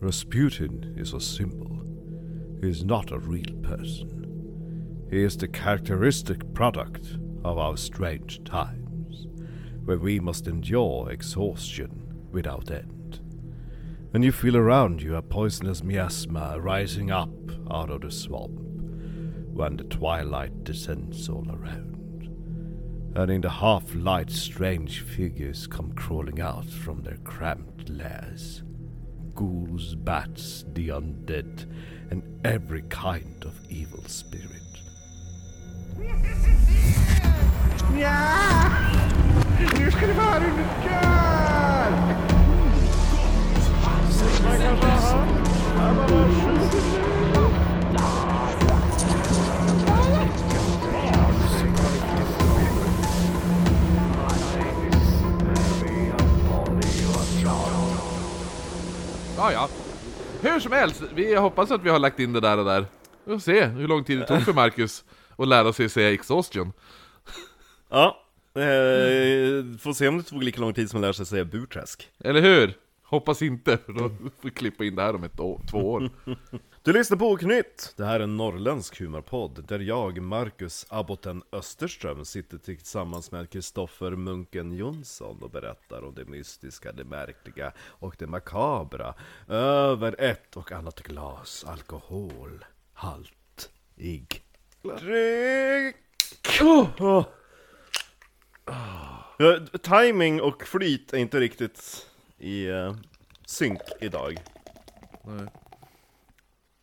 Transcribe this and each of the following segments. Rasputin is a symbol. He is not a real person. He is the characteristic product of our strange times, where we must endure exhaustion without end. When you feel around you a poisonous miasma rising up out of the swamp, when the twilight descends all around, and in the half light, strange figures come crawling out from their cramped lairs ghouls, bats, the undead, and every kind of evil spirit. Ja! Nu ska det vara mycket! Ja, ja. Hur som helst, vi hoppas att vi har lagt in det där och där. Vi får se hur lång tid det tog för Marcus att lära sig säga exhaustion. Ja, eh, får se om det tog lika lång tid som att lära sig säga burträsk. Eller hur? Hoppas inte, för då får vi klippa in det här om ett år, två år. Du lyssnar på Oknytt! Det här är en norrländsk humorpodd där jag, Marcus Abboten Österström, sitter tillsammans med Kristoffer Munken Jonsson och berättar om det mystiska, det märkliga och det makabra. Över ett och annat glas alkohol. Halt. Ig. Dryck! Åh. Ja, timing och flyt är inte riktigt i eh, synk idag.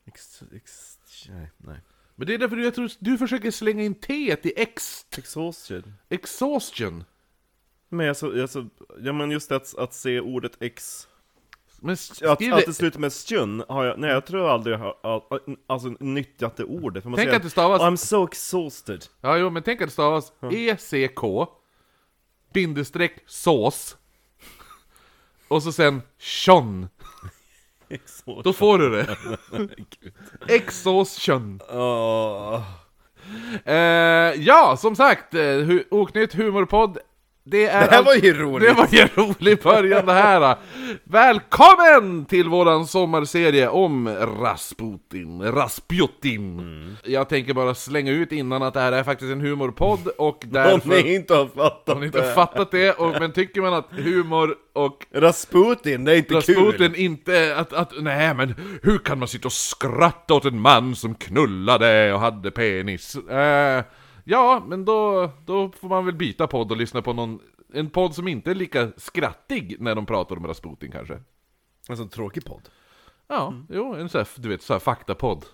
Ex, ex, nej, nej. Men det är därför du- jag tror du försöker slänga in teet i ex... Exhaustion. Exhaustion. Men alltså, alltså, ja men just att, att se ordet ex, Men s- att, skriv att det det- slutar med stjun, har jag, nej jag tror aldrig jag har a- a- alltså, nyttjat det ordet. För man Tänk säger, att det stavas- I'm so exhausted. Ja, jo, men tänk att det stavas ECK bindestreck sås och så sen tjon. Då får du det. Exhaustion. Åh. Eh, ja, som sagt, eh, hu- Oknytt humorpodd. Det, är Det här allt- var ju roligt. Det var ju en rolig början det här! eh. Välkommen till våran sommarserie om Rasputin, Rasputin! Mm. Jag tänker bara slänga ut innan att det här är faktiskt en humorpodd och Om därför... ni inte har fattat Om ni inte har det. fattat det, och, men tycker man att humor och Rasputin, det är inte kul. Rasputin inte, att, att, nej men hur kan man sitta och skratta åt en man som knullade och hade penis? Eh, ja, men då, då får man väl byta podd och lyssna på någon, en podd som inte är lika skrattig när de pratar om Rasputin kanske. Alltså tråkig podd. Ja, Mm. jo, en sån här, du vet, sån här faktapodd.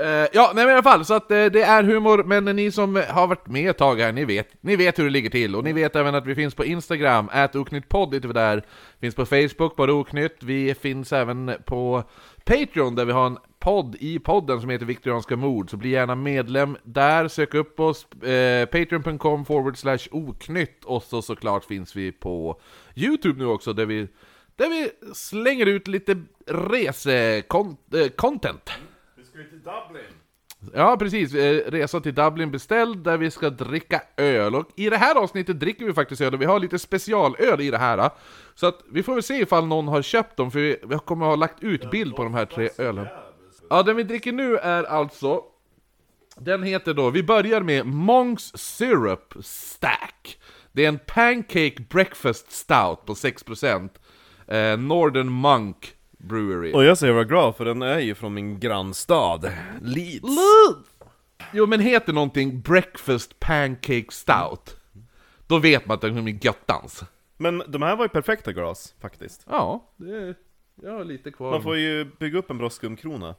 Eh, ja, nej men i alla fall, så att eh, det är humor, men ni som har varit med ett tag här, ni vet, ni vet hur det ligger till. Och ni vet även att vi finns på Instagram, oknyttpodd heter vi där. Finns på Facebook, bara oknytt. Vi finns även på Patreon, där vi har en podd i podden som heter Viktorianska mord, så bli gärna medlem där, sök upp oss, eh, patreon.com forward slash oknytt, och så såklart finns vi på Youtube nu också, där vi där vi slänger ut lite eh, resecontent. Vi ska ju till Dublin. Ja, precis. Eh, Resa till Dublin beställd, där vi ska dricka öl. Och i det här avsnittet dricker vi faktiskt öl, och vi har lite specialöl i det här. eh. Så att vi får väl se ifall någon har köpt dem, för vi vi kommer ha lagt ut bild på de här tre ölen. Ja, den vi dricker nu är alltså... Den heter då, vi börjar med Monks Syrup Stack. Det är en Pancake Breakfast Stout på 6%. Eh, Northern Monk Brewery. Och jag säger vad glad, för den är ju från min grannstad, Leeds. Jo men heter någonting Breakfast Pancake Stout Då vet man att den är liksom göttans Men de här var ju perfekta glas, faktiskt. Ja, det är... Jag har lite kvar Man får ju bygga upp en bra skumkrona.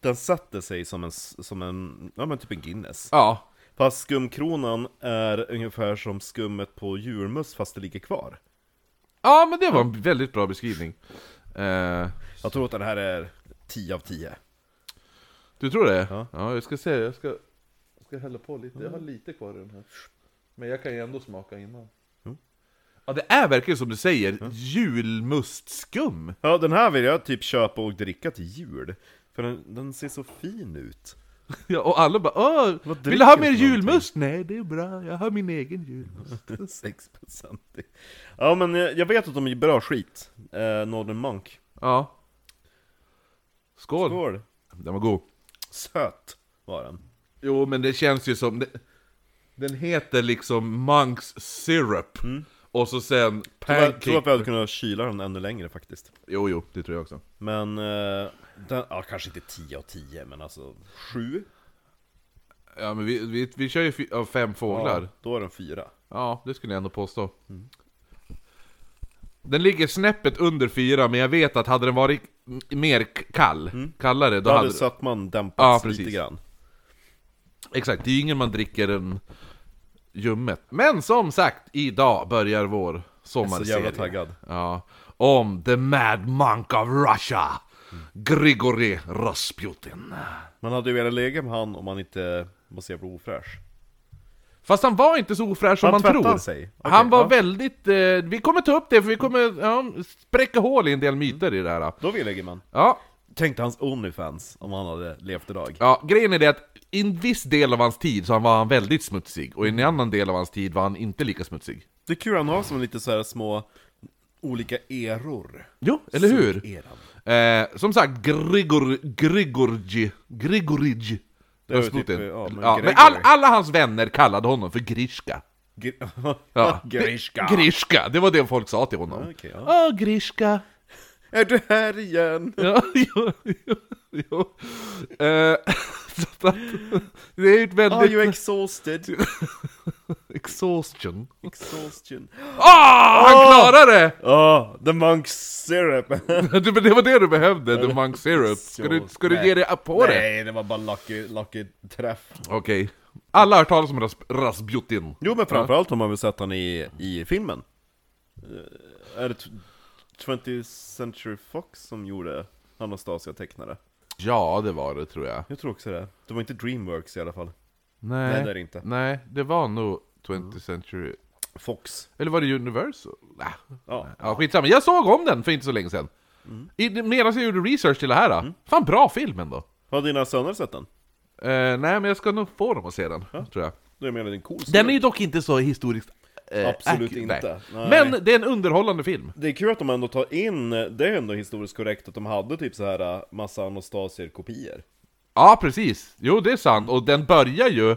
Den satte sig som en, s- som en, ja men typ en Guinness. Ja, Fast skumkronan är ungefär som skummet på julmust fast det ligger kvar. ja men det var en väldigt bra beskrivning Eh, Jag tror att den här är 10 av 10. Du tror det? Ja. jag ska se, jag ska... Jag ska hälla på lite, jag har lite kvar i den här Men jag kan ju ändå smaka innan Jo. Ja det är verkligen som du säger, julmustskum! Ja, den här vill jag typ köpa och dricka till jul. För den, den ser så fin ut. Ja, och alla bara Åh, Vad vill du ha dricker mer du för någonting?" julmust? Nej det är bra, jag har min egen julmust 6% Ja men jag jag vet att de är bra skit, eh, Northern Monk. Ja, Skål! Skål! Den var god. Söt var den. Jo, men det känns ju som... Det, den heter liksom Monks Syrup. Och så sen Jag tror att vi Pancake... hade kunnat kyla den ännu längre faktiskt. Jo, jo, det tror jag också. Men, eh, den, ja, kanske inte 10 av 10 men alltså 7 Ja, men vi, vi, vi kör ju fy- av fem fåglar. ja, Då är den 4 Ja, det skulle jag ändå påstå. Mm. Den ligger snäppet under fyra, men jag vet att hade den varit m- mer k- kall, kallare, då Då hade hade den... sötman Mm. Ja, dämpats precis. lite grann Exakt, det är ju ingen man dricker en ljummet. Men som sagt, idag börjar vår Så sommarserie. jävla taggad Ja. Om The Mad Monk of Russia, Grigori Rasputin. Man hade ju velat lägga med han om man inte var så jävla ofräsch Fast han var inte så ofräsch som Han man tvättade tror. sig. Okej, han var ja. väldigt... Eh, vi kommer ta upp det, för vi kommer ja, spräcka hål i en del myter i det här. Då vill man Ja, Tänkte hans Onlyfans om han hade levt idag Ja, grejen är det att i en viss del av hans tid så han var han väldigt smutsig, och i en annan del av hans tid var han inte lika smutsig. Det är kul han har som lite så här små olika eror Jo, eller hur? Eran. Eh, som sagt, Grigor, Grigorji, Grigorij är väl Rasputin. typ, ja, men ja, men Gregory. all, alla hans vänner kallade honom för Grishka. Gr- Ja. Grishka Grishka, det var det folk sa till honom. Okej, ja. Ah, Grishka. Är du här igen? Ja, jo, jo, jo. Eh, så att, det är ju ett Are you väldigt... exhausted? Exhaustion. Exhaustion Ah, han klarade det! Ah, the monk syrup! Det, men det var det du behövde, the monk syrup. Ska du, ska du ge dig på det? Nej, det var bara lucky, lucky träff. Okej. Alla har hört talas om ras, Rasputin. Jo, men framförallt om man vill sett han i, i filmen. Eh, Är det t- 20th Century Fox som gjorde Anastasia-tecknare? Ja, det var det tror jag. Jag tror också det. Det var inte Dreamworks i alla fall. Nej, Nej, det är det inte. Mm. Nej, det var nog 20th century... Fox. Eller var det Universal? Nah. Ja. Ja, skitsamma. Jag såg om den för inte så länge sedan. Mm. I- Medan jag gjorde research till det här. Fan, bra film ändå. Har dina söner sett den? Eh, nej, men jag ska nog få dem att se den, tror jag. Då är jag menar en cool story. Den är ju dock inte så historiskt... eh, Absolut accurate. inte. Nej. Nej. Men det är en underhållande film. Det är kul att de ändå tar in, det är ändå historiskt korrekt att de hade typ så här eh, massa Anastasier-kopior. Ja, precis. Jo, det är sant. Och den börjar ju...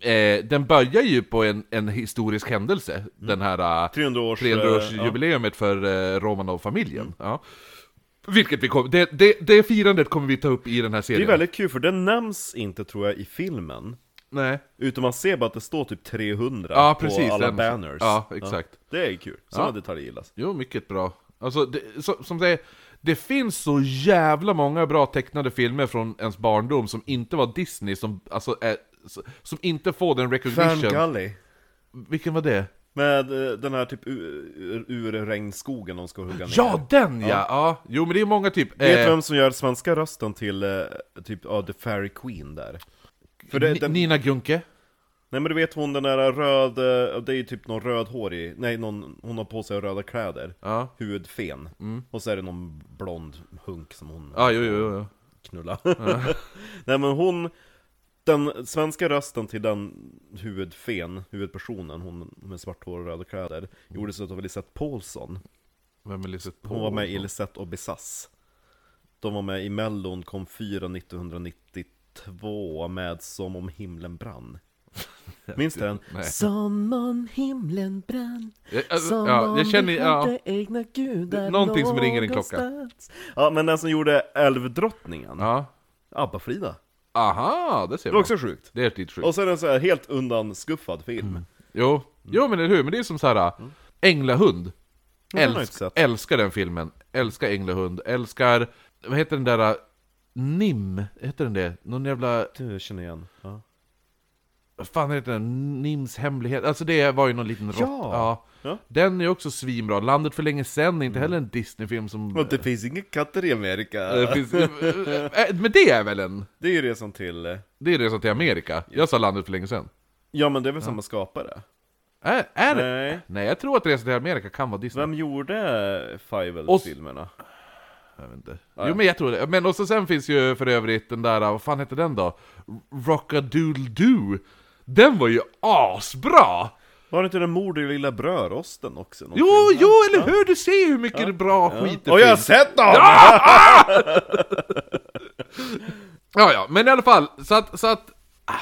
Eh, den börjar ju på en, en historisk händelse, Mm. den här... eh, 300 års, eh, 300-årsjubileet för eh, Romanov-familjen. Mm. Ja. Vilket vi kommer... Det, det, det firandet kommer vi ta upp i den Det här är serien. väldigt kul för den nämns inte tror jag i filmen. Nej. Utan man ser bara att det står typ 300 Ja, precis. på alla den- banners. Ja, exakt. Det är kul, sådana detaljer gillas. Jo, mycket bra. Alltså, det, så, som säger, det finns så jävla många bra tecknade filmer från ens barndom som inte var Disney, som, alltså, är, som inte får den Fan recognition. Gully. Vilken var det? Med eh, den här typ ur, ur, ur regnskogen de ska hugga ner. Ja, den ja! ja. Jo, men det är många typ... Vet eh, vem som gör svenska rösten till eh, typ, ja, The Fairy Queen där? För det, Ni- den, Nina Gunke? Nej men du vet hon den där röd, eh, det är ju typ någon rödhårig, nej någon, hon har på sig röda kläder, Ja. Mm. huvudfen, och så är det någon blond hunk som hon Ja, Ah, jo, jo, jo. knulla. Nej men hon, den svenska rösten till den huvudfen, huvudpersonen, hon med svart hår och röda Mm. kläder, gjordes av Lisette Paulsson. Vem är Lisette Hon var med i Lisette och Besass. De var med i Mellon kom 4 1992 med Som om himlen brann. Minns du den? Nej. Som om himlen brann Ja, Som ja, om jag känner... vi Ja, hade egna gudar Någonting som ringer en klocka. någonstans. Ja, men den som gjorde Älvdrottningen, ja. Abba-Frida. Aha, det ser Det var man. också sjukt. Det är ett litet sjukt. Och så är den så här helt undanskuffad film. Mm. Jo, jo men eller hur? Men det är som så här äh, Änglahund. den har jag Älsk, inte sett. älskar den filmen. Älskar Änglahund. Älskar... Vad heter den där... äh, Nim? Heter den det? Någon jävla... Du känner igen. Ja. Vad fan heter den? Nims hemlighet? Alltså det var ju någon liten rått. Ja. Ja. Mm. Den är ju också svinbra. Landet för länge sedan är inte heller en Disney-film som... Och det finns inga katter i Amerika. äh, finns, äh, äh, men det är väl en... Det är ju resan till... eh, Det är resan till Amerika. Jag sa landet för länge sedan. Ja men det är väl samma skapare? Är, är det? Nej. Nej, jag tror att resan till Amerika kan vara Disney. Vem gjorde Och- Fivel-filmerna? Jag vet inte. Jo men jag tror det. Men och så sen finns ju för övrigt den där, vad fan heter den då? Rockadoodle-doo! Den var ju asbra! Var inte den mord i Lilla Brödrosten också? något Jo, film? jo, eller hur? Du ser ju hur mycket bra skit det Och jag har finns. sett dem! Ja, ja, men i alla fall. Så att, så att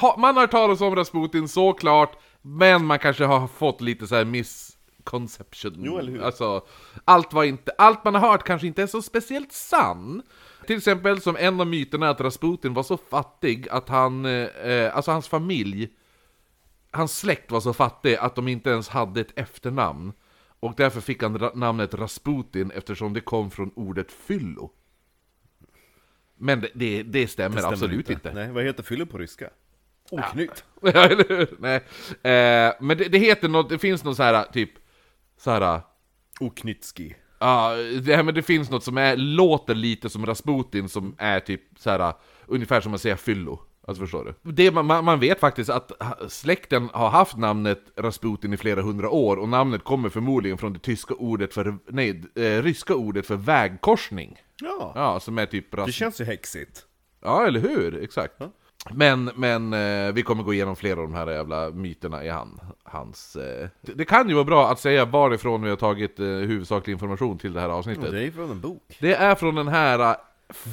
ha, man har hört talas om Rasputin såklart, men man kanske har fått lite så här misconception. Jo, eller hur? Alltså, allt, var inte, allt man har hört kanske inte är så speciellt sann. Till exempel som en av myterna att Rasputin var så fattig att han, eh, alltså hans familj, hans släkt var så fattig att de inte ens hade ett efternamn. Och därför fick han ra- namnet Rasputin eftersom det kom från ordet fyllo. Men det, det, det stämmer Stämmer absolut inte. Nej, vad heter fyllo på ryska? Oknytt. Ja, eller hur? Nej. Eh, men det, det heter något, det finns något så här typ, så här, Oknytski. ja, det, men det finns något som är, låter lite som Rasputin som är typ så här ungefär som att säga fyllo. Alltså förstår du? Det, man- man, man vet faktiskt att ha- släkten har haft namnet Rasputin i flera hundra år och namnet kommer förmodligen från det tyska ordet för, nej, eh, ryska ordet för vägkorsning. Ja. Ja, som är typ ras- Det känns ju häxigt. Ja, eller hur? Exakt. Men, men eh, vi kommer gå igenom flera av de här jävla myterna i han, hans... Eh. Det, det kan ju vara bra att säga varifrån vi har tagit eh, huvudsaklig information till det här avsnittet. Det är från en bok. Det är från den här eh,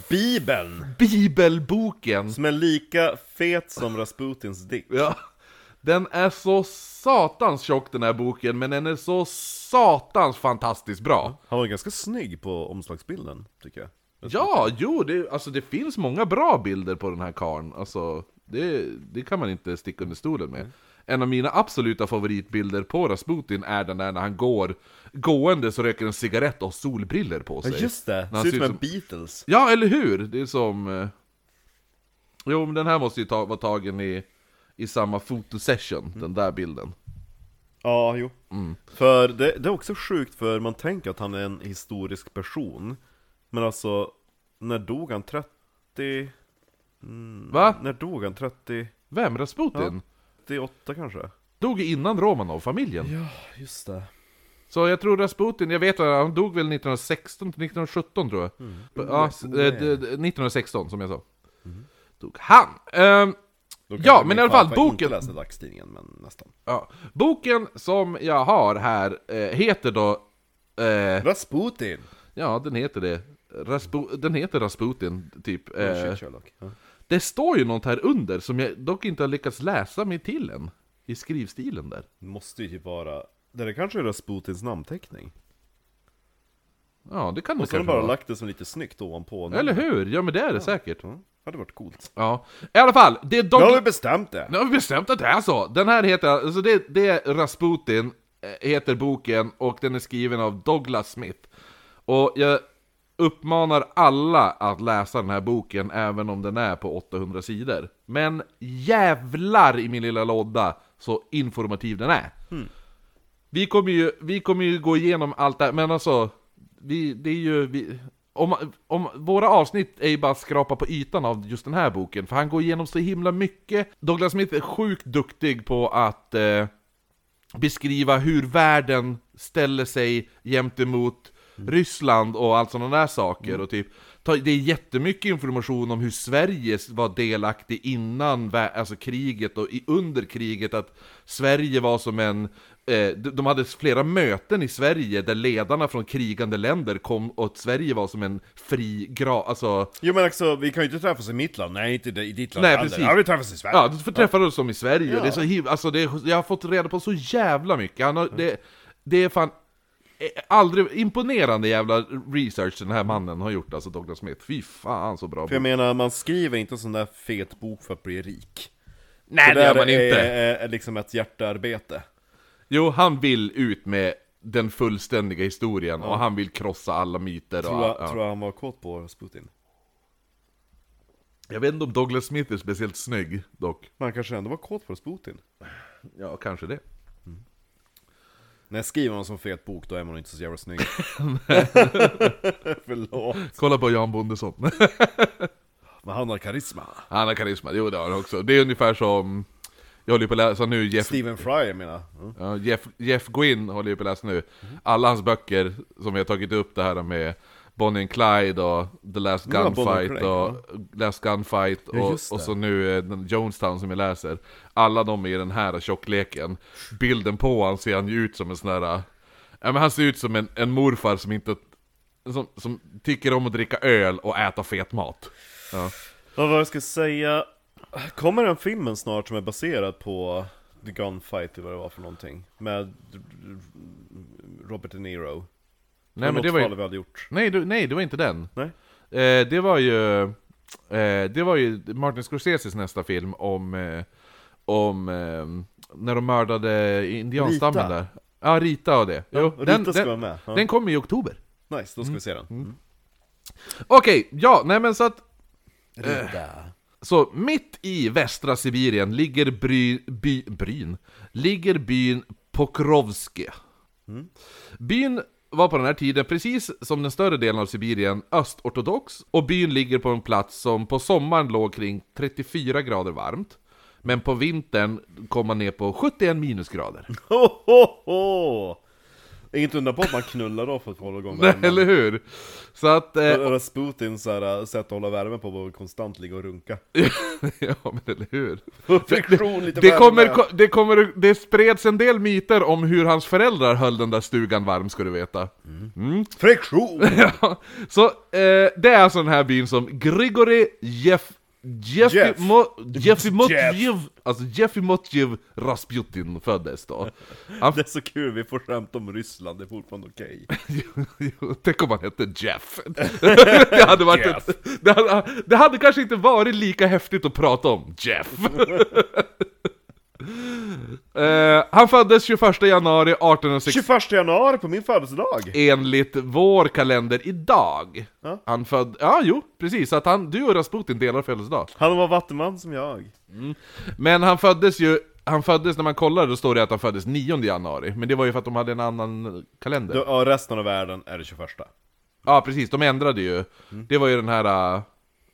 Bibeln! bibelboken. Som är lika fet som Rasputins dick. Ja. Den är så satans tjock den här boken, men den är så satans fantastiskt bra. Han var ganska snygg på omslagsbilden, tycker jag. Ja, jo, det, alltså det finns många bra bilder på den här karln. Alltså, det, det kan man inte sticka under stolen Mm. med. En av mina absoluta favoritbilder på Rasputin är den där när han går gående så röker en cigarett och har solbriller på sig. Ja, just det! När han Ser ut som en Beatles. Ja, eller hur? Det är som... eh, Jo, men den här måste ju ta, vara tagen i, i samma fotosession, den där bilden. Ja, jo. Mm. För det, det är också sjukt, för man tänker att han är en historisk person. Men alltså, när dog han? 30... Va? När dog han? 30... Vem? Rasputin? 38 kanske? Dog innan Romanov-familjen. Ja, just det. Så jag tror Rasputin, jag vet att han dog väl 1916 till 1917 tror jag. Mm. Ja, s- eh, d- d- 1916 som jag sa. Mm. Dog han! Ehm, ja, men i alla fall boken, Jag läser dagstidningen, men nästan. ja, boken som jag har här eh, heter då, eh, Rasputin! ja den heter det, Raspu, den heter Rasputin typ. Eh, Oh, Shit, Sherlock. Ja. det står ju något här under som jag dock inte har lyckats läsa mig till än, i skrivstilen där. Det måste ju typ vara... Det där kanske är Rasputins namnteckning. Ja, det kan det Och så har de kanske bara vara. lagt det som lite snyggt ovanpå. Eller hur? Ja men det är det säkert. Mm. Hade varit coolt. Ja, i alla fall, det är Nu Don har vi bestämt det! Nu har vi bestämt att det är så! Den här heter, alltså det, det är Rasputin, eh, heter boken, och den är skriven av Douglas Smith. Och jag uppmanar alla att läsa den här boken, även om den är på 800 sidor. Men jävlar i min lilla låda så informativ den är! Vi, kommer ju, vi kommer ju gå igenom allt det här, men alltså, vi, det är ju... Vi, om, om, våra avsnitt är ju bara att skrapa på ytan av just den här boken, för han går igenom så himla mycket. Douglas Smith är sjukt duktig på att eh, beskriva hur världen ställer sig gentemot Ryssland och allt sådana där saker. Och typ, ta, det är jättemycket information om hur Sverige var delaktig innan vä- alltså kriget och i, under kriget, att Sverige var som en... Eh, de de hade flera möten i Sverige där ledarna från krigande länder kom och att Sverige var som en fri gra... Alltså, Jo men också, vi kan ju inte träffas i mitt land, nej inte i ditt land Nej, heller. precis. Ja vi träffas i Sverige. Ja, du får träffa dem som i Sverige. Det är så hiv- alltså det är, jag har fått reda på så jävla mycket. Han har, det, det är fan eh, aldrig imponerande jävla research den här mannen har gjort, alltså Douglas Smith. Fy fan så bra. För jag menar, man skriver inte en sån där fet bok för att bli rik. Nej, det där gör man är, inte. Är, är liksom ett hjärtearbete. Jo, han vill ut med den fullständiga historien och han vill krossa alla myter. Tror och, jag, ja. tror jag han var kåt på Rasputin. jag vet inte om Douglas Smith är speciellt snygg, dock. Men han kanske ändå var kåt på Rasputin. Ja, kanske det. När jag skriver någon sån fet bok, då är man inte så jävla snygg. Förlåt. Kolla på Jan Bondesson. Men han har karisma. han har karisma, jo det har han också. Det är ungefär som... Jag håller ju på att läsa nu Jeff Stephen Fry, jag menar. Mm. Ja, Mhm. Jeff, Jeff Gwynn håller jag på att läsa nu. Alla hans böcker som vi har tagit upp det här med Bonnie and Clyde och The Last Ja, Bonnie and Gunfight Clyde, och Last Gunfight Ja, och, just och det. så nu eh, den Jonestown som vi läser. Alla de är i den här tjockleken. Bilden på han ser han ju ut som en sån här... eh, Ja, men han ser ut som en, en morfar som inte... Som, som tycker om att dricka öl och äta fet mat. Ja, vad jag ska säga... Kommer den filmen snart som är baserad på The Gunfight eller vad det var för någonting? Med Robert De Niro? Nej men det var ju... vi hade gjort. Nej, du, nej, det var inte den. Nej? Eh, det var ju... Eh, det var ju Martin Scorseses nästa film om... Eh, om eh, när de mördade indianstammen Rita. där. Ja, Rita och det. Jo, Rita ska den, den, vara med. Ja. den kommer i oktober. Nice, då ska vi se den. Mm. Okej, ja, nej men så att... Så mitt i västra Sibirien ligger bry, by, bryn, ligger byn Pokrovske. Mm. Byn var på den här tiden, precis som den större delen av Sibirien, östortodox och byn ligger på en plats som på sommaren låg kring 34 grader varmt. Men på vintern kom man ner på 71 minusgrader. Ho, ho, ho! Inget undra på att man knullar då för att hålla igång Nej, värmen. Eller hur? Så att... eh, Rasputins så här, äh, sätt att hålla värmen på var att konstant ligga och runka. ja, men eller hur? Friktion, lite Det, värme. kommer, det, kommer, det spreds en del myter om hur hans föräldrar höll den där stugan varm, ska du veta. Friktion! Ja, så eh, det är alltså den här byn som Grigori Jeff... Jeffy Jeff. Mo- Jeffy Motjev, Jeff. alltså Jeffy Motjev Rasputin föddes då. Han, Det är så kul, vi får skämt om Ryssland, det är fortfarande okej. Jo, jo, Tänk om han hette Jeff. Det hade, varit ett, det, hade, det hade kanske inte varit lika häftigt att prata om Jeff. Eh, han föddes 21 januari 1860 21 januari på min födelsedag! enligt vår kalender idag. Ja. Han född... Ja, jo, precis. Så att han, du och Rasputin delar födelsedag. Han var vattenman som jag. Men han föddes ju... Han föddes, när man kollar, då står det att han föddes 9 januari. Men det var ju för att de hade en annan kalender. Du, ja, resten av världen är det 21. Ja precis, de ändrade ju. Det var ju den här... äh,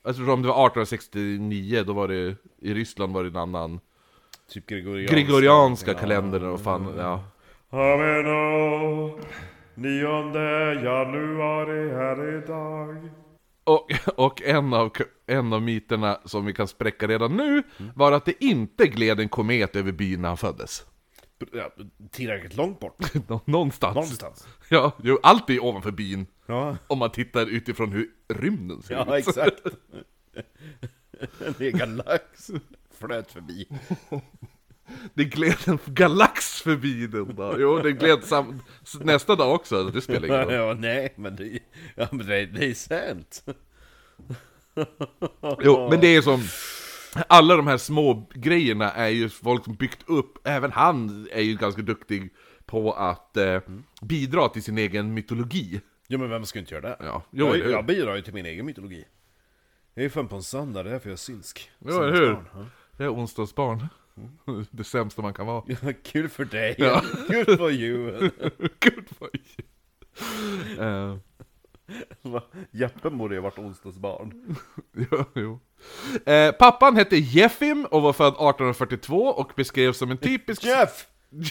Jag tror om det var 1869, då var det... I Ryssland var det en annan... Typ gregorianska. Gregorianska kalendern och fan, ja. Ameno, 9 januari här idag. Och, och en, av, en av myterna som vi kan spräcka redan nu var att det inte gled en komet över byn när han föddes. Ja, tillräckligt långt bort. Nå- Någonstans. Någonstans. Ja, jo, allt är ovanför byn. Ja, Om man tittar utifrån hur rymden ser ut. ja exakt. En hel galax flöt förbi. Det gled en galax förbi den dag. Jo, den gled sam- nästa dag också. Det spelar ingen roll. Ja, nej, men det, ja, men det, det är sant. Jo, men det är som... Alla de här små grejerna är ju folk som byggt upp, även han är ju ganska duktig på att eh, bidra till sin egen mytologi. Jo, men vem skulle inte göra det? Ja, jo, eller jag, hur? jag bidrar ju till min egen mytologi. Jag är ju fan på en söndag, det är därför jag är synsk. Jo, eller hur? Det är onsdagsbarn. Det sämsta man kan vara. Ja, kul för dig. Kul för you. Gud vad uh, Va? Jeppe borde ju ha varit onsdagsbarn. jo, jo. Eh, Pappan hette Jeffim och var född 1842 och beskrevs som en typisk... Jeff!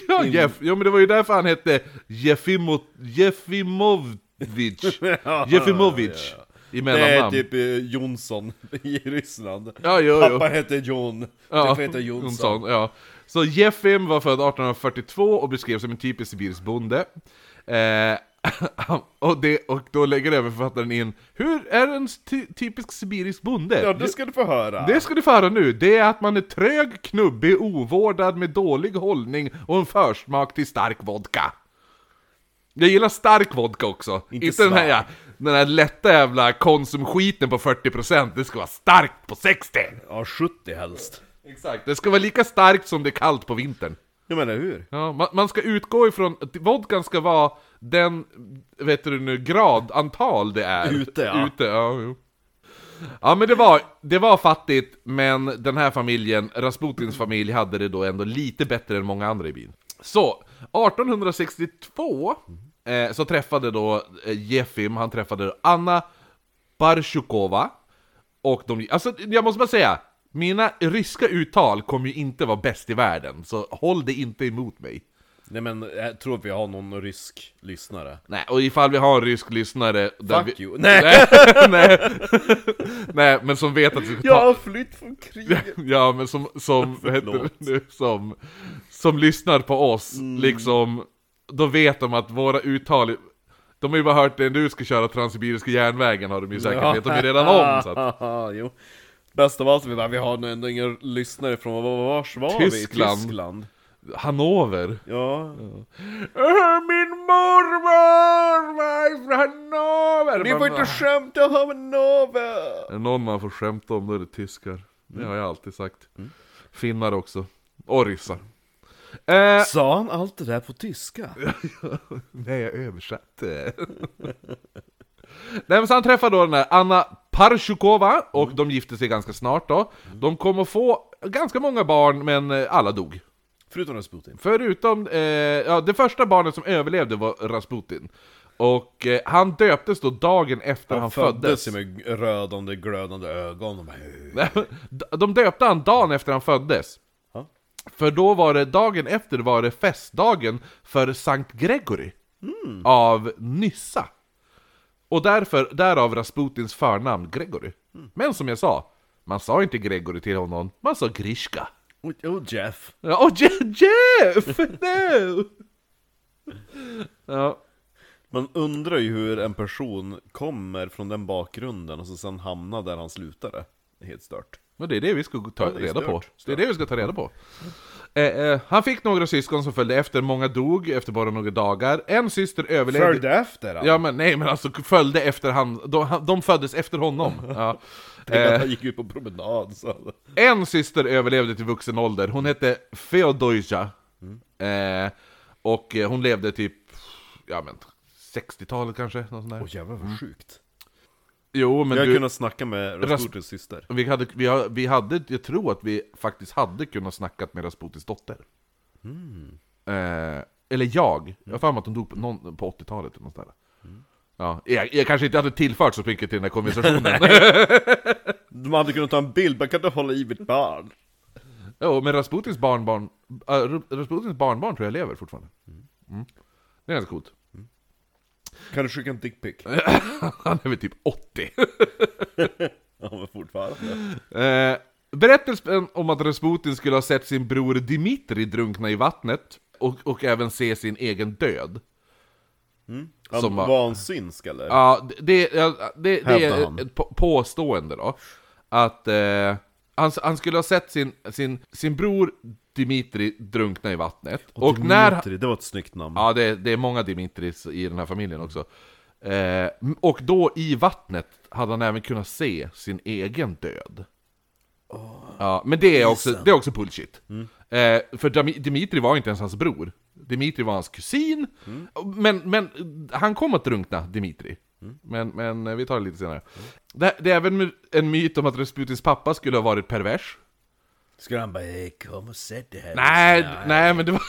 Ja, Jeff! Jo men det var ju därför han hette Jeffimo... Jeffimovic. Jeffimovic. I Det är mellannamn. typ eh, Jonsson i Ryssland. Ja, jo, jo. Pappa heter John. Ja, Jeff heter Jonsson. ja. Så Jeffim var född 1842 och beskrevs som en typisk sibirisk bonde. Eh, och, det, och då lägger även författaren in, hur är en ty- typisk sibirisk bonde? Ja, det ska du få höra. Det ska du få höra nu, det är att man är trög, knubbig, ovårdad med dålig hållning och en försmak till stark vodka. Jag gillar stark vodka också. Inte, den, här, ja, den här lätta jävla konsumskiten på 40%, det ska vara starkt på 60%! Ja, 70 helst. Exakt. Det ska vara lika starkt som det är kallt på vintern. Jag menar hur? Ja, man, man ska utgå ifrån att vodkan ska vara den, vet du nu, gradantal det är. Ute, ja. Ute, ja, jo. ja men det var, det var fattigt, men den här familjen, Rasputins familj, hade det då ändå lite bättre än många andra i byn. Så, 1862 eh, så träffade då eh, Jefim, han träffade Anna Barsjukova, och de, alltså jag måste bara säga, mina ryska uttal kommer ju inte vara bäst i världen, så håll det inte emot mig. Nej men, jag tror vi har någon rysk lyssnare. Nej, och ifall vi har en rysk lyssnare... där Fuck vi... you! Nej! Nej, nej, nej, men som vet att vi ska ta... Jag har flytt från kriget! Ja, men som, som, vad heter det nu, som, som lyssnar på oss, Mm. liksom, då vet de att våra uttal, de har ju bara hört det när du ska köra Transsibiriska järnvägen har de ju säkert, vet de ju redan om. Så att, jo. Bäst av allt, vi bara, vi har ändå ingen lyssnare från, var, var var Tyskland. vi? Tyskland. Hannover. Ja. Äh, Min mormor var från Hannover! Ni får Man- inte skämta om Nove! Är det någon man får skämta om då är det tyskar. Det har jag alltid sagt. Finnar också. Och ryssar. Eh, Sa han allt det där på tyska? Nej, jag översatte. Nej, men så han träffade då den här Anna Parsjukova, och de gifte sig ganska snart då. De kom att få ganska många barn, men eh, alla dog. Förutom Rasputin. Förutom, eh, ja, det första barnet som överlevde var Rasputin. Och eh, han döptes då dagen efter han, föddes. ju med rödande, glödande ögon. Och bara, de döpte han dagen efter han föddes. Ja. För då var det, dagen efter var det festdagen för Sankt Gregory. Av Nyssa. Och därför, därav Rasputins förnamn Gregory. Men som jag sa, man sa inte Gregory till honom, man sa Grishka. Och, och "Oh, Jeff. Ja, Och Je- Jeff! No! Ja, Man undrar ju hur en person kommer från den bakgrunden och så sen hamnar där han slutade. Det är helt stört. men det är det vi ska ta det är reda på. stört. Mm. Det är det vi ska ta reda på. Eh, eh, han fick några syskon som följde efter, många dog efter bara några dagar. En syster överlevde... Följde efter han. Ja men nej men alltså följde efter han, de, han- de föddes efter honom. Ja. Tänk att Eh, han gick ut på promenad. Så. en syster överlevde till vuxen ålder, hon hette Feodosia. Mm. Eh, och eh, hon levde typ, ja men 60-talet kanske, något sånt där. Åh jävlar vad sjukt. Jo Mm. men Jag du, har kunnat snacka med Rasputins syster. vi, hade, vi, har- vi hade, jag tror att vi faktiskt hade kunnat snackat med Rasputins dotter. Eh, eller jag, jag har för mig att hon dog på, någon, på 80-talet eller något sånt där. Ja, jag, jag kanske inte hade tillfört så mycket till den här konversationen. De hade kunnat ta en bild, man kan inte hålla i mitt barn. Jo, men Rasputins barnbarn, äh, Ru- Rasputins barnbarn tror jag lever fortfarande. Mm. Det är ganska coolt. Kan du skicka en dickpic? Han är väl typ 80. Ja men fortfarande. Eh, berättelsen om att Rasputin skulle ha sett sin bror Dimitri drunkna i vattnet och, och även se sin egen död. Han, Som var- var han synsk eller? Ja, det- det, ja, det, det Hävdar är han. ett på- påstående då. Att eh, han, han skulle ha sett sin, sin, sin bror Dimitri drunkna i vattnet. Och, när, Dimitri, det var ett snyggt namn. Ja, det, det är många Dimitris i den här familjen också. Eh, och då i vattnet hade han även kunnat se sin egen död. ja, men det är också, det är också bullshit. Eh, för Dami- Dimitri var inte ens hans bror. Dimitri var hans kusin. Men, men han kom att drunkna, Dimitri. Men, men eh, vi tar det lite senare. Det, det är även en myt om att Rasputins pappa skulle ha varit pervers. Skulle han bara hey, 'Kom och sätt dig här' Nej, d- nej men det var...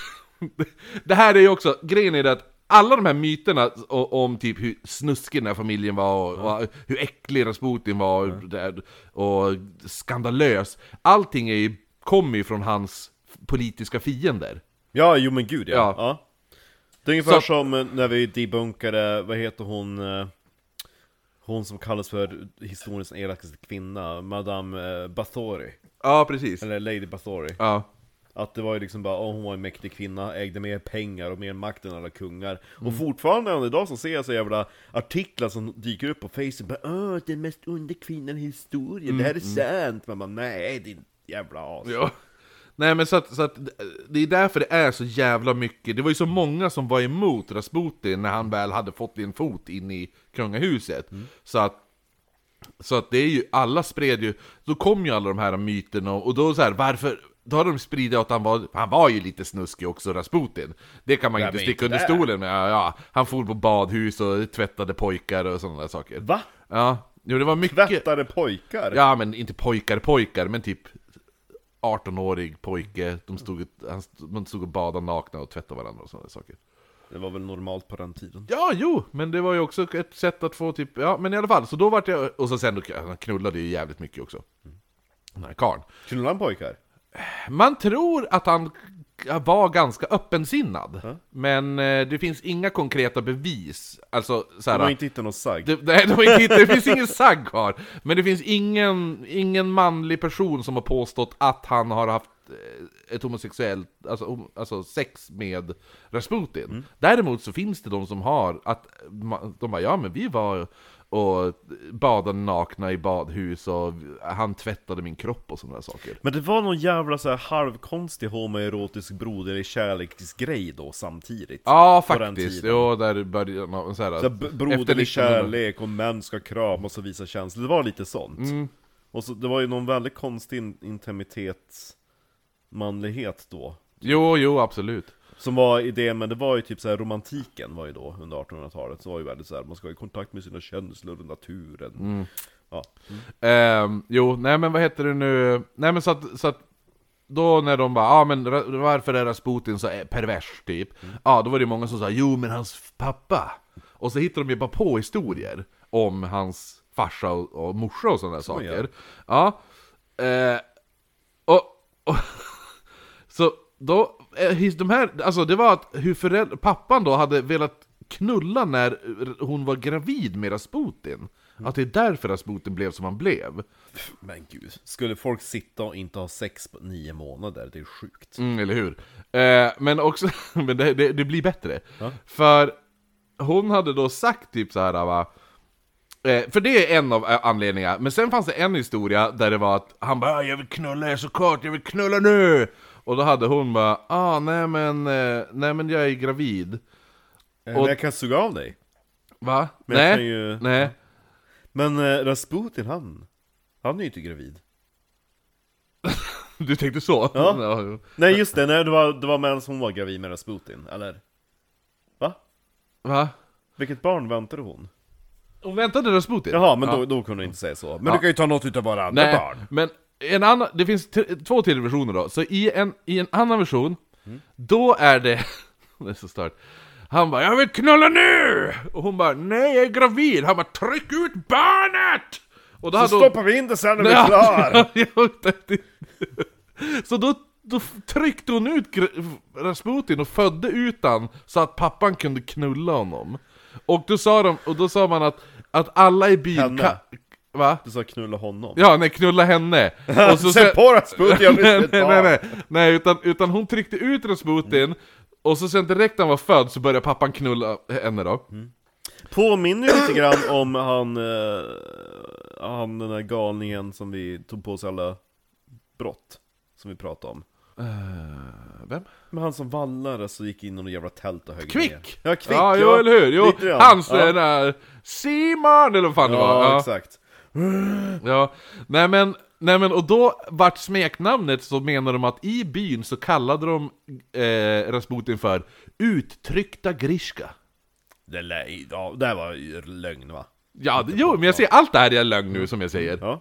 Det här är ju också, grejen är det att alla de här myterna o- om typ hur snuskig den här familjen var och, och hur äcklig Rasputin var och, det här- och skandalös. Allting är ju, kommer ju från hans politiska fiender. Ja, jo men gud ja. Ja. ja. Det är ungefär Så- som när vi debunkade, vad heter hon, eh, hon som kallas för historiens elakaste kvinna, Madame eh, Bathory, Ja, precis. eller Lady Bathory. Ja. Att det var ju liksom bara, åh hon var en mäktig kvinna, ägde mer pengar och mer makt än alla kungar. Mm. Och fortfarande än idag så ser jag så jävla artiklar som dyker upp på Facebook, bara, åh den mest onda kvinnan i historien, det här är sant! Man bara, nej din jävla as. Mm. Ja. Nej men så att, så att det är därför det är så jävla mycket, det var ju så många som var emot Rasputin när han väl hade fått en fot in i kungahuset. Mm. Så att så att det är ju, alla spred ju, då kom ju alla de här myterna och, och då så här, varför, då har de spridit att han var, han var ju lite snuskig också Rasputin. Det kan man Ja, inte men sticka under inte. stolen med, ja, ja, han for på badhus och tvättade pojkar och sådana där saker. Va? Ja, jo det var mycket... Tvättade pojkar? Ja, men inte pojkar pojkar, men typ 18-årig pojke. De stod, och- han stod, de stod och badade nakna och tvättade varandra och sådana saker. Det var väl normalt på den tiden. Ja, jo, men det var ju också ett sätt att få typ, ja men i alla fall, så då vart jag, och så sen då, han knullade ju jävligt mycket också. Den här karln. Knullade han pojkar? Man tror att han var ganska öppensinnad. Men eh, det finns inga konkreta bevis. Alltså, De så här, har inte hittat någon sagg. det, nej, det, var inte, det finns ingen sagg kvar. Men det finns ingen, ingen manlig person som har påstått att han har haft eh, ett homosexuellt, alltså, hom- alltså sex med Rasputin. Mm. Däremot så finns det de som har, att ma- de bara ja men vi var och badade nakna i badhus och han tvättade min kropp och sådana där saker. Men det var någon jävla så här halvkonstig homoerotisk broder i kärleksgrej då samtidigt. Ja På den faktiskt, tiden. jo där började man så här, Så här, b- broder efter liksom i 1900 kärlek och män ska kramas och visa känslor. Det var lite sånt. Mm. Och så, det var ju någon väldigt konstig in- intimitet, manlighet då. Jo, jo absolut. Som var i det, men det var ju typ så här romantiken var ju då under 1800-talet. Så var ju väldigt så här, man ska ha i kontakt med sina känslor och naturen. Mm. Ja. Ehm, jo, nej men vad heter det nu? Nej men så att, så att då när de bara, ja ah, men ra- varför är Rasputin så eh, pervers typ? Ja, då var det många som sa, jo men hans f- pappa! Och så hittade de ju bara på historier om hans farsa och, och morsa och sådana där saker. Ja. Eh, och, och så då, eh, his- de här, alltså det var att hur föräldrar, pappan då hade velat knulla när eh, hon var gravid med Rasputin. Att det är därför Rasputin blev som han blev. Men gud. Skulle folk sitta och inte ha sex på nio månader? Det är sjukt. Mm, eller hur? Eh, men också, men det, det, det blir bättre. För hon hade då sagt typ så här va, Eh, för det är en av eh, anledningarna, men sen fanns det en historia där det var att han bara "Ah, 'Jag vill knulla er såklart, jag vill knulla nu!' Och då hade hon bara 'Ah nej men, eh, nej men jag är gravid' Eh, Men jag kan suga av dig. Va? Men jag nej, kan ju- nej. Men eh, Rasputin han, han är ju inte gravid. Du tänkte så? Ja. Nej just det, nej, det, var, det var män som var gravid med Rasputin, eller? Va? Va? Vilket barn väntade hon? Hon väntade Rasputin? Jaha, men Då, då kunde du inte säga så. Men du kan ju ta något utav våra andra Nej, barn. men en annan, det finns t- två till versioner då, så i en, i en annan version, Mm. då är det... det är så stört. Han bara 'Jag vill knulla nu!' Och hon bara 'Nej, jag är gravid!' Han bara 'Tryck ut barnet!' Och då Så hon- stoppar vi in det sen när vi är Ja. klar! Jag tänkte- så då, då tryckte hon ut gr- Rasputin och födde ut han så att pappan kunde knulla honom. Och då sa, de, och då sa man att, att alla i byn... Henne. Ka- va? Du sa knulla honom. Ja, nej, knulla henne! Och så, Sätt på Rasputin, jag blir nej, ett nej, barn! nej, nej, nej utan, utan hon tryckte ut Rasputin, och så sen direkt när han var född så började pappan knulla henne då. Mm. Påminner ju lite grann om han, eh, han den där galningen som vi tog på oss alla brott, som vi pratade om. Vem? Men han som vallade så gick in i något jävla tält och högg ner. Kvick! Ja, Kvick! Ja, jo, eller hur? Jo, Lite grann. hans ja. den där... Simon! Eller vad fan det var. Ja, exakt. Ja, nej men, nej men och då vart smeknamnet så menar de att i byn så kallade de eh, Rasputin för uttryckta Grishka. Det, lär, ja, det här var ju lögn va? Ja, det, jo, men jag ser allt det här är lögn nu som jag säger. Ja.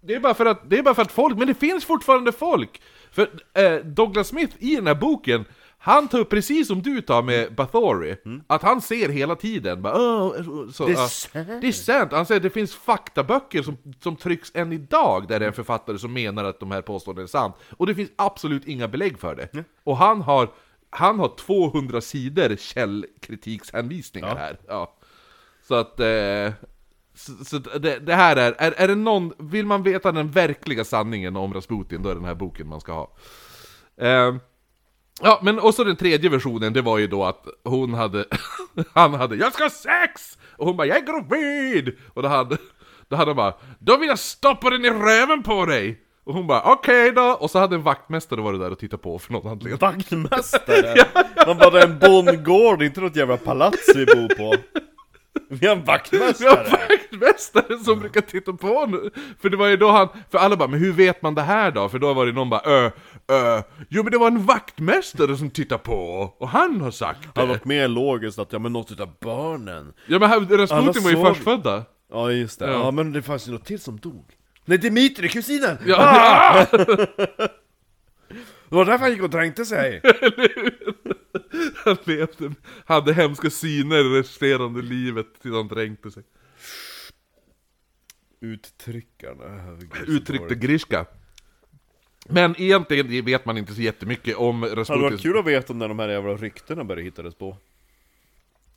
Det är bara för att, det är bara för att folk, men det finns fortfarande folk! För eh, Douglas Smith i den här boken, han tar upp precis som du tar med Bathory, att han ser hela tiden, bara, "Åh", så, Mm. Det är ja. sant. det är sant! Han säger att det finns faktaböcker som, som trycks än idag, där det är en författare som menar att de här påståendena är sant. Och det finns absolut inga belägg för det. Och han har, han har 200 sidor källkritikshanvisningar här. Ja. Så att... Eh, så, så det, det här är, är... Är det någon... Vill man veta den verkliga sanningen om Rasputin, då är det den här boken man ska ha. Ehm, ja, men och så den tredje versionen, det var ju då att hon hade... han hade 'Jag ska ha sex!' Och hon bara 'Jag är gravid!' Och då hade... Då hade han bara 'Då vill jag stoppa den i röven på dig!' Och hon bara 'Okej då' Och så hade en vaktmästare varit där och tittat på för någon anledning. Vaktmästare! Man bara, det är en bondgård, inte något jävla palats vi bor på. Vi har en Vi har en vaktmästare! vaktmästare som brukar titta på nu. För det var ju då han, för alla bara 'Men hur vet man det här då?' För då var det någon bara 'Ö, ö, jo men det var en vaktmästare som tittade på, och han har sagt Det hade det' varit mer logiskt att, ja men något utav barnen. Ja men här- Alla Rasputin var ju såg- förstfödda. Ja just det, Ja. ja, men det fanns ju något till som dog. Nej Dimitri, kusinen! Ja. Det var därför han gick och dränkte sig! Han levde, hade hemska syner i resterande livet tills han dränkte sig. Uttryckarna, herregud. Uttryckte griska. Men egentligen vet man inte så jättemycket om Hade varit Rasputins... kul att veta när de här jävla ryktena började hittades på.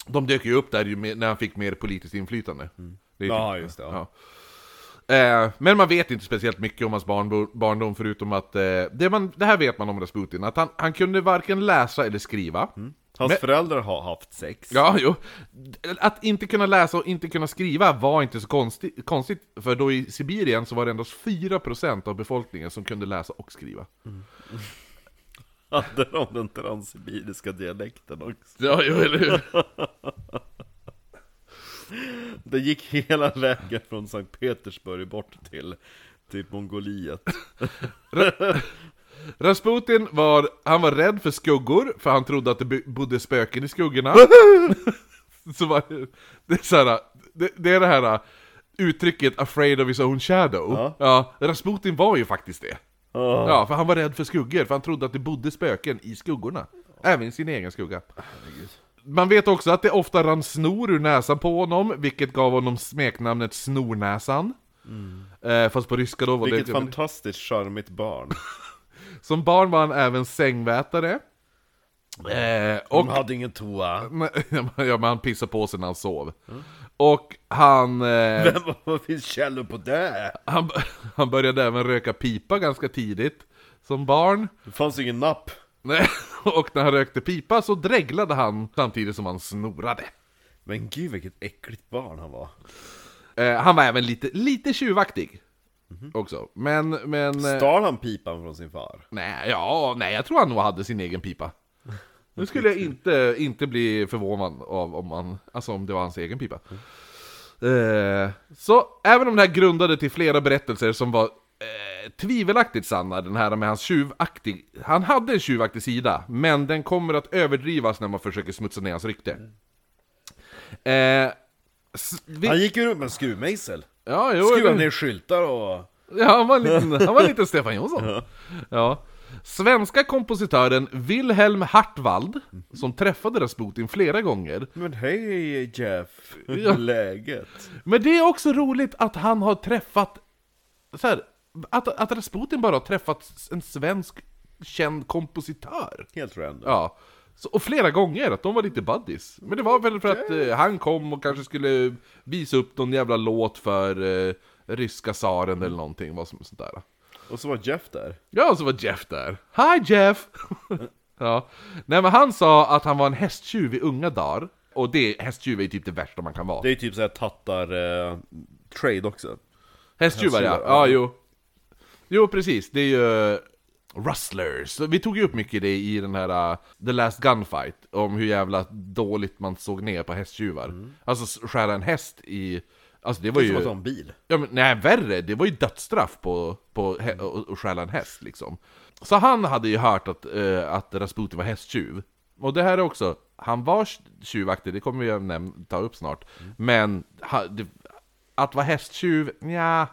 De dök ju upp där ju mer- när han fick mer politiskt inflytande. Det är typ- Ja, just det, ja. Eh, Men man vet inte speciellt mycket om hans barnbo- barndom förutom att... eh, Det, man, det här vet man om Rasputin, att han, han kunde varken läsa eller skriva. Hans Men- föräldrar har haft sex. Ja, jo. Att inte kunna läsa och inte kunna skriva var inte så konstigt, konstigt för då i Sibirien så var det endast 4% av befolkningen som kunde läsa och skriva. Hade de den transsibiriska dialekten också? Ja, jo, eller hur? Det gick hela vägen från Sankt Petersburg bort till typ Mongoliet. Rasputin var, han var rädd för skuggor, för han trodde att det by- bodde spöken i skuggorna. så var, det, är så här, det, det är det här uh, uttrycket 'afraid of his own shadow' Ja. Rasputin var ju faktiskt det. Ja. Ja, för han var rädd för skuggor, för han trodde att det bodde spöken i skuggorna. Även i sin egen skugga. Man vet också att det ofta rann snor ur näsan på honom, vilket gav honom smeknamnet Snornäsan. Eh, fast på ryska då var det... Mm. Vilket fantastiskt charmigt barn. Som barn var han även sängvätare. Eh, och... De hade ingen toa. ja, men han pissade på sig när han sov. Mm. Och han, eh, Men vad- vad finns källor på det? han... Han började även röka pipa ganska tidigt. Som barn. Det fanns ingen napp. Nej, Och när han rökte pipa så dreglade han samtidigt som han snorade. Men gud vilket äckligt barn han var. Eh, han var även lite, lite tjuvaktig. Också. Men, men... eh, Stal han pipan från sin far? Nej, ja, nej, jag tror han nog hade sin egen pipa. Nu skulle jag inte, inte bli förvånad av om, han, alltså om det var hans egen pipa. Mm. Eh, så även om det här grundade till flera berättelser som var eh, tvivelaktigt sanna, den här med hans tjuvaktig... Han hade en tjuvaktig sida, men den kommer att överdrivas när man försöker smutsa ner hans rykte. Eh, s- vi, Mm. Han gick ju runt med en skruvmejsel. ja, jo, Skruvade eller- ner skyltar och... Ja, han var en liten, han var en liten Stefan Jonsson. Ja. Svenska kompositören Wilhelm Hartwald, som träffade Rasputin flera gånger. Men hej Jeff, hur Ja. är läget? Men det är också roligt att han har träffat... Så här, att, att Rasputin bara har träffat en svensk känd kompositör. Helt random. Ja. Så, och flera gånger, att de var lite buddies. Men det var väl för att eh, han kom och kanske skulle visa upp någon jävla låt för eh, ryska tsaren eller någonting, vad som sånt där. Och så var Jeff där. Ja, och så var alltså Jeff där. Hi Jeff! ja. Nej men han sa att han var en hästtjuv i unga dagar. Och det, hästtjuv är ju typ det värsta man kan vara. Det är ju typ såhär tattar-trade eh, också. Hästtjuvar ja, hästtjuvar, ja. ja jo. Jo precis, det är ju... eh, Rustlers. Vi tog ju upp mycket det i den här eh, The Last Gunfight, om hur jävla dåligt man såg ner på hästtjuvar. Alltså s- skära en häst i... Alltså det var Mm. Det är som ju... att ha en bil. Ja men nej, värre! Det var ju dödsstraff på, på hä- och, och stjäla en häst liksom. Så han hade ju hört att, eh, att Rasputin var hästtjuv. Och det här är också, han var tjuvaktig, det kommer vi att näm- ta upp snart. Men ha, det, att vara hästtjuv, ja,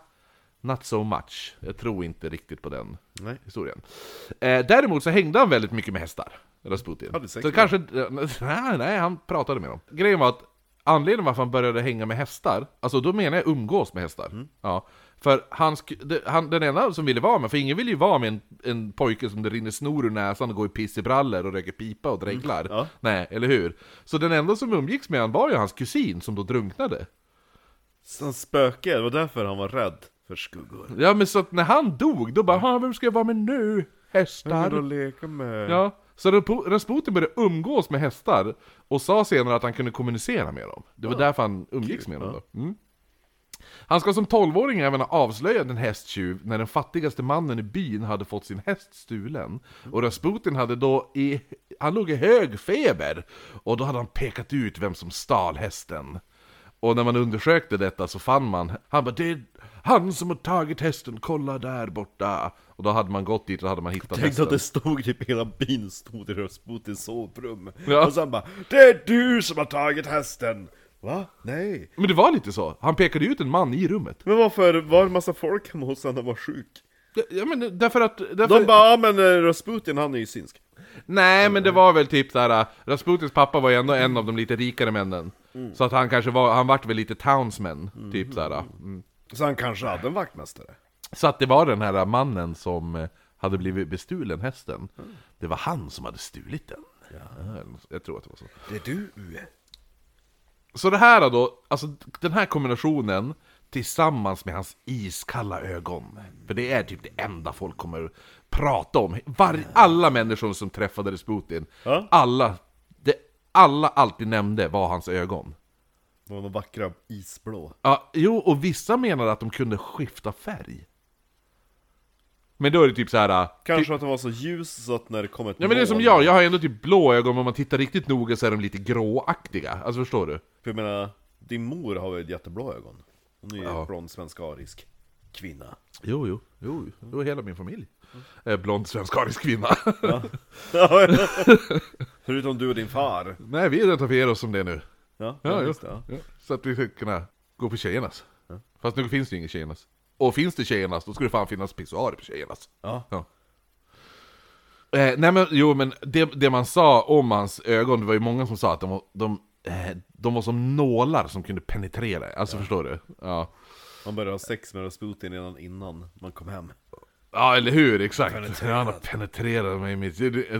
not so much. Jag tror inte riktigt på den Nej. historien. Eh, däremot så hängde han väldigt mycket med hästar, Rasputin. Hade sex så med kanske, nej, nej, han pratade med dem. Grejen var att anledningen varför han började hänga med hästar, alltså då menar jag umgås med hästar. Ja, för han, sk- de- han, den enda som ville vara med, för ingen vill ju vara med en, en pojke som det rinner snor ur näsan och går i piss i brallor och röker pipa och dreglar. ja. Nej, eller hur? Så den enda som umgicks med han var ju hans kusin som då drunknade. Så han spöke, det var därför han var rädd för skuggor. Ja men så att när han dog, då bara "Ha, 'Vem ska jag vara med nu? Mm, Hästar?' leka med. Ja, så Rapu- Rasputin började umgås med hästar och sa senare att han kunde kommunicera med dem. Det var därför han umgicks med dem då. Mm. Han ska som 12-åring även ha avslöjat en hästtjuv när den fattigaste mannen i byn hade fått sin häst stulen. Och Rasputin hade då i... Han låg i hög feber! Och då hade han pekat ut vem som stal hästen. Och när man undersökte detta så fann man... Han bara det är han som har tagit hästen, kolla där borta! Och då hade man gått dit och hade man hittat Tänk hästen. att det stod typ hela byn stod i Rasputins sovrum. Ja. Och sen bara Det är du som har tagit hästen! Va? Nej. Men det var lite så. Han pekade ut en man i rummet. Men varför var det massa folk hemma hos honom när han var sjuk? Ja men därför att... Därför... De bara, ja men eh, Rasputin han är ju synsk. Nej men det var väl typ såhär, äh, Rasputins pappa var ju ändå en av de lite rikare männen. Så att han kanske var, han vart väl lite townsman, typ såhär. äh, Mm. Så han kanske hade en vaktmästare. Så att det var den här äh, mannen som eh, hade blivit bestulen hästen. Det var han som hade stulit den. Mm. Ja, jag tror att det var så. Det är du! Så det här då, alltså den här kombinationen tillsammans med hans iskalla ögon. För det är typ det enda folk kommer prata om. Var, alla människor som träffade Resputin, Ja. alla, det, alla alltid nämnde var hans ögon. Det var de vackra isblå. Ja, jo, och vissa menade att de kunde skifta färg. Men då är det typ så här. Kanske att den var så ljus så att när det kom ett Ja men det är som moln- jag, jag har ändå typ blå ögon, men om man tittar riktigt noga så är de lite gråaktiga. Alltså förstår du? För jag menar, din mor har väl jätteblå ögon? Hon är ju Ja. från svensk-arisk kvinna. Jo, jo, jo, jo, hela min familj. Eh, Blond svensk-arisk kvinna. Förutom du och din far. Nej, vi identifierar oss som det nu. Ja, Ja, just jo. det. Ja. Ja. Så att vi ska kunna gå på tjejernas. Fast nu finns det ju inget tjejernas. Och finns det tjejernas, då skulle det fan finnas pissoarer på tjejernas. Ja. Eh, nej men jo, men det, det man sa om hans ögon, det var ju många som sa att de var, de, eh, de var som nålar som kunde penetrera. Alltså förstår du? Ja. Man började ha sex med Rasputin redan innan man kom hem. Ja, eller hur? Exakt. Han har penetrerat mig i mitt...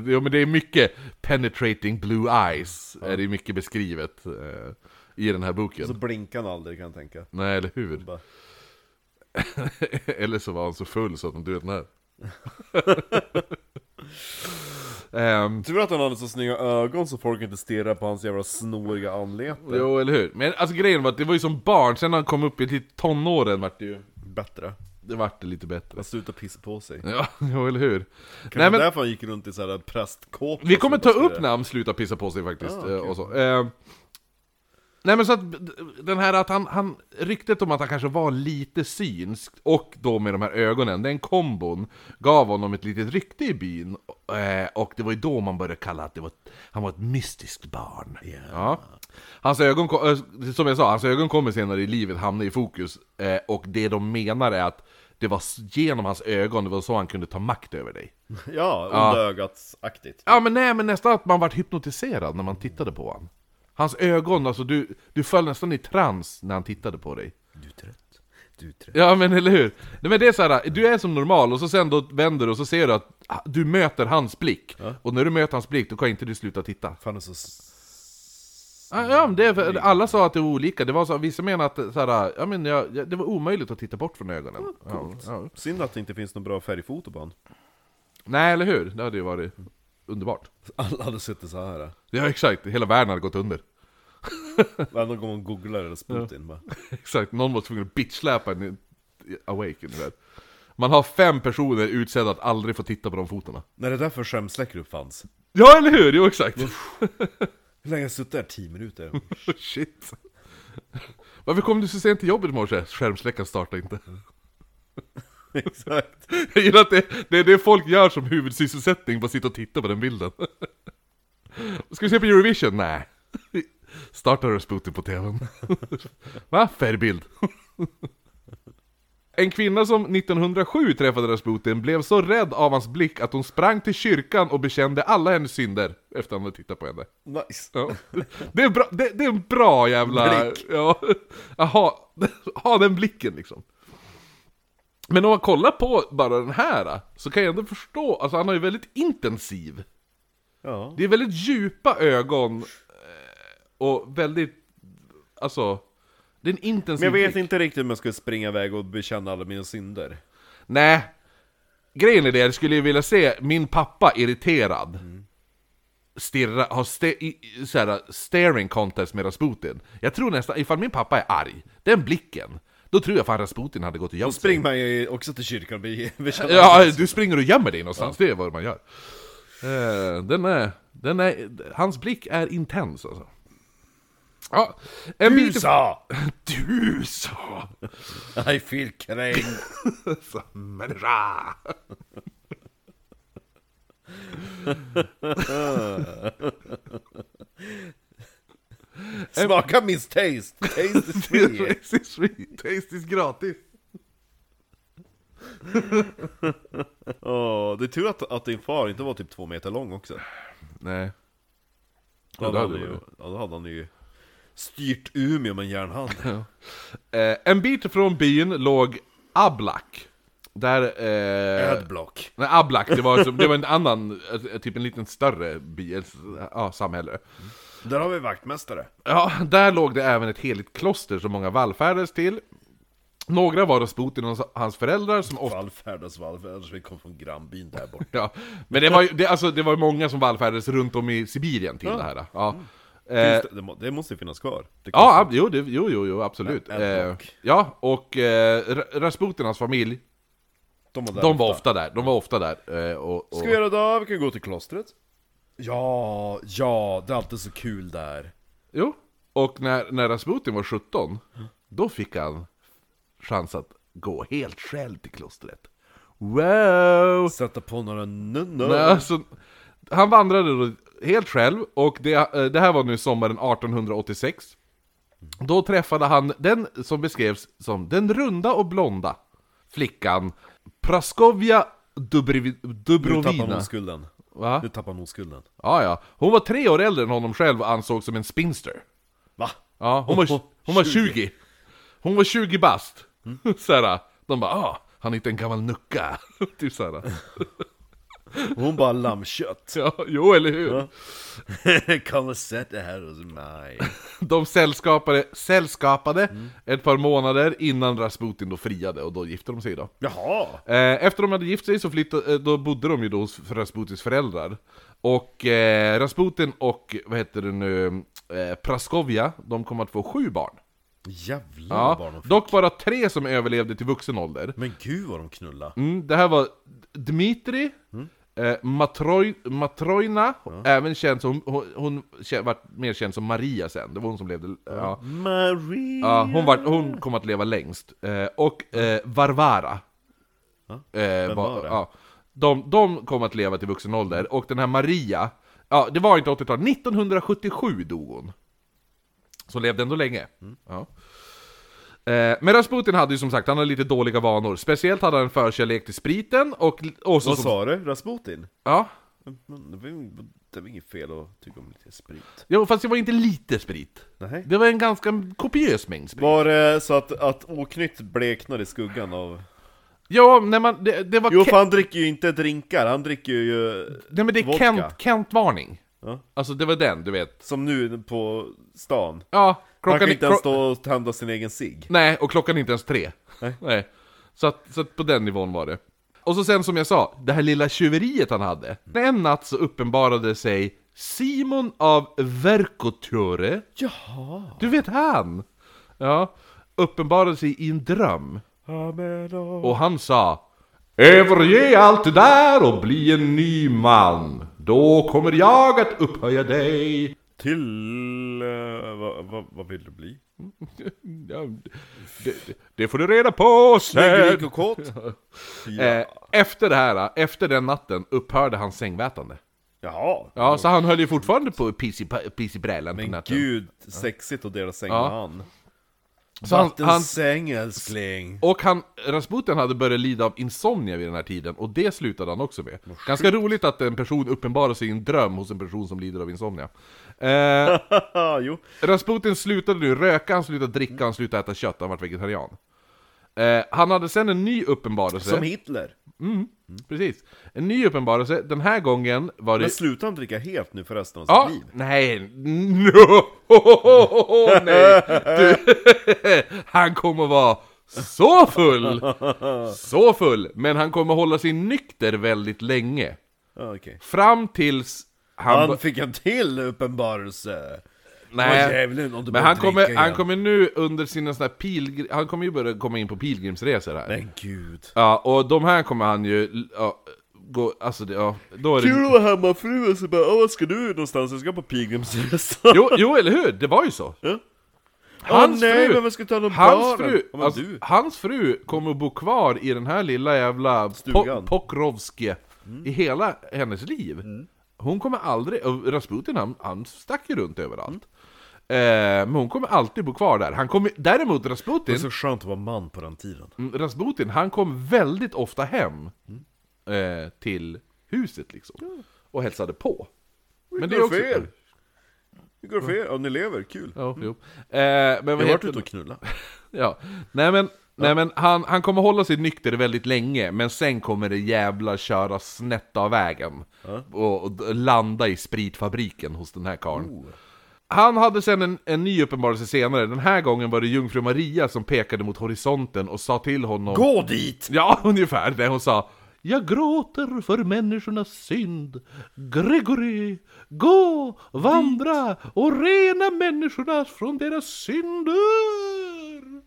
Jo, men det är mycket penetrating blue eyes. Är det är mycket beskrivet eh, i den här boken. Så blinkade han aldrig kan jag tänka. Nej, eller hur? Bara- eller så var han så full så att han dödade den här. Ehm, Tur att han hade så snygga ögon så folk inte stirrar på hans jävla snoriga anlete. jo, eller hur? Men alltså grejen var att det var ju som barn, sen när han kom upp i till tonåren vart det ju... Bättre. Det vart det lite bättre. Han slutade pissa på sig. Ja, jo, eller hur? Kanske därför han gick runt i så här prästkåpa. Vi kommer ta som bara upp när han slutar pissa på sig faktiskt. eh, och så. Eh, nej men så att d- den här att han, han, ryktet om att han kanske var lite synsk och då med de här ögonen, den kombon gav honom ett litet rykte i byn. Eh, och det var ju då man började kalla att det var, ett- han var ett mystiskt barn. Ja. Hans ögon, ko- eh, som jag sa, hans ögon kommer senare i livet hamna i fokus. Eh, och det de menar är att det var s- genom hans ögon, det var så han kunde ta makt över dig. stirrar. Ja, onda ögat-aktigt. Ja men nej men nästan att man vart hypnotiserad när man tittade på han. Hans ögon, alltså du, du föll nästan i trans när han tittade på dig. Du är trött. Du är trött. Ja men eller hur? Nej, men det är så här, du är som normal och så sen då vänder du och så ser du att ah, du möter hans blick. Och när du möter hans blick då kan inte du sluta titta. Mm. Fan, det är så... s- Ja, Ah, ja, men det, är för- alla sa att det var olika, det var så, vissa menar att så här, ja, men, jag- jag- det var omöjligt att titta bort från ögonen. Ja, ja. Synd att det inte finns någon bra färgfoto på han. Nej eller hur? Det hade ju varit underbart. Alla hade suttit så här. Ja exakt, hela världen hade gått under. Varenda gång man googlar Rasputin bara. Exakt, någon var tvungen att bitchsläpa en i- i Awaken. du vet. Man har fem personer utsedda att aldrig få titta på de fotona. När det där för skämsläckare uppfanns. Ja, eller hur? Jo, exakt! Hur länge har jag suttit där? 10 minuter? Shit. Varför kom du så sent till jobbet i morse? Skärmsläckaren startade inte. Exakt. Jag gillar att det, det är det folk gör som huvudsysselsättning, bara sitta och titta på den bilden. Ska vi se på Eurovision? Nej. Starta Rasputin på TVn. Va? Färgbild. En kvinna som 1907 träffade Rasputin blev så rädd av hans blick att hon sprang till kyrkan och bekände alla hennes synder efter att han hade tittat på henne. Nice. Ja. Det, är bra, det, det är en bra jävla... Blick. Ja. Jaha, ha den blicken liksom. Men om man kollar på bara den här, så kan jag ändå förstå, alltså han har ju väldigt intensiv. Ja. Det är väldigt djupa ögon eh, och väldigt, alltså, det är en intensiv Men jag vet blick. inte riktigt om jag skulle springa iväg och bekänna alla mina synder. Nej, grejen är det, jag skulle ju vilja se min pappa irriterad. Stirra, ha ste, i, i- så här, staring contest med Rasputin. Jag tror nästan, ifall min pappa är arg, den blicken, då tror jag fan Rasputin hade gått och gömt sig. Spring mig också till kyrkan och be- bekänna Ja, du springer och gömmer dig någonstans, det är vad man gör. Eh, Den är, den är, hans blick är intens alltså. Ja, en Du bit- sa! Du sa! I feel cranked! Så, människa! Smaka miss taste! Taste is free! Taste is free, taste is gratis! Åh, det är tur att, att din far inte var typ två meter lång också. Nej. Då Ja, hade, det han hade ju, varit. ja, då hade han ju styrt Umeå med en järnhand. Eh, en bit från byn låg Ablak. Där... Eh, Adblock. nej, Ablak, det var, som- det var en annan, eh, typ en liten större by, eller, ja, samhälle. Där har vi vaktmästare. Ja, där låg det även ett heligt kloster som många vallfärdades till. Några var Rasputin och hans föräldrar som ofta... Vallfärdas vallfärdas, vi kom från grannbyn där borta. Ja. Men det var ju det, alltså, det var ju många som vallfärdades runt om i Sibirien till det här. Ja. Eh, Mm. Finns det, det, må, det måste ju finnas kvar. Det Ja, ab- jo, det, jo, jo, jo, absolut. Ä- ä- Eh, och- ja, och eh, Ra- Rasputin och hans familj, de var, där de var ofta där. De var ofta där. Eh, och, och, Ska vi göra då? Vi kan gå till klostret. Ja, ja, det är alltid så kul där. jo. och när, när Rasputin var 17, då fick han chans att gå helt själv till klostret. Wow! Sätta på några Nej, nunnor. alltså, han vandrade då helt själv, och det, eh, det här var nu sommaren 1886. Då träffade han den som beskrevs som den runda och blonda flickan Praskovia Dubrovi- Nu tappar Dubrovina. hon skulden. Va? Nu tappar hon oskulden. Ja, ja. Hon var tre år äldre än honom själv och ansågs som en spinster. Va? Ja, hon var, hon var 20. Hon var 20 bast. Såhär, de bara ah, han hittade en gammal nucka. typ såhär. Hon bara lammkött. Ja, jo, eller hur? Kom och sätt det här hos mig. De sällskapade, sällskapade ett par månader innan Rasputin då friade och då gifte de sig då. Jaha! Eh, efter de hade gift sig så flyttade, eh, då bodde de ju då hos Rasputins föräldrar. Och eh, Rasputin och, vad heter det nu, eh, Praskovia, de kom att få sju barn. Jävlar vad barn Ja, de fick. dock bara tre som överlevde till vuxen ålder. Men gud vad de knulla. Mm, det här var Dmitri, Mm. eh, Matroj, Matrojna, även känd som, hon, hon kä- vart mer känd som Maria sen, det var hon som levde, ja. Marie! Ja, hon, var, hon kom att leva längst. Eh, och eh, Varvara. Eh, Vem var, var det? Ja, de, de kom att leva till vuxen ålder, och den här Maria, ja, det var inte 80-tal, 1977 dog hon. Så levde ändå länge. Mm. Ja. Eh, Men Rasputin hade ju som sagt, han hade lite dåliga vanor. Speciellt hade han en förkärlek till spriten och... och så, Vad som, sa du? Rasputin? ja. Men Det var ju- det var inget fel att tycka om lite sprit. Jo, fast det var inte lite sprit. Nej. Det var en ganska kopiös mängd sprit. Var det så att, att oknytt bleknar i skuggan av... Ja, när man... Det, det var... Jo ke- för han dricker ju inte drinkar, han dricker ju... Nej men det är Vodka. Kent, Kent-varning. Ja. Alltså det var den, du vet. Som nu på stan. Ja, Han klockan kan är- inte ens klo- stå och tända sin egen cigg. Nej, och klockan är inte ens tre. Nej. Så, att, så att på den nivån var det. Och så sen som jag sa, det här lilla tjuveriet han Mm. hade. En natt så uppenbarade sig Simon av Verkoture. Jaha! Du vet han! Ja, uppenbarade sig i en dröm. Och han sa Överge allt det där och bli en ny man. Då kommer jag att upphöja dig Till... eh, vad, vad, vad vill du bli? Ja, det, det- det får du reda på sen! Rik och kåt? Eh, efter det här, efter den natten, upphörde hans sängvätande. Jaha! Ja, så han höll ju fortfarande på piss i pa- piss i brälen på Men natten. gud, sexigt att dela säng med Ja. han. Så han, han, Vattensäng älskling! och han, Rasputin hade börjat lida av insomnia vid den här tiden, och det slutade han också med. Ganska roligt att en person uppenbarar sig i en dröm hos en person som lider av insomnia. Eh, Haha, jo. Rasputin slutade nu röka, han slutade dricka, han slutade äta kött, han vart vegetarian. Eh, han hade sen en ny uppenbarelse. Som Hitler! Precis. En ny uppenbarelse, den här gången var det... Men slutar han dricka helt nu för resten av ja, sitt liv? nej, no, nej, du, han kommer vara så full! Så full! Men han kommer hålla sig nykter väldigt länge. Ja, okej. Fram tills han... Han ba- fick en till uppenbarelse! Vad nej, djävulen, om du men börjar han kommer, dricka han igen. kommer nu under sina såna här pilgr... Han kommer ju börja komma in på pilgrimsresor här. Men gud! Ja, och de här kommer han ju... Ja, gå, alltså, det, ja, då är det... Kul att vara hemmafru och så bara "Åh, vad ska du någonstans? Jag ska på pilgrimsresa' Jo, jo, eller hur? Det var ju så. Åh nej, men vem ska ta någon hans baren? fru, Ja, men alltså, du. hans fru kommer att bo kvar i den här lilla jävla po- Stugan. Mm. Pokrovske i hela hennes liv. Hon kommer aldrig, och Rasputin han, han stack ju runt överallt. Mm. Eh, men hon kommer alltid bo kvar där. Han kommer, däremot Det är Rasputin, så skönt att vara man på den tiden. Mm, Rasputin, han kom väldigt ofta hem Mm. eh, till huset liksom. Och hälsade på. Men går för er. Hur går Mm. det för er? Ja, ni lever, kul. Ja, jo. Eh, men vad Jag har varit heter ute det? och knulla. Ja, nej men Nej men han, han kommer hålla sig nykter väldigt länge, men sen kommer det jävla köra snett av vägen. Och, och d- landa i spritfabriken hos den här karln. Han hade sen en, en ny uppenbarelse senare, den här gången var det jungfru Maria som pekade mot horisonten och sa till honom... Gå dit! Ja, ungefär det hon sa. Jag gråter för människornas synd. Gregory, gå, vandra och rena människorna från deras synder.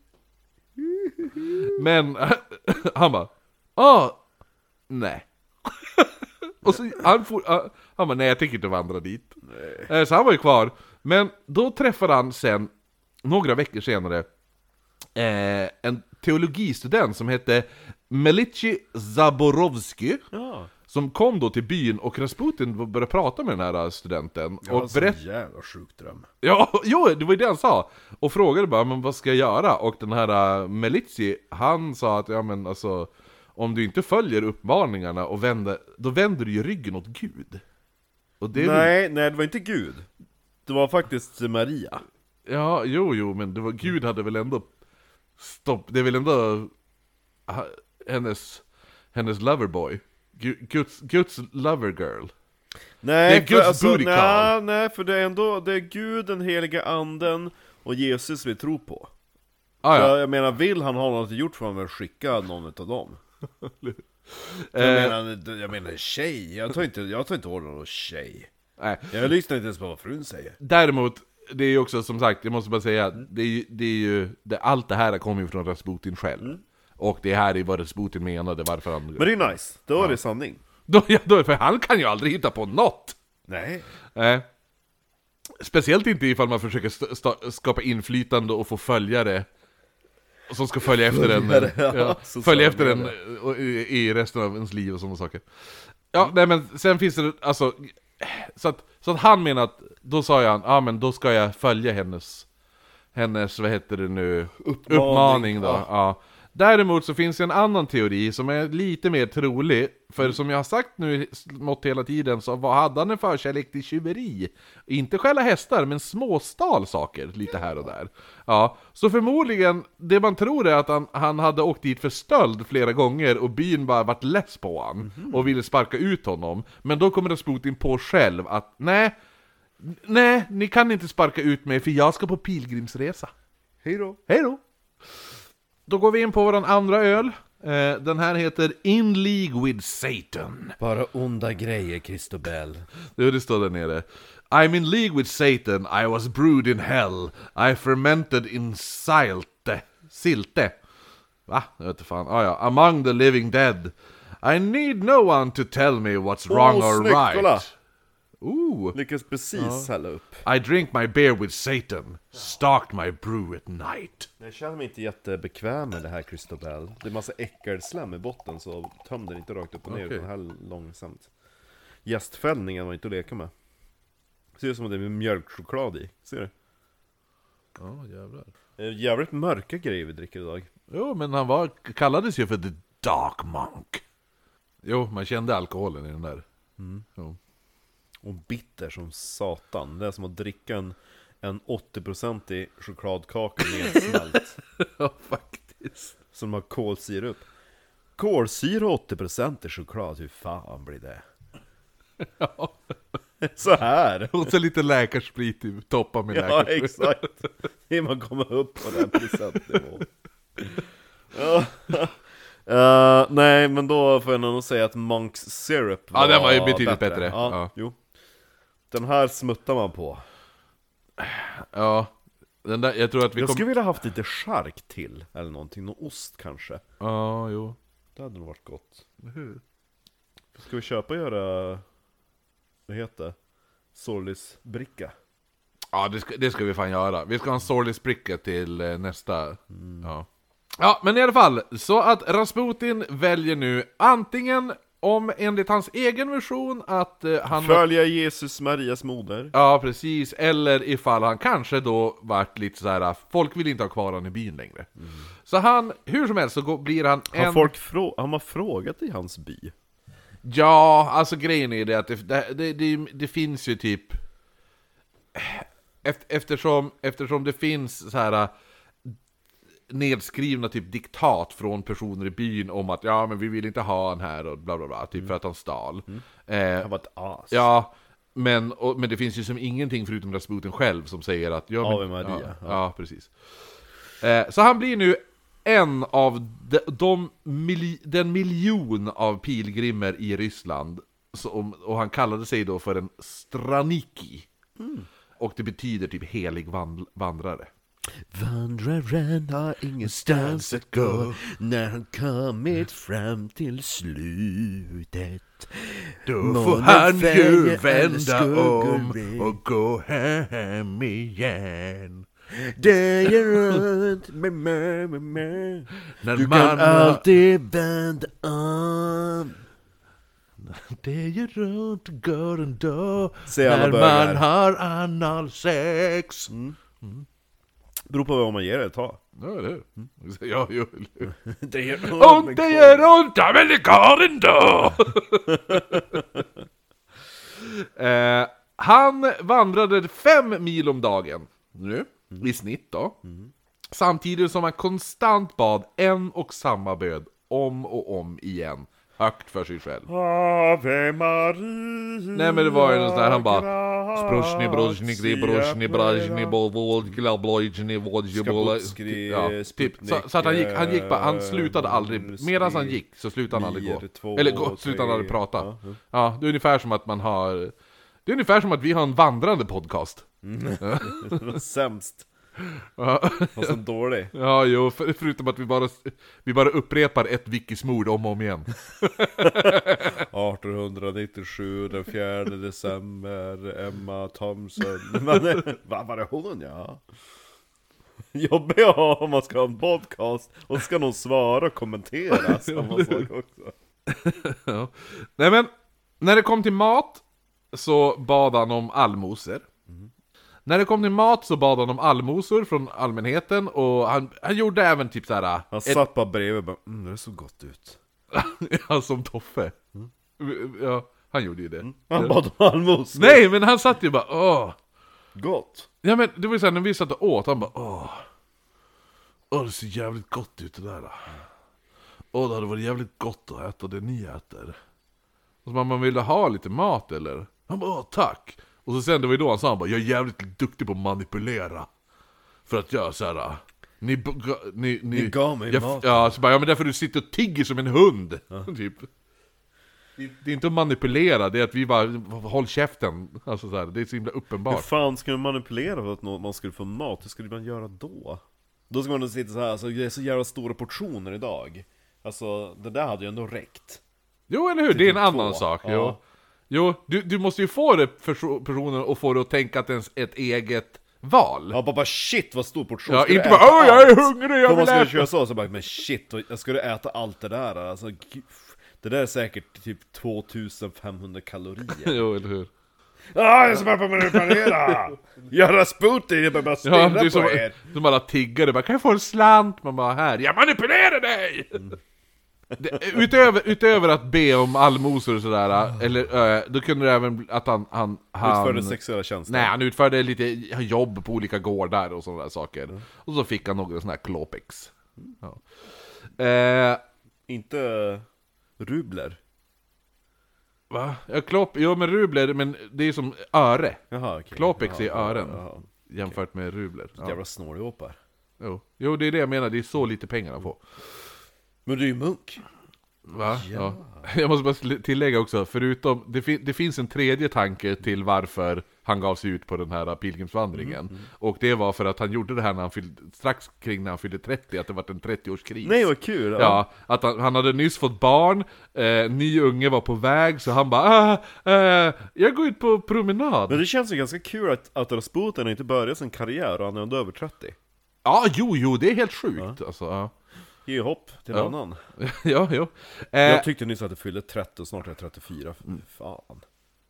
Men han bara, ah, nej. Och så han, for, ah, han bara, nej jag tänker inte vandra dit. Eh, Så han var ju kvar. Men då träffade han sen, några veckor senare, eh, en teologistudent som hette Melici Zaborowski. Som kom då till byn och Rasputin började prata med den här eh, studenten. Och Och alltså, berätt, jävla sjuk dröm. ja, jo, det var ju det han sa! Och frågade bara, men vad ska jag göra? Och den här äh, Melitzi, han sa att, ja men alltså Om du inte följer uppmaningarna och vänder, då vänder du ju ryggen åt Gud. Och det är väl- Nej, nej det var inte Gud. Det var faktiskt Maria. Ja, jo, jo, men det var, Gud hade väl ändå Stopp, det är väl ändå ha- hennes, hennes loverboy? Gu- Guds, Guds lovergirl? Nej, Det är Guds för, alltså, booty call. nej, nej, för det är ändå, det är Gud, den heliga anden och Jesus vi tror på. Ah, ja. Jag, jag menar, vill han ha något gjort får han väl skicka någon av dem. Eh. jag, menar, jag menar tjej, jag tar inte, jag tar inte ordet av någon tjej. Nej. Jag lyssnar inte ens på vad frun säger. Däremot, det är ju också som sagt, jag måste bara säga, det är ju, det är ju det, allt det här kommer ju från Rasputin själv. Och det här är vad Rasputin menade, varför han... Men det är nice, då är det sanning. Då, ja, då, för han kan ju aldrig hitta på något! Nej. Nej. Eh, Speciellt inte ifall man försöker st- sta- skapa inflytande och få följare som ska följa efter en, eh, Följare, ja. ja, Så följa sa efter de en eh, och, i, i resten av ens liv och sådana saker. Ja, nej men sen finns det, alltså, så att, så att han menar att, då sa jag, ja ah, men då ska jag följa hennes, hennes, vad heter det nu, uppmaning, då. Ja. ja. Däremot så finns det en annan teori som är lite mer trolig, för som jag har sagt nu smått hela tiden så var, hade han en förkärlek till tjuveri. Inte stjäla hästar, men småstal saker lite här och där. Ja, så förmodligen, det man tror är att han, han hade åkt dit för stöld flera gånger och byn bara varit less på han och ville sparka ut honom. Men då kommer Rasputin på själv att nej, nej, ni kan inte sparka ut mig för jag ska på pilgrimsresa. Hej då. Hej då! Då går vi in på vår andra öl. Eh, Den här heter In League with Satan. Bara onda grejer, Christobel. Det det står där nere. I'm in league with Satan, I was brewed in hell, I fermented in silte. Silte. Va? Jag vet inte fan. Ah, ja. Among the living dead. I need no one to tell me what's wrong Åh, or snyggt, right. kolla. Ooh. Lyckas precis hälla upp. I drink my beer with Satan, stalked my brew at night. Jag känner mig inte jättebekväm med det här Christobel. Det är massa äckelslam i botten så töm den inte rakt upp och ner Okej. utan häll långsamt. Jästfällningen var inte att leka med. Ser ut som att det är mjölkchoklad i. Ser du? Ja, jävlar. Eh, Jävligt mörka grejer vi dricker idag. Jo, men han var, kallades ju för The Dark Monk. Jo, man kände alkoholen i den där. Mm. Jo. Och bitter som satan. Det är som att dricka en, en 80% i chokladkaka nedsmält. Ja, faktiskt. som har kolsyra upp. Kolsyra och 80% i choklad, hur fan blir det? Så här! Och så lite läkarsprit i toppen med Ja, läkarsprit. exakt. Det är man kommer upp på den procentnivån. Ja. Eh, nej, men då får jag nog säga att Monks Syrup Ja, den var ju betydligt bättre. Ja, Ja. Jo. Den här smuttar man på. Ja. Den där, jag tror att vi Jag kommer... skulle vilja haft lite chark till, eller någonting. Någon ost kanske. Ja, jo. Det hade nog varit gott. Ska vi köpa och göra, vad heter det? Sorlis bricka? Ja, det ska, det ska vi fan göra. Vi ska ha en sorglig spricka till eh, nästa... Mm. Ja. ja, men i alla fall. Så att Rasputin väljer nu antingen, om enligt hans egen version, att eh, han... Följa Jesus Marias moder. Ja, precis. Eller ifall han kanske då vart lite så här. folk vill inte ha kvar han i byn längre. Så han, hur som helst så går, blir han en... Mm. Har folk frå- han har frågat i hans by? Ja, alltså grejen är det att det, det, det, det, det finns ju typ... Eft- Eftersom, eftersom det finns så här... äh, nedskrivna typ diktat från personer i byn om att ja, men vi vill inte ha han här och bla bla bla, typ för att han stal. Eh, Mm. Han var ett as. Ja, men, och, men det finns ju som ingenting förutom Rasputin själv som säger att... Ja, men, Ave Maria, Ja, ja. ja, precis. Eh, så han blir nu en av de, de, mil, den miljon av pilgrimer i Ryssland. Som, och han kallade sig då för en straniki. Mm. Och det betyder typ helig vand, vandrare. Vandraren har ingenstans att gå Mm. när han kommit fram till slutet. Då Månen får han ju färgar alla vända skuggor om red. och gå hem igen. Det är runt, med, med, med, med. När Du kan man- alltid vända om. Det är runt går en dag Se alla när bögar. man har analsex. Beror på vad man ger det ett tag. Ja, eller hur? Ja, jo, eller hur? Det gör Ont det gör ont, ja, men det går ändå! eh, han vandrade fem mil om dagen, nu, i snitt då. Samtidigt som han konstant bad en och samma bön om och om igen, högt för sig själv. Ave Maria. Nej men det var ju en sån där, han bara Sprosni brosni gri brosni brajni bovodgla blojni vodjibola Skaputskri, Ja, typ. Så, så att han gick, han gick bara, han slutade aldrig Medan han gick så slutade han aldrig gå Nier, två, Eller gå, slutade han aldrig tre. prata Ja, det är ungefär som att man har Det är ungefär som att vi har en vandrande podcast Sämst. Och så dålig. Ja, jo, för, förutom att vi bara, vi bara upprepar ett wikismord om och om igen 1897, den 4 december, Emma Thompson. Men, vad var det hon ja? Jobbiga att ha om man ska ha en podcast, och ska någon svara och kommentera samma sak också. Ja. Nej men, när det kom till mat så bad han om allmosor. När det kom till mat så bad han om allmosor från allmänheten och han, han gjorde även typ såhär... Han satt bara bredvid och bara mm, det såg gott ut. ja, som Toffe. Ja, han gjorde ju det. Han bad om allmosor. Nej, men han satt ju bara åh. Gott! Ja men det var ju såhär när vi satt och åt, han bara åh. Åh det ser jävligt gott ut det där. Åh det hade varit jävligt gott att äta det ni äter. Och så man, man ville ha lite mat eller? Han bara åh tack. Och så sen det var ju då han sa han bara jag är jävligt duktig på att manipulera. För att göra såhär. Ni, b- ga- ni, ni, Ni gav mig jag, mat." Ja, så bara, ja men därför du sitter och tigger som en hund. typ. Det, det är inte att manipulera, det är att vi bara håll käften. Alltså så här, det är så himla uppenbart. Hur fan ska man manipulera för att nå- man skulle få mat? Hur skulle man göra då? Då ska man sitta så här, alltså, det är så jävla stora portioner idag. Alltså, det där hade ju ändå räckt. Jo, eller hur? Det är en Typ annan två. sak. Ja. Jo, jo du, du måste ju få det för personen och få det att tänka att det är ens ett eget val. Ja, bara, bara shit vad stor portion Ja, Ska du inte äta bara, "Åh, jag är allt?" hungrig, jag Om man vill skulle äta. köra så, så bara, men shit, vad- ska du äta allt det där? Alltså, gud, det där är säkert typ 2500 kalorier. Jo, eller hur? ah, jag ska bara manipulera! Jag Rasputin, jag bara stirrar Ja, det är på som, er! som alla tiggare, bara 'Kan jag få en slant?' Man bara 'Här, jag manipulerar dig!' Mm. Det, utöver, utöver att be om allmosor och sådär, eller, eh, då kunde det även bli att han... han, han Utförde sexuella tjänster. Um, Nej, han utförde lite jobb på olika gårdar och sådana där saker. Och så fick han några sådana här klopex. Mm. Ja. Eh, Inte eh, rubler. Va? Ja, klop... Jo men rubler, men det är som öre. Jaha, okej. Klopex är Jaha, ören. jaha. Jämfört med rubler. Ja. Jävla snåljåpar. Jo. jo, det är det jag menar. Det är så lite pengar han får. Men du är ju munk. Va? Ja. Jag måste bara sl- tillägga också, förutom... Det, fin- det finns en tredje tanke till varför han gav sig ut på den här pilgrimsvandringen. Mm, Och det var för att han gjorde det här när han fyllde, strax kring när han fyllde 30, att det var en 30-årskris. Nej vad kul! Ja, att han, han hade nyss fått barn, eh, ny unge var på väg, så han bara ah, eh, Jag går ut på promenad. Men det känns ju ganska kul att, att Rasputin inte började sin karriär och han är ändå över 30. Ja, jo, jo, det är helt sjukt alltså. Ja, Ge ju hopp till Ja. någon annan. ja jo. Eh, Mm. Jag jag, tyckte nyss att det fyllde 30 och snart är jag 34. Fy Fan.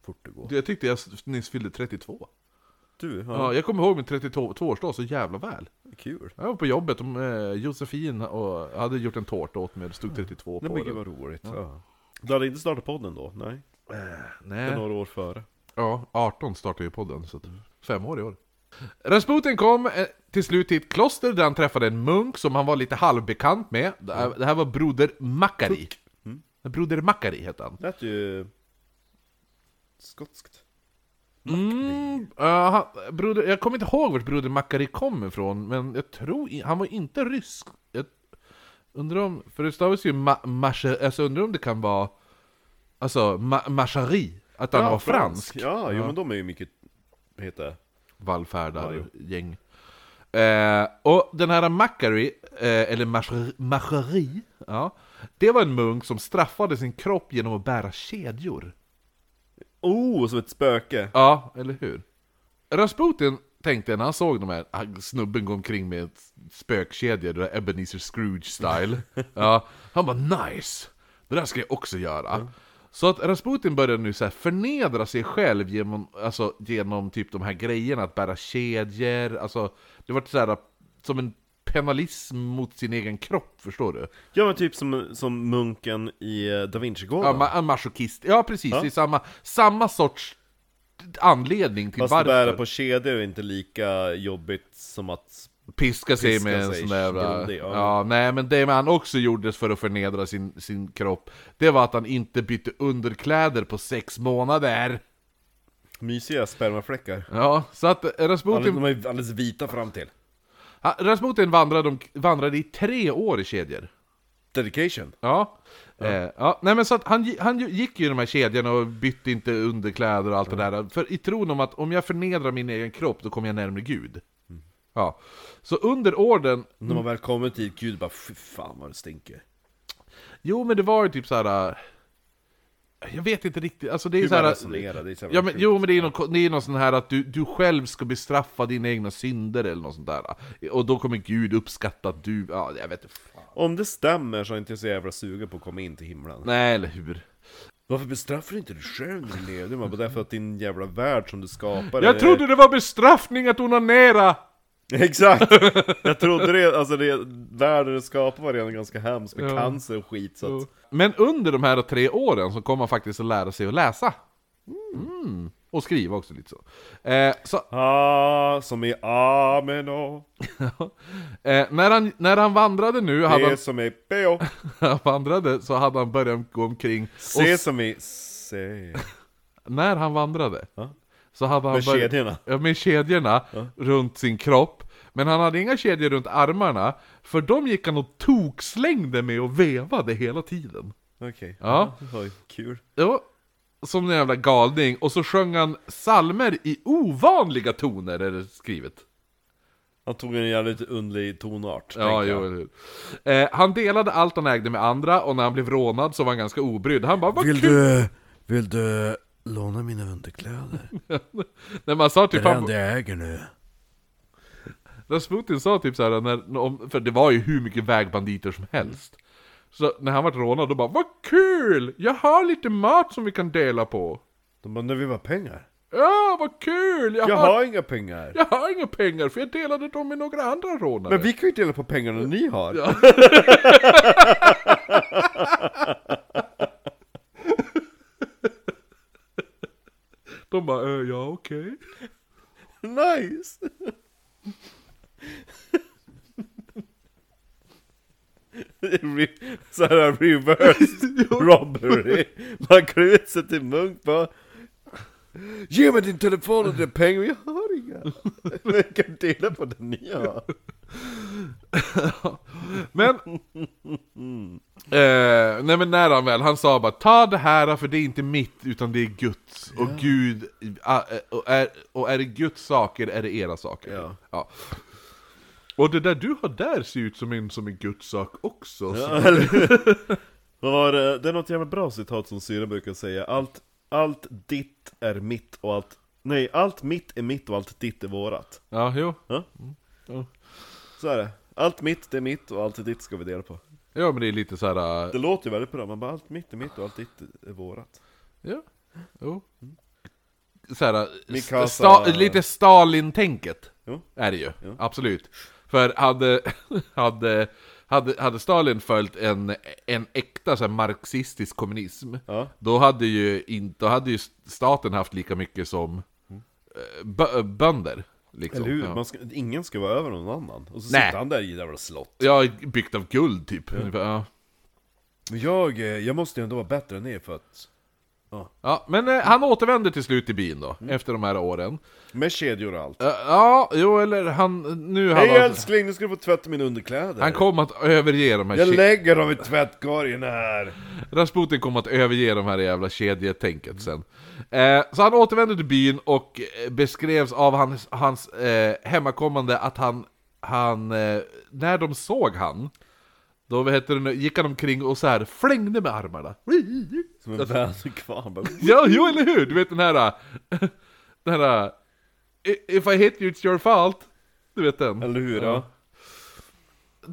Fort det går. tyckte jag s- nyss fyllde 32. Du, ja, Ja, jag kommer ihåg min 32-årsdag så jävla väl. kul. Jag var på jobbet, och, eh, Josefin och, hade gjort en tårta åt mig, det stod 32 Mm. Nej på men gud den. vad roligt. Ja. Du hade inte startat podden då? Nej. Det är Nej. några år före. Ja, 18 startade ju podden, så att, fem år i år. Rasputin kom eh, till slut till ett kloster där han träffade en munk som han var lite halvbekant med. Det Mm. här- Det här var Broder Makari. Broder Makari hette han. Lät ju... Skotskt. Mm, eh, han broder, jag kommer inte ihåg vart Broder Makari kom ifrån, men jag tror i- han var inte rysk. Jag undrar om, för det stavas ju ma, masche, alltså undrar om det kan vara, alltså ma, Machari, att han var fransk. Ja, jo men de är ju mycket... Vad heter det? vallfärdargäng. Eh, och den här Macari, eh, eller Macheri- Macheri, ja, det var en munk som straffade sin kropp genom att bära kedjor. Oh, som ett spöke! Ja, eller hur? Rasputin tänkte när han såg de här, han- snubben gå omkring med ett spökkedja, det där Ebenezer Scrooge-style. ja, han bara nice! Det där ska jag också göra. Så att Rasputin började nu så här förnedra sig själv genom, alltså, genom typ de här grejerna, att bära kedjor, alltså det var så här som en penalism mot sin egen kropp, förstår du? Ja men typ som, som munken i eh, Da Vinci-gåvan. Ja, ma- en masochist. Ja, precis, det är samma, samma sorts anledning till Fast att bära på kedjor är inte lika jobbigt som att... piska sig Piska med en sig sån där jävla... grundig, Ja. ja. nej men det han också gjorde för att förnedra sin, sin kropp, det var att han inte bytte underkläder på sex månader. Mysiga spermafläckar. Ja, så att Rasputin, De är alldeles vita fram till. ha- Rasputin vandrade, om- vandrade i tre år i kedjor. Dedication. Ja. Ja. Eh, ja. Nej men så att han, gi- han ju- gick ju i de här kedjorna och bytte inte underkläder och allt det där. För i tron om att om jag förnedrar min egen kropp, då kommer jag närmare Gud. Mm. Ja. Så under orden När man väl kommer till Gud bara fy fan vad det stinker. Jo men det var ju typ så här. äh, Jag vet inte riktigt, alltså det är Hur så man här. resonerar, det är så jävla ja, men, sjukt. Jo men det är någon, det är någon sån här att du, du själv ska bestraffa dina egna synder eller något sånt där äh, Och då kommer Gud uppskatta att du, ja jag vet inte fan. Om det stämmer så är jag inte så jävla sugen på att komma in till himlen. Nej eller hur? Varför bestraffar du inte dig själv när du lever? Man bara, därför att din jävla värld som du skapar Jag trodde det var bestraffning att onanera! Exakt! Jag trodde det, alltså det, världen du skapar var redan ganska hemsk med cancer och skit så att... Men under de här tre åren så kommer man faktiskt att lära sig att läsa. Mm. Och skriva också lite så. Eh, så Ah, som i amen och eh, när, han, när han vandrade nu, hade han, B som i beo, han vandrade så hade han börjat gå omkring och C som i C. när han vandrade så hade han Med börjat- kedjorna. ja, med kedjorna runt sin kropp. Men han hade inga kedjor runt armarna, för de gick han och tokslängde med och vevade hela tiden. Okej, Ja. Oj, kul. Ja, som en jävla galning. Och så sjöng han salmer i ovanliga toner, är det skrivet. Han tog en jävligt underlig tonart. Ja, tänker jag. jo, eller hur. eh, Han delade allt han ägde med andra, och när han blev rånad så var han ganska obrydd. Han bara, vad kul! du, vill du låna mina underkläder? När man sa typ, han, jag äger nu. Rasputin sa typ såhär, när, om, för det var ju hur mycket vägbanditer som helst. Så när han vart rånad, då bara Vad kul! Jag har lite mat som vi kan dela på! De bara, när vi var pengar. Ja, vad kul! Jag, Jag har, har inga pengar. jag har inga pengar för jag delade dem med några andra rånare. Men vi kan ju dela på pengarna ni har. De bara, "Eh, ja okej. Nice! Re- Så här reversed robbery. Man klär ut sig till munk bara. Ge mig din telefon och dina pengar, jag har inga. Vi kan dela på det ni har. Men... eh, nej men när han väl, han sa bara ta det här för det är inte mitt utan det är Guds och Gud, ah, eh, och är, och är det Guds saker är det era saker. Ja. Och det där du har där ser ut som en som är Guds sak också. så- Vad var det? eh, det är något jävla bra citat som syrran brukar säga. Allt, allt ditt är mitt och allt... Nej, allt mitt är mitt och allt ditt är vårat. Ja, jo. Så är det. Allt mitt det är mitt och allt ditt ska vi dela på. Ja men det är lite så här. eh, Det låter ju väldigt bra, man bara allt mitt är mitt och allt ditt är vårat. ja, jo. Mm. Så här, eh, Mikasa- sta, lite Stalin-tänket. Jo. Är det ju, absolut. För hade, hade, hade, hade Stalin följt en, en äkta så här, marxistisk kommunism, Ja. då, hade ju inte, då hade ju staten haft lika mycket som eh, bö, bönder. Liksom. Mm. Eller hur? Ja. Man ska, ingen ska vara över någon annan. Och så Nej. sitter han där i det jävla slott. Ja, byggt av guld typ. Ungefär, Ja. Men jag, eh, jag måste ju ändå vara bättre än er för att... Ja, men eh, han återvänder till slut till byn då, Mm. efter de här åren. Med kedjor och allt. Eh, ja, jo eller han... Nu han, Hej har- älskling, nu ska du få tvätta mina underkläder. han kom att överge de här... jag ke- lägger dem i tvättkorgen här. Rasputin kom att överge de här jävla kedjetänket sen. Eh, så han återvände till byn och eh, beskrevs av hans, hans eh, hemmakommande att han, han eh, när de såg han, då vad heter det, nu, gick han omkring och så här flängde med armarna. Som en väderkvarn. Ja, jo eller hur! Du vet den här... äh, Den här... äh, "I- If I hit you it's your fault. Du vet den. Eller hur? Ja.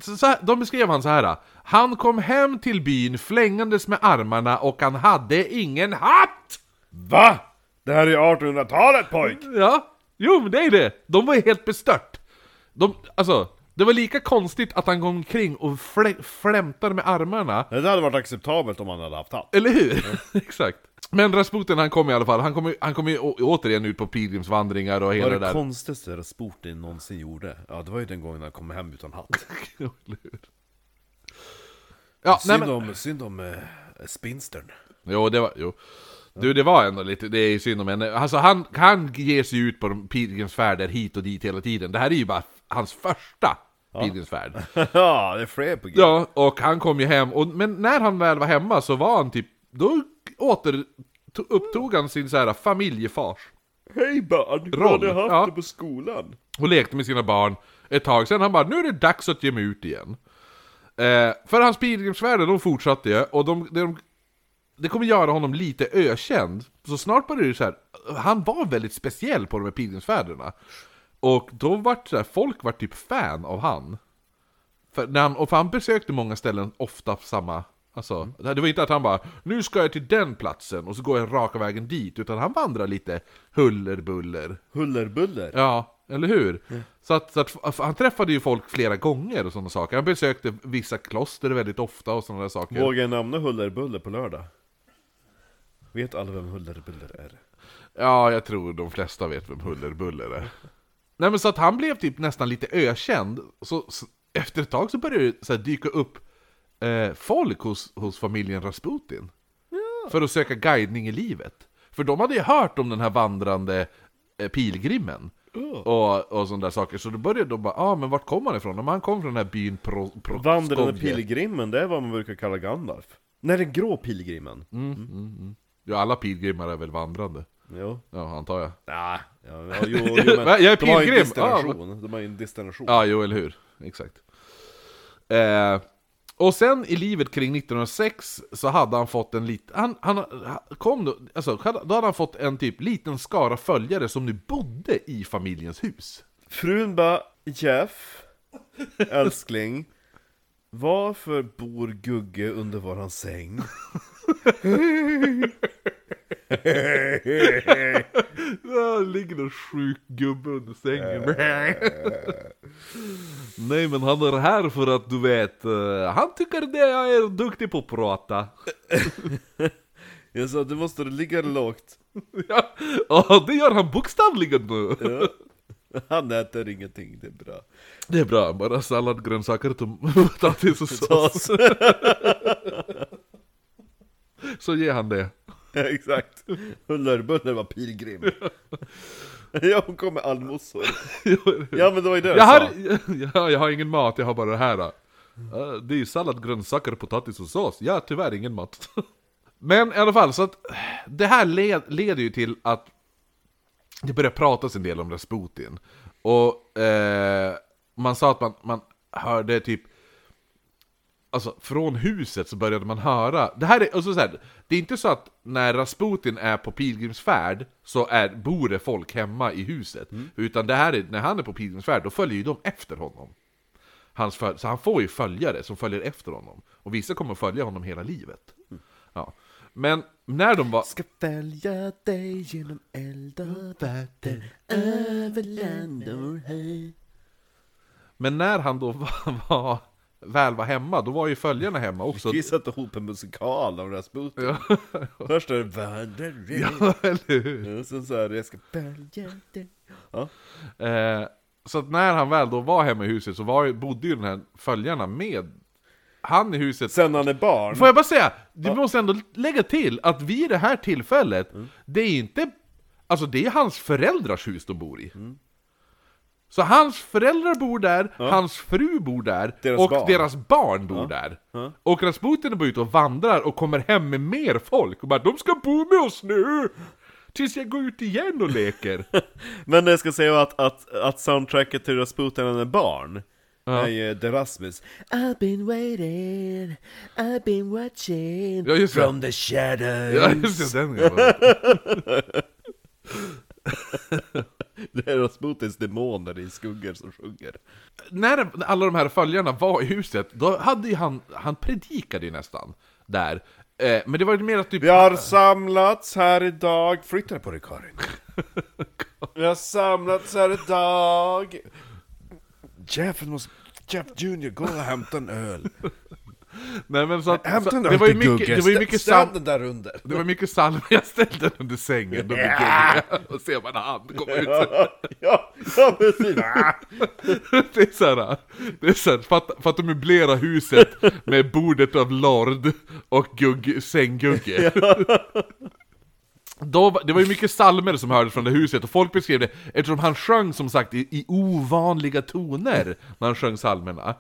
Så, så här, de beskrev han så här. Han kom hem till byn flängandes med armarna och han hade ingen hatt! Va? Det här är ju 1800-talet pojk! Ja, jo men det är det! De var ju helt bestört! De, alltså, det var lika konstigt att han kom omkring och flä, flämtade med armarna Det hade varit acceptabelt om han hade haft hatt. Eller hur? Exakt. Men Rasputin han kom i alla fall, han kom, ju- han kom ju å- återigen ut på pilgrimsvandringar och hela Vad det var det där. konstigaste Rasputin någonsin gjorde? Ja, det var ju den gången han kom hem utan hatt. Eller hur? ja, nej synd, men... om, synd om eh, spinstern. Jo, det var... Jo. Du, det var ändå lite... Det är ju synd om henne. Alltså, han, han ger sig ut på de pilgrimsfärder hit och dit hela tiden. Det här är ju bara hans första pilgrimsfärd. ja, det är fler på g. Ja, och han kom ju hem. Och, men när han väl var hemma så var han typ... Då åter... to- Upptog han sin så här familjefars. Hej barn! Hur Roll, ja. på skolan? och lekte med sina barn ett tag sen. Han bara, nu är det dags att ge mig ut igen. Eh, för hans pilgrimsfärder, de fortsatte ju, och de, det de, det kommer göra honom lite ökänd. Så snart började det så här, han var väldigt speciell på de här pilgrimsfärderna. Och då vart så här, folk var typ fan av han. För, när han. Och för han besökte många ställen, ofta samma... Alltså, Det var inte att han bara ”Nu ska jag till den platsen” och så går jag raka vägen dit, utan han vandrar lite huller buller. Hullerbuller? Ja, eller hur? Så, att, så att f- han träffade ju folk flera gånger och sådana saker. Han besökte vissa kloster väldigt ofta och sådana där saker. Vågar jag namna Hullerbuller på lördag? Vet alla vem Hullerbuller är? Ja, jag tror de flesta vet vem Huller Buller är. Nej men så att han blev typ nästan lite ökänd. Så, så efter ett tag så började det så här dyka upp eh, folk hos, hos familjen Rasputin. För att söka guidning i livet. För de hade ju hört om den här vandrande eh, pilgrimen. Och, och sådana där saker. Så då började de bara, ah, men vart kom han ifrån? Ja, men han kom från den här byn Pro, Pro, Vandrande Skopje. pilgrimen, det är vad man brukar kalla Gandalf. Nej, den grå pilgrimen. Ja, alla pilgrimer är väl vandrande. Jo. Ja, antar jag. Ja, ja, ja, jo, jo, men Va? Jag är de har ju en pilgrim. destination. de har ju en destination. Ja, jo, eller hur. Exakt. Eh, och sen i livet kring 1906 så hade han fått en liten... Han, han han kom då... Alltså, då hade han fått en typ liten skara följare som nu bodde i familjens hus. Frun bara, Jeff, älskling, varför bor Gugge under våran säng? Ja, det ligger en sjuk gubbe under sängen. Eh. Nej, men han är här för att du vet, eh, han tycker det jag är duktig på att prata. Jag sa, du måste ligga lågt. Ja, och det gör han bokstavligen nu. Han äter ingenting, det är bra. Det är bra, bara sallad, grönsaker, tom- potatis och sås. Så ger han det. Exakt. Hullerbuller var pilgrim. ja, hon kom med allmosor. Ja, men det var ju det Jag har, sa. jag, jag har ingen mat, jag har bara det här. Eh, Det är ju sallad, grönsaker, potatis och sås. Ja, tyvärr ingen mat. Men i alla fall, så att det här led, leder ju till att det börjar pratas en del om Rasputin. Och eh, man sa att man, man hörde typ Alltså från huset så började man höra, det här är, alltså så här, det är inte så att när Rasputin är på pilgrimsfärd så är, bor det folk hemma i huset. Utan det här är, när han är på pilgrimsfärd då följer ju de efter honom. Hans föl- så han får ju följare som följer efter honom. Och vissa kommer följa honom hela livet. Ja. Men när de var... Ska följa dig genom eld och vatten Över land och hav Men när han då var, var väl var hemma, då var ju följarna hemma också. Vi satte ihop en musikal av Rasputin. Först är det Världare, Ja, eller hur? och sen så här, jag ska bälja dig. Ja. Eh, så att när han väl då var hemma i huset så var, ju- bodde ju den här följarna med han i huset. Sen när han är barn. Får jag bara säga, vi måste ändå lägga till att vid det här tillfället, Mm. det är inte... Alltså det är hans föräldrars hus de bor i. Mm. Så hans föräldrar bor där, hans fru bor där, Deras och barn. deras barn bor där. Och Rasputin är bara ute och vandrar och kommer hem med mer folk och bara 'De ska bo med oss nu! Tills jag går ut igen och leker' Men jag ska säga att, att, att soundtracket till Rasputin när han är barn, är ju Derasmus. I've been waiting, I've been watching Ja just det. from the shadows. Ja just det, den gamla. Det är Rasputins demoner i skuggor som sjunger. När alla de här följarna var i huset, då hade ju han, han predikade ju nästan där. Eh, men det var ju mer att typ... Vi har samlats här idag. Flytta på dig Karin. Vi har samlats här idag. Jeff måste... Jeff Junior, gå och hämta en öl. Nej, men så att, Hämta så, en det öl var ju till mycket, Gugge. det var ju mycket Ställ sam... den där under. Det var mycket salm, jag ställde den under sängen, då blir guggiga. Och ser man han komma ut så Ja, ja precis. Det är såhär, det är såhär, för, att, för att de möblerar huset med bordet av lard och gugg, sänggugge. Då, var- det var ju mycket salmer som hördes från det huset och folk beskrev det eftersom han sjöng som sagt i, i ovanliga toner när han sjöng salmerna.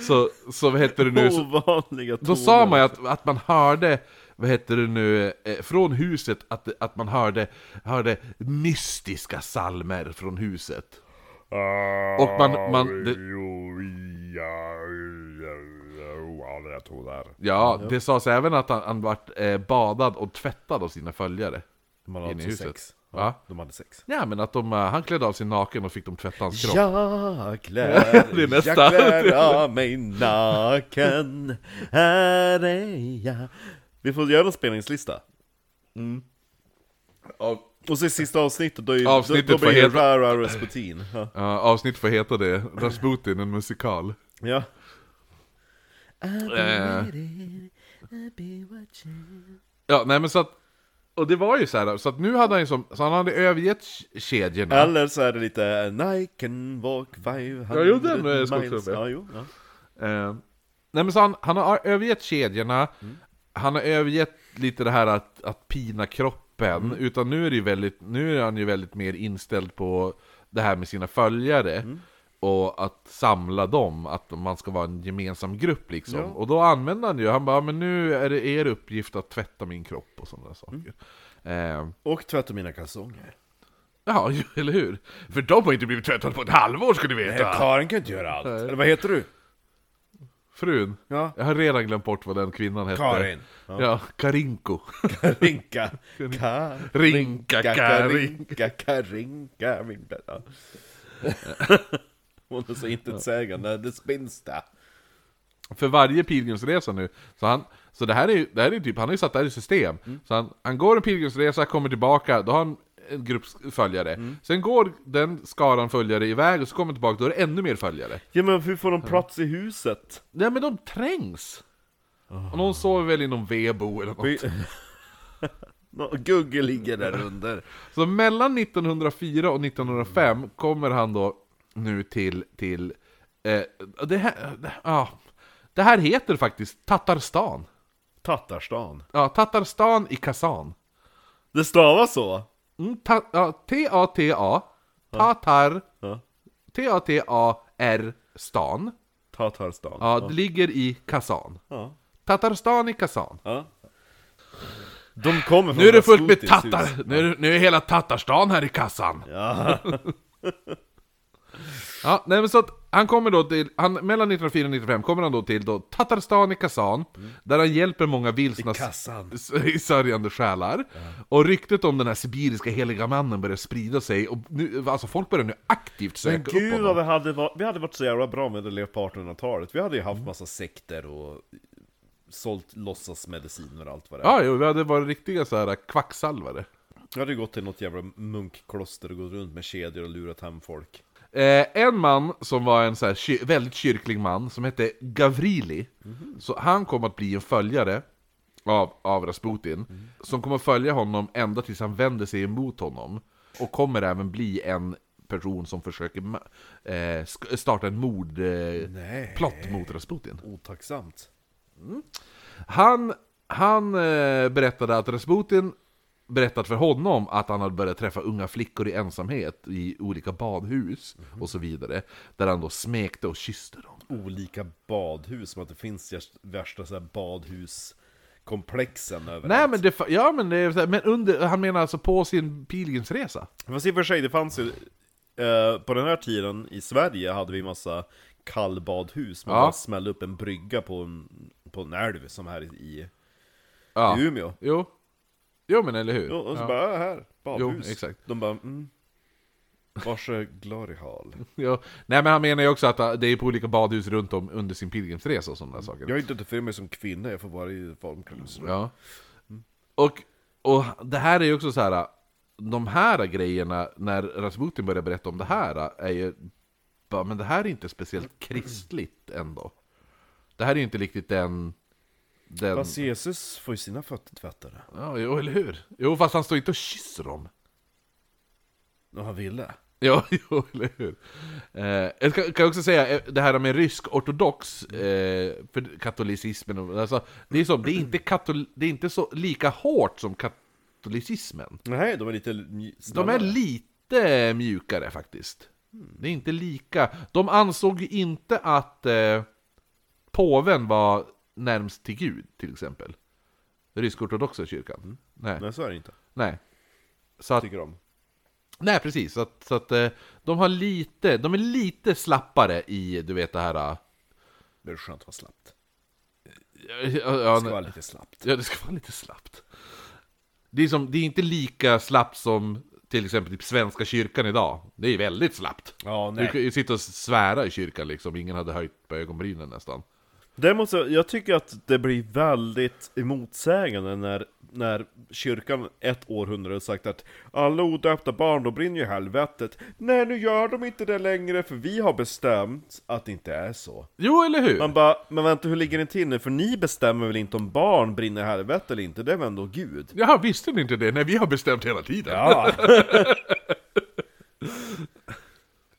Så, så vad heter det nu? Så, Ovanliga toner. Alltså, då sa man ju att, att man hörde, vad heter det nu, eh, från huset att, att man hörde, hörde mystiska salmer från huset. Och man, man, det, Ovanliga toner. Ja, det sades även att han, han vart eh, badad och tvättad av sina följare. De hade Inne i alltså huset. sex. Va? De hade sex. Ja, men att de, eh, han klädde av sig naken och fick de tvätta hans kropp. Jag klär, Det är nästa. jag klär av mig naken, här är jag Vi får göra en spelningslista Av- Och så i sista avsnittet, då, är, Avsnittet då, då blir får det heta- Rara Rasputin ja. Ja, avsnitt får heta det, Rasputin, en musikal. ja, Eh, I've been watching. ja, nej men så att... Och det var ju så här, så att nu hade han ju som, så han hade övergett k- kedjorna. eller så är det lite I can walk 500 Ja, jo, den är jag ska miles också med. ja, jo, ja. Eh, nej men så han, han har övergett kedjorna, han har övergett lite det här att, att pina kroppen, utan nu är, det ju väldigt, nu är han ju väldigt mer inställd på det här med sina följare. Och att samla dem, att man ska vara en gemensam grupp liksom. Och då använder han ju, han bara men nu är det er uppgift att tvätta min kropp och sådana saker. Eh, Och tvätta mina kalsonger ja, ju, eller hur? För de har inte blivit tvättade på ett halvår ska du veta! Eh, Karin kan inte göra allt, eller vad heter du? Frun, Ja. jag har redan glömt bort vad den kvinnan hette. Karin. Ja, Karinko. Rinka, Karin Rinka Karin. Karinka, Karinka, Karinka. Ja. Hon är så intetsägande, det spinns där. För varje pilgrimsresa nu, så, han, så det här är ju det här är ju typ, han har ju satt det här i system. Så han, han går en pilgrimsresa, kommer tillbaka, då har han en grupp följare. Sen går den skaran följare iväg och så kommer tillbaka, då är det ännu mer följare. Ja men hur får de plats i huset? Nej men de trängs! Och någon sover väl i någon vebo eller något. Nå- Gugge ligger där under. Så mellan 1904 och 1905 kommer han då nu till... till eh, det, här, ah, det här heter faktiskt Tatarstan. Tatarstan. Ja, Tatarstan i Kazan. Det stavas så? Mm, ta, ja, T-A-T-A, Tatar, Ja. T-A-T-A-R, stan. Tatarstan. Ja, det ligger i Kazan. Ja. Tatarstan i Kazan. Ja. De kommer från Nu är det fullt med Rasputins hus. tatar, nu är, det- nu är hela Tatarstan här i kassan. Ja. nej men så att han kommer då till, han, mellan 1904 och 1995 kommer han då till då Tatarstan i Kazan, där han hjälper många vilsna I kassan. s- i sörjande själar. Och ryktet om den här sibiriska heliga mannen börjar sprida sig, och nu, alltså folk börjar nu aktivt söka Men gud upp vad honom. vi hade, varit, vi hade varit så jävla bra med det levt på 1800-talet. Vi hade ju Mm. haft massa sekter och sålt låtsasmediciner och allt vad det är. Ja, jo, vi hade varit riktiga så här eh, kvacksalvare. Jag hade ju gått till något jävla munkkloster och gått runt med kedjor och lurat hem folk. Eh, en man som var en så här, ky- väldigt kyrklig man, som hette Gavrili, så han kom att bli en följare av, av Rasputin, som kommer att följa honom ända tills han vänder sig emot honom, och kommer även bli en person som försöker ma- eh, sk- starta en Nej. mordplott mot Rasputin. Otacksamt. Han, han eh, berättade att Rasputin berättat för honom att han hade börjat träffa unga flickor i ensamhet i olika badhus och så vidare. Där han då smekte och kysste dem. Olika badhus, som att det finns just- värsta så här badhuskomplexen överallt. Nej men det, fa- ja, men, det, är så här- men under, han menar alltså på sin pilgrimsresa. Fast i och för sig, det fanns ju... Eh, på den här tiden i Sverige hade vi massa kallbadhus. Man Ja. bara smällde upp en brygga på en, på en älv som här i, Ja. i Umeå. Jo. Jo men eller hur? Jo, och så ja. bara, "Ah, här, badhus. Jo, exakt. De bara, mm. Varse glorihal. Jo. Nej men han menar ju också att ah, det är på olika badhus runt om under sin pilgrimsresa och sådana saker. Jag identifierar mig som kvinna, jag får vara i formkläder. Ja. Och, och det här är ju också så här. De här grejerna, när Rasputin börjar berätta om det här, är ju... Bara, men det här är inte speciellt kristligt ändå. Det här är ju inte riktigt den... den Fast Jesus får ju sina fötter tvättade. ja, jo, eller hur? Jo, fast han står inte och kysser dem. Och han ville. Ja, jo, eller hur? Eh, jag ska- kan jag också säga eh, det här med rysk ortodox, eh, för katolicismen, och- alltså, det, är som, det, är inte katol, det är inte så lika hårt som katolicismen. Nej, de är lite mj- De snällare. är lite mjukare faktiskt. Hmm, Det är inte lika. De ansåg ju inte att eh, påven var närmst till Gud, till exempel. Rysk-ortodoxa kyrkan. Nej. nej. Mm. Nej, så är det inte. Så att, Tycker de. nej, precis. Så att, så att eh, de har lite, de är lite slappare i, du vet det här... eh, Det är skönt att vara slappt. Ja, Det ja, ska vara ja, lite slappt. ja, det ska vara lite slappt. Det är, som, det är inte lika slappt som till exempel typ Svenska kyrkan idag. Det är väldigt slappt. Ja, Du kan ju sitta och svära i kyrkan liksom, ingen hade höjt på ögonbrynen nästan. Däremot så, jag tycker att det blir väldigt motsägande när, när kyrkan ett århundrade sagt att alla odöpta barn, de brinner ju i helvetet. Nej, nu gör de inte det längre för vi har bestämt att det inte är så. Jo, eller hur? Man bara, men vänta hur ligger det till nu? För ni bestämmer väl inte om barn brinner i helvetet eller inte? Det är väl ändå Gud? Jaha, visste ni inte det? Nej, vi har bestämt hela tiden. Ja!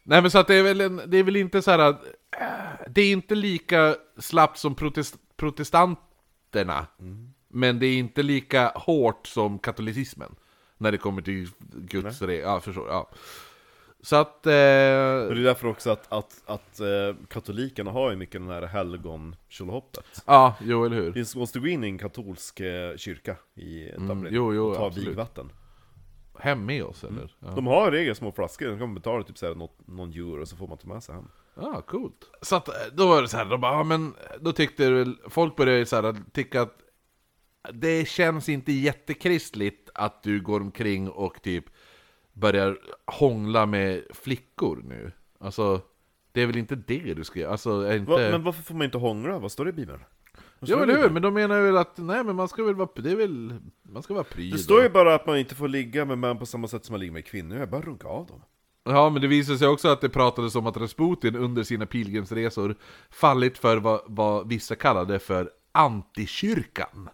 Nej, men så att det är väl, en, det är väl inte så här att... äh, Det är inte lika slappt som protest, protestanterna. Men det är inte lika hårt som katolicismen. När det kommer till Guds re... Ja, förstår ja. Så att... Eh, Och det är därför också att, att, att eh, katolikerna har ju mycket den här helgonkjolhoppet. ja, jo, eller hur? Det måste gå in i en katolsk eh, kyrka i Dublin Mm, jo, jo, och ta absolut. vigvatten. Hem med oss, eller? Ja. De har i regel små flaskor, de kan man betala typ så här något, någon euro så får man ta med sig hem. Ja, ah, coolt. Så att, eh, då var det så här, de bara, ja, men då tyckte väl, folk började ju så här, att tycka att det känns inte jättekristligt att du går omkring och typ börjar hångla med flickor nu. Alltså, det är väl inte det du ska göra? Alltså, är inte... Va, Men varför får man inte hångla? Vad står det i Bibeln? Vad jo, står det i eller hur? Bibeln? Men de menar väl att, nej men man ska väl vara, det är väl, man ska vara pryd. Det står ju bara att man inte får ligga med män på samma sätt som man ligger med kvinnor, jag bara runka av dem. Ja, men det visade sig också att det pratades om att Rasputin under sina pilgrimsresor fallit för vad, vad vissa kallade för antikyrkan.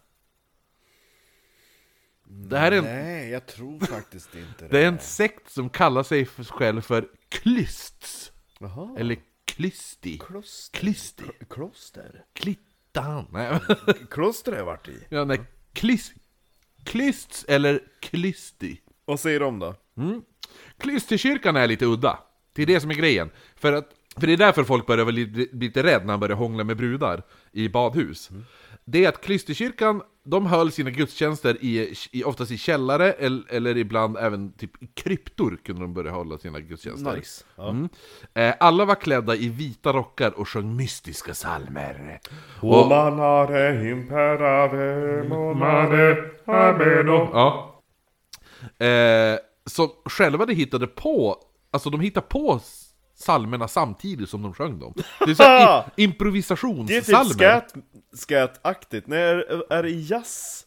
Det här är en, Nej, jag tror faktiskt inte det är en sekt som kallar sig för- själv för klysts. Jaha, Eller klysti. kloster. Klysti. Kloster? Klittan. Nej, men- Kloster har jag varit i. ja, nej. Klys, klysts eller klysti. Vad säger de då? Klysterkyrkan är lite udda. Det är det som är grejen. För, att, för det är därför folk börjar bli bli lite rädda när de börjar hångla med brudar i badhus. Det är att Klysterkyrkan, de höll sina gudstjänster i, i, oftast i källare, eller, eller ibland även typ i kryptor kunde de börja hålla sina gudstjänster. Nice. Mm. Eh, Alla var klädda i vita rockar och sjöng mystiska psalmer. Omanare imperave monare ameno Ja. Eh, som själva de hittade på, alltså de hittade på salmerna samtidigt som de sjöng dem. Det är så här i- Det är typ improvisationssalmer. skat, skataktigt, nej är, är det jazz?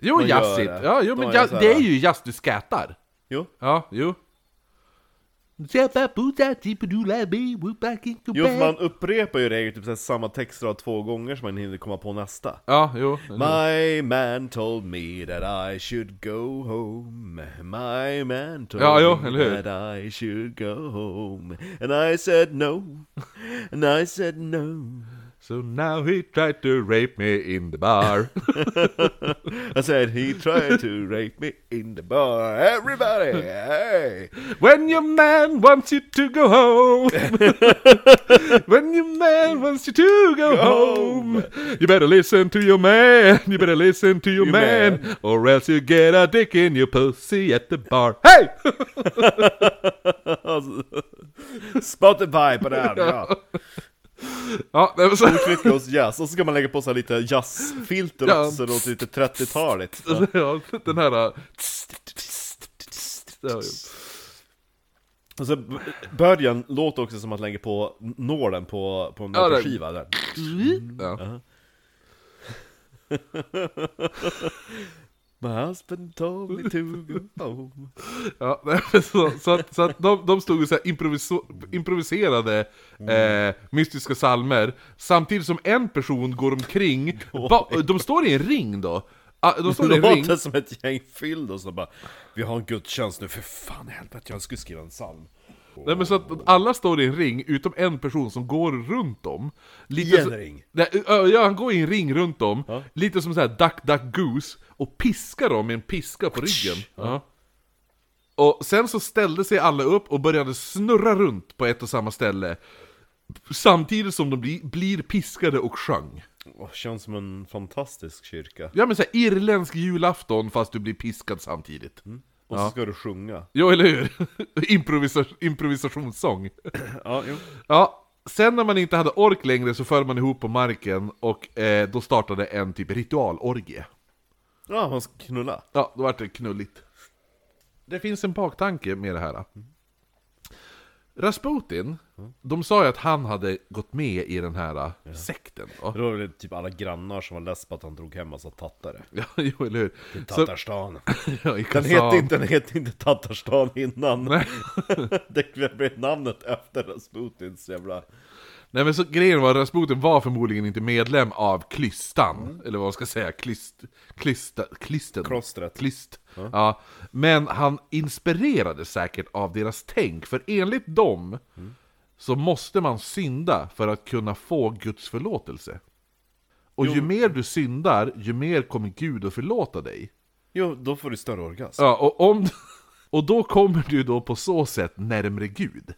Jo, man gör jazzigt. det. Ja, jo, De men gör jazz, så här. det är ju jazz du skätar. Jo, Ja, jo. Jo, för man upprepar ju regler, typ så här samma textrad två gånger så man hinner komma på nästa. Ja, jo. My man told me that I should go home My man told Ja, jo, me eller hur? that I should go home And I said no And I said no So now he tried to rape me in the bar. I said he tried to rape me in the bar Everybody, hey When your man wants you to go home When your man wants you to go, home. You better listen to your man You better listen to your, Your man. man. Or else you get a dick in your pussy at the bar Hey! Alltså, Spotify på det här, ja ja, nej, men så, Trycka oss jazz, och så ska man lägga på så här lite jazzfilter Ja. också typ så det låter lite 30-taligt ja, den här... äh, Och så b- början låter också som att lägga på nålen på, på en Ja, det- skiva där Ja. My husband told me to go home Ja, nej, men så, så, att, så att de, de stod och så här improviso- improviserade eh, mystiska salmer samtidigt som en person går omkring, ba, de står i en ring då. Ah, De står i Det en ring. låter som ett gäng fylld som bara Vi har en gudstjänst nu, för fan i helvete jag skulle skriva en psalm Nej, men så att alla står i en ring utom en person som går runt dem. Lite I en så- ring? Nej, ö, ja, han går i en ring runt dem, lite som så här duck duck goose, och piskar dem med en piska på ryggen. Ja. Och sen så ställde sig alla upp och började snurra runt på ett och samma ställe. Samtidigt som de bli, blir piskade och sjöng. Åh, Känns som en fantastisk kyrka Ja men såhär irländsk julafton fast du blir piskad samtidigt. Och så ska du sjunga Jo eller hur? Improvisa, improvisationssång. Ja, jo Ja, sen när man inte hade ork längre så föll man ihop på marken och eh, då startade en typ ritualorgie. Ja, man ska knulla Ja, då vart det knulligt. Det finns en baktanke med det här. Rasputin, Mm. de sa ju att han hade gått med i den här eh, sekten. Då. Det var väl typ alla grannar som var less på att han drog hem massa tattare Ja, jo, eller hur? Så- Tattarstan ja, i Den Kazan. hette inte, den hette inte Tattarstan innan Nej. Det blev namnet efter Rasputins jävla... Nej men så grejen var att Rasputin var förmodligen inte medlem av klystan, Mm. eller vad man ska säga, klyst, klysta, klysten. Klostret. Klyst. Ja. Men han inspirerades säkert av deras tänk, för enligt dem så måste man synda för att kunna få Guds förlåtelse. Och ju mer du syndar, ju mer kommer Gud att förlåta dig. Jo, då får du större orgasm Ja, och, om, och då kommer du då på så sätt närmre Gud.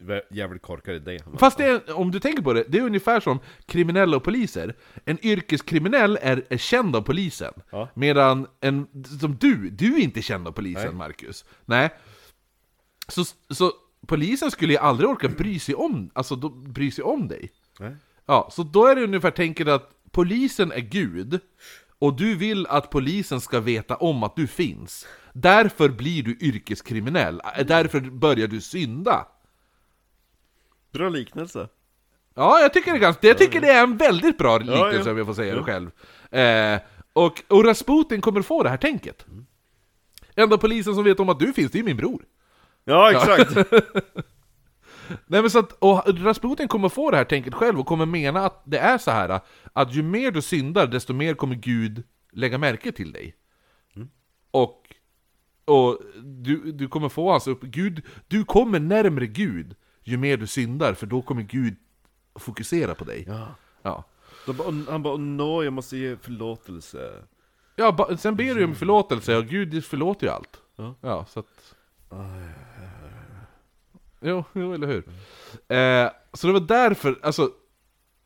Vä- Jävligt korkad idé Fast det är, om du tänker på det, det är ungefär som kriminella och poliser. En yrkeskriminell är, är känd av polisen. Ja. Medan en, som du, du är inte känd av polisen Marcus. Nej. Så, så polisen skulle ju aldrig orka bry sig om, alltså, de bry sig om dig. Nej. Ja, så då är det ungefär tänket att polisen är Gud, och du vill att polisen ska veta om att du finns. Därför blir du yrkeskriminell, därför börjar du synda. Bra liknelse Ja, jag tycker det är, ganska, jag tycker det är en väldigt bra liknelse ja. om jag får säga det själv. Eh, och, och Rasputin kommer få det här tänket. Mm. Enda polisen som vet om att du finns, det är min bror. Ja, exakt! Nej, men så att, och Rasputin kommer få det här tänket själv och kommer mena att det är så här att ju mer du syndar, desto mer kommer Gud lägga märke till dig. Mm. Och, och du, du kommer få hans upp... Gud, du kommer närmre Gud ju mer du syndar, för då kommer Gud fokusera på dig. Ja. Då bara, han bara, nå, jag måste ge förlåtelse Ja, ba- sen ber du ju om förlåtelse och Gud förlåter ju allt. Ja, så att... Jo, jo, eller hur? Eh, så det var därför, alltså...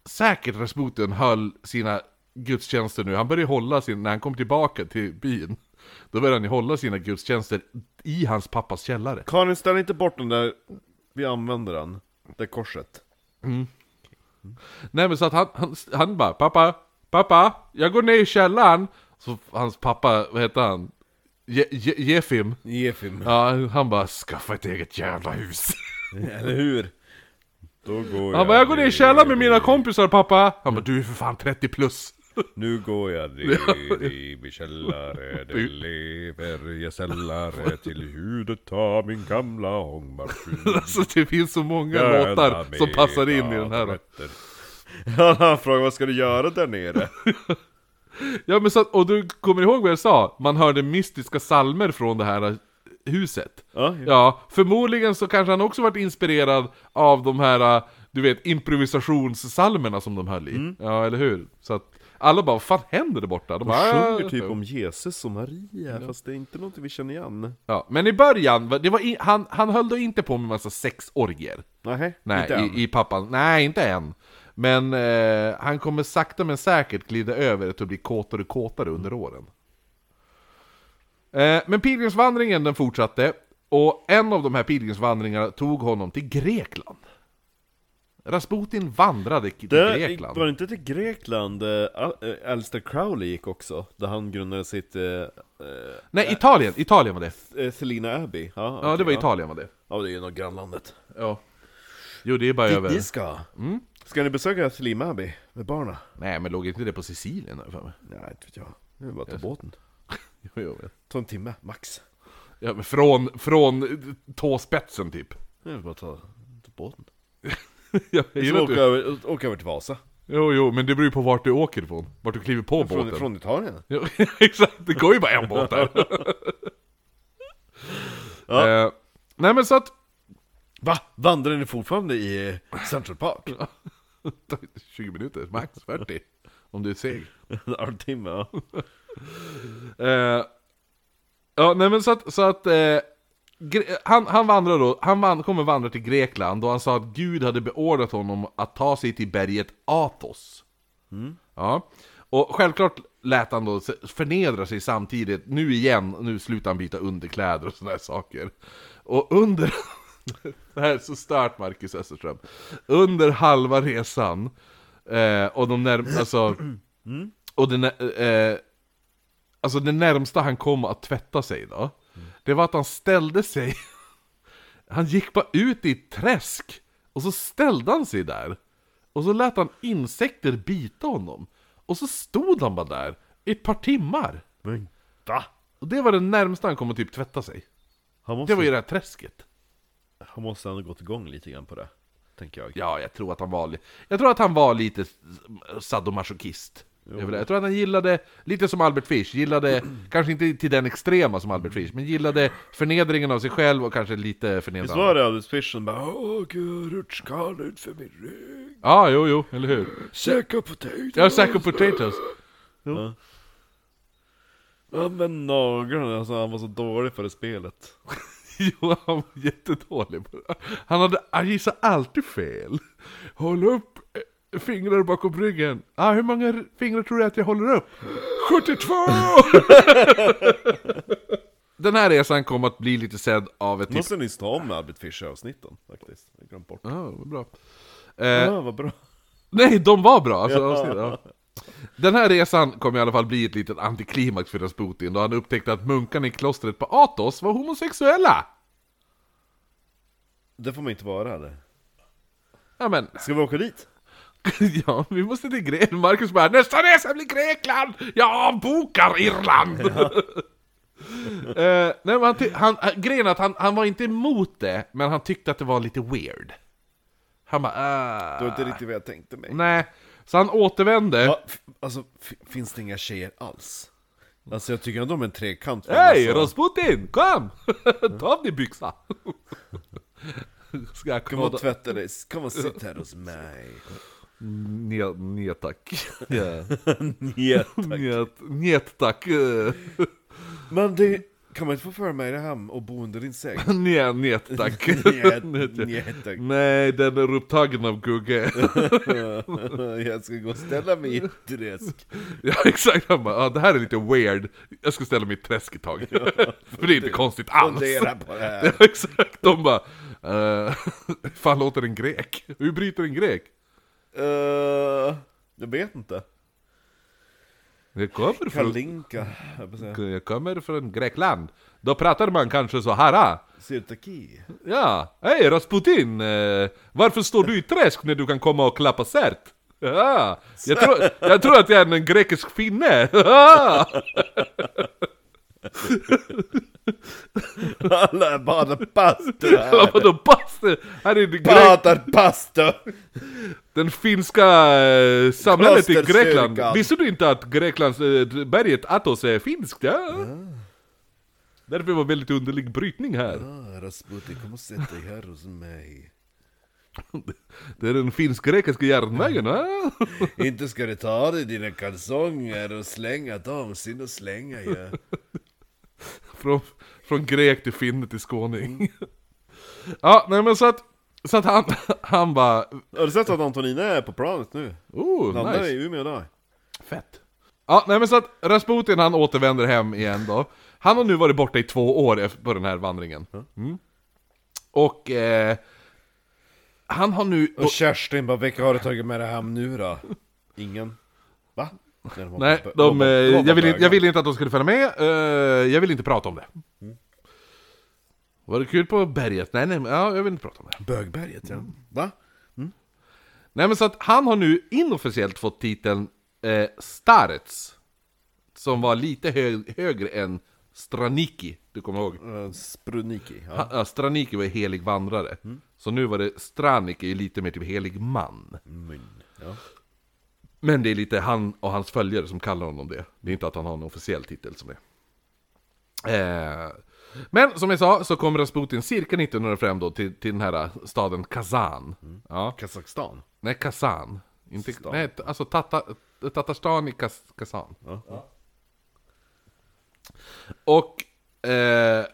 Säkert Rasputin höll sina gudstjänster nu. Han började ju hålla sin, när han kom tillbaka till byn. Då började han ju hålla sina gudstjänster i hans pappas källare. Karin, ställ inte bort den där, vi använder den Det korset Nej men så att han, han, han bara 'Pappa, pappa, jag går ner i källaren' Så hans pappa, vad heter han? Je, Je, Jefim? Efim Ja, han bara 'Skaffa ett eget jävla hus' Eller hur? Då går Mm. Han bara 'Jag går ner i källaren med mina kompisar pappa' Han bara 'Du är för fan 30 plus' Nu går jag ner i min källare, det lever jag sällare till huvudet av min gamla ångmaskin. Alltså det finns så många låtar som passar in i den här. Ja, han frågar vad ska du göra där nere? Ja men så att, och du kommer ihåg vad jag sa? Man hörde mystiska salmer från det här äh, huset. Ja, Ja, förmodligen så kanske han också varit inspirerad av de här, äh, du vet, improvisationssalmerna som de höll i. Ja, eller hur? Så att alla bara, vad fan händer där borta? Mm. De bara, Han "Äh." sjunger typ om Jesus och Maria, fast det är inte något vi känner igen. ja, Men i början, va- det var i, han, han höll då inte på med massa sexorgier. Nej, Nej, inte än. i, i pappan. Nej, inte än. Men eh, han kommer sakta men säkert glida över till att bli kåtare och kåtare under åren. Eh, men pilgrimsvandringen den fortsatte, och en av de här pilgrimsvandringarna tog honom till Grekland. Rasputin vandrade till Det- Grekland. Var det inte till Grekland eh, Al- eh, Alistair Crowley gick också? Där han grundade sitt eh, eh, Nej, Italien! Italien var det. Selina Abbey? Ja, Ja, det okej, var Italien var det. Ja, det är ju nog grannlandet. Ja. Jo, det är bara över. Ni ska! Mm. Ska ni besöka Selina Abbey med barna? Nej, men låg inte det på Sicilien? har jag för mig? Nej, inte vet jag. Det är bara att ta båten. Jo, jag vet. Ta en timme, max. Ja, men från, från tåspetsen typ. Det är bara att ta, ta båten. Jag Eller gillar att du- åka över, åka över till Vasa. Jo, jo, men det beror ju på vart du åker ifrån. Vart du kliver på Från, båten. från Italien. Jo, exakt, det går ju bara en båt där. eh, nej men så att... Va? Vandrar ni fortfarande i eh, Central Park? 20 minuter, max 40. Om du är seg. en halvtimme, ja. Eh, ja, nej men så att... Så att eh, Gre- han, han vandrar då, han van, kommer vandra till Grekland och han sa att Gud hade beordrat honom att ta sig till berget Athos. Ja. Och självklart lät han då se- förnedra sig samtidigt, nu igen, nu slutar han byta underkläder och sådana här saker. Och under... det här är så stört Marcus Österström. Under halva resan, eh, och de närm... Alltså... Och den... Eh, alltså det närmsta han kom att tvätta sig då, det var att han ställde sig... han gick bara ut i ett träsk, och så ställde han sig där. Och så lät han insekter bita honom. Och så stod han bara där i ett par timmar. Men va? Och det var det närmsta han kom att typ tvätta sig. Han måste, Det var ju det här träsket. han måste ändå gått igång lite grann på det, tänker jag. Ja, jag tror att han var, li- jag tror att han var lite s- sadomasochist. Det är väl det. Jag tror att han gillade, lite som Albert Fish, gillade, kanske inte till den extrema som Albert Fish, men gillade förnedringen av sig själv och kanske lite Visst förnedrande. var det Alice Fish som bara Åh gud, rutschkana ut för min rygg, Ja, jo, jo, eller hur? säkra potatis, Jag sack och potatoes. använd naglarna, alltså han var så dålig för det spelet. Jo, han var jättedålig på det. Han hade, han gissade alltid fel. Håll upp eh, fingrar bakom ryggen. Ah, hur många r- fingrar tror du att jag håller upp? 72! Den här resan kom att bli lite sedd av ett typ... Måste nyss ta om Albert Fish-avsnitten faktiskt, jag glömde bort. Ah, vad bra. Eh, Ja, vad bra. nej, de var bra! Alltså, avsnitt, ja. Den här resan kom i alla fall bli ett litet antiklimax för Rasputin då han upptäckte att munkarna i klostret på Athos var homosexuella! Det får man inte vara eller? Ja, men Ska vi åka dit? Ja, vi måste till Grekland. Marcus bara ”Nästa resa blir Grekland! Jag avbokar Irland!” Eh, nej, men han, ty- han, han, Grejen är att han, han var inte emot det, men han tyckte att det var lite weird. Han bara Det var ah, inte riktigt vad jag tänkte mig. Nej, så han återvände. Ja, f- alltså, f- finns det inga tjejer alls? Alltså jag tycker ändå om en trekant. men Hej alltså, Rasputin, kom! Ta av dig byxan! Ska jag Kan man knåda? tvätta dig? Kan man sitta här hos mig? Nja, nja tack. Ja. Ja, tack. Njet, njet tack. eh. Men det, kan man inte få föra mig hem och bo under din säng? Nja, njet tack. Njet, Njet, ja. njet, tack. Nej, den är upptagen av Gugge. Jag ska gå och ställa mig i ett träsk. ja, exakt. Han bara, ah, det här är lite weird. Jag ska ställa mig i ett träsk ett tag. För det är inte konstigt alls. Fundera på det här. ja, exakt. De bara, eh, fan låter en grek? Hur bryter en grek? Eh, jag vet inte. Jag kommer från, Kalinka, jag vill säga. jag kommer från Grekland. Då pratar man kanske så här. ah. Sirtaki. Ja, hej Rasputin! eh, Varför står du i träsk när du kan komma och klappa cert? Ja, jag, tror, jag tror att jag är en grekisk finne! Alla badar bastu här! Vadå bastu? Här är det grek, Badar bastu! den finska eh, samhället i Klosterkyrkan. Grekland. Visste du inte att Greklands eh, berget Athos är finskt? Ja. Därför var det väldigt underlig brytning här. Ah, Rasputin, kom och sätt dig här hos mig. Det är den finsk-grekiska järnvägen, va? Inte ska du ta av dig dina kalsonger och slänga dem, synd att slänga ju. Ja. Från, från grek till finne till Mm. skåning. Ja, nej men så att, så att han, han bara... Har du sett att Antonina är på planet nu? Oh, Landar nice. i Umeå idag. Fett. Ja, nej men så att Rasputin han återvänder hem igen då. Han har nu varit borta i två år efter- på den här vandringen. Mm. Och eh, han har nu... Och Kerstin bara, vilka har du tagit med dig hem nu då? Ingen. Va? Nej, de, Nej, de, eh, jag, ville, jag ville inte att de skulle följa med, eh, jag ville inte prata om det. Var det kul på berget? Nej, nej, men- ja, jag vill inte prata om det. Bögberget ja. Va? Nej men så att han har nu inofficiellt fått titeln eh, Starets. Som var lite hö- högre än Straniki, du kommer ihåg? Eh, Spruniki. Ja. Ha- ja, Straniki var ju helig vandrare. Så nu var det Straniki, lite mer typ helig man. Mm. Mun. Ja. Men det är lite han och hans följare som kallar honom det. Det är inte att han har en officiell titel som det. Eh, men som jag sa så kom Rasputin cirka 1905 då till, till den här staden Kazan. Ja. Kazakstan. Nej, Kazan. Inte, Stan. nej, t- alltså tata, Tatarstan i Kaz, Kazan. Ja. Och eh,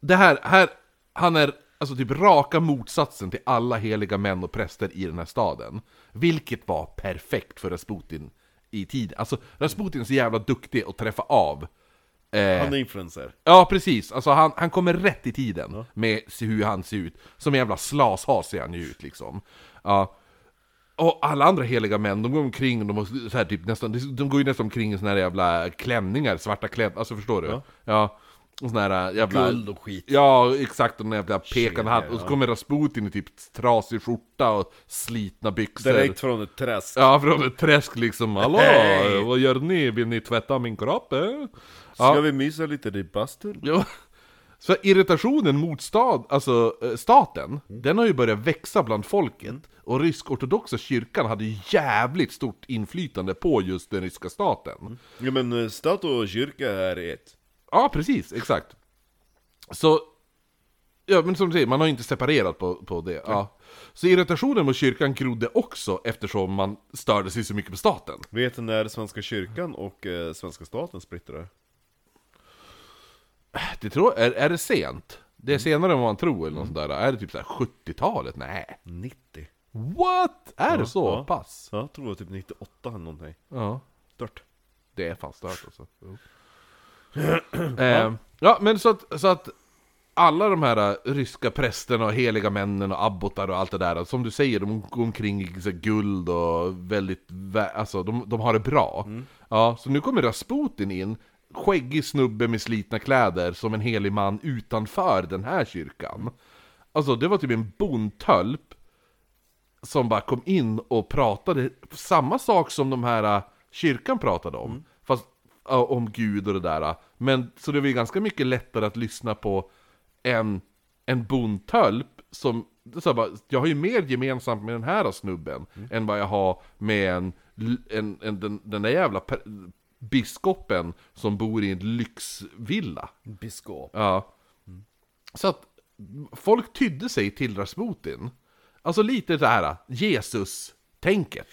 det här, här, han är alltså typ raka motsatsen till alla heliga män och präster i den här staden. Vilket var perfekt för Rasputin i tid. Alltså Rasputin är så jävla duktig att träffa av. Eh, Han är influencer. Ja, precis. Alltså han, han kommer rätt i tiden med se- hur han ser ut. Som en jävla slashas ser han ju ut liksom. Ja. Och alla andra heliga män, de går omkring och de, har så här, typ, nästan, de går ju nästan omkring i såna här jävla klänningar, svarta klänningar, alltså förstår du? Ja. Och såna här äh, jävla... Guld och skit. Ja, exakt, och den jävla pekande hatt. Och så ja. kommer Rasputin i typ trasig skjorta och slitna byxor. Direkt från ett träsk. Ja, från ett träsk liksom. Hallå, Hej! vad gör ni? Vill ni tvätta min kropp? eh?" Ska vi mysa lite i bastun? Ja. Så irritationen mot stad, alltså, eh, staten, Mm. den har ju börjat växa bland folket. Och rysk-ortodoxa kyrkan hade ju jävligt stort inflytande på just den ryska staten. Ja men eh, stat och kyrka är ett. Ja, precis, exakt. Så, ja men som du säger, man har ju inte separerat på, på det. Ja. Så irritationen mot kyrkan grodde också eftersom man störde sig så mycket på staten. Vet ni när Svenska kyrkan och eh, Svenska staten splittrar? Det tror, är, är det sent? Det är Mm. senare än vad man tror eller något sånt där. Är det typ så här 70-talet? Nej. 90. What? Är det så ja. pass? Ja, jag tror det var typ 98 eller någonting. Ja, Stört. det är fan stört alltså. eh, ja, men så att, så att alla de här eh, ryska prästerna och heliga männen och abbotar och allt det där, som du säger, de går omkring i så här guld och väldigt, vä- alltså de, de har det bra. Ja, så nu kommer Rasputin in, skäggig snubbe med slitna kläder, som en helig man utanför den här kyrkan. Alltså det var typ en bondtölp som bara kom in och pratade samma sak som de här äh, kyrkan pratade om. Fast äh, om Gud och det där. äh. Men så det var ju ganska mycket lättare att lyssna på en, en bondtölp som så här bara, jag har ju mer gemensamt med den här snubben än vad jag har med en, l- en, en, den, den där jävla per- biskopen som bor i en lyxvilla. Biskop. Ja. Så att folk tydde sig till Rasputin. Alltså lite så här Jesus-tänket.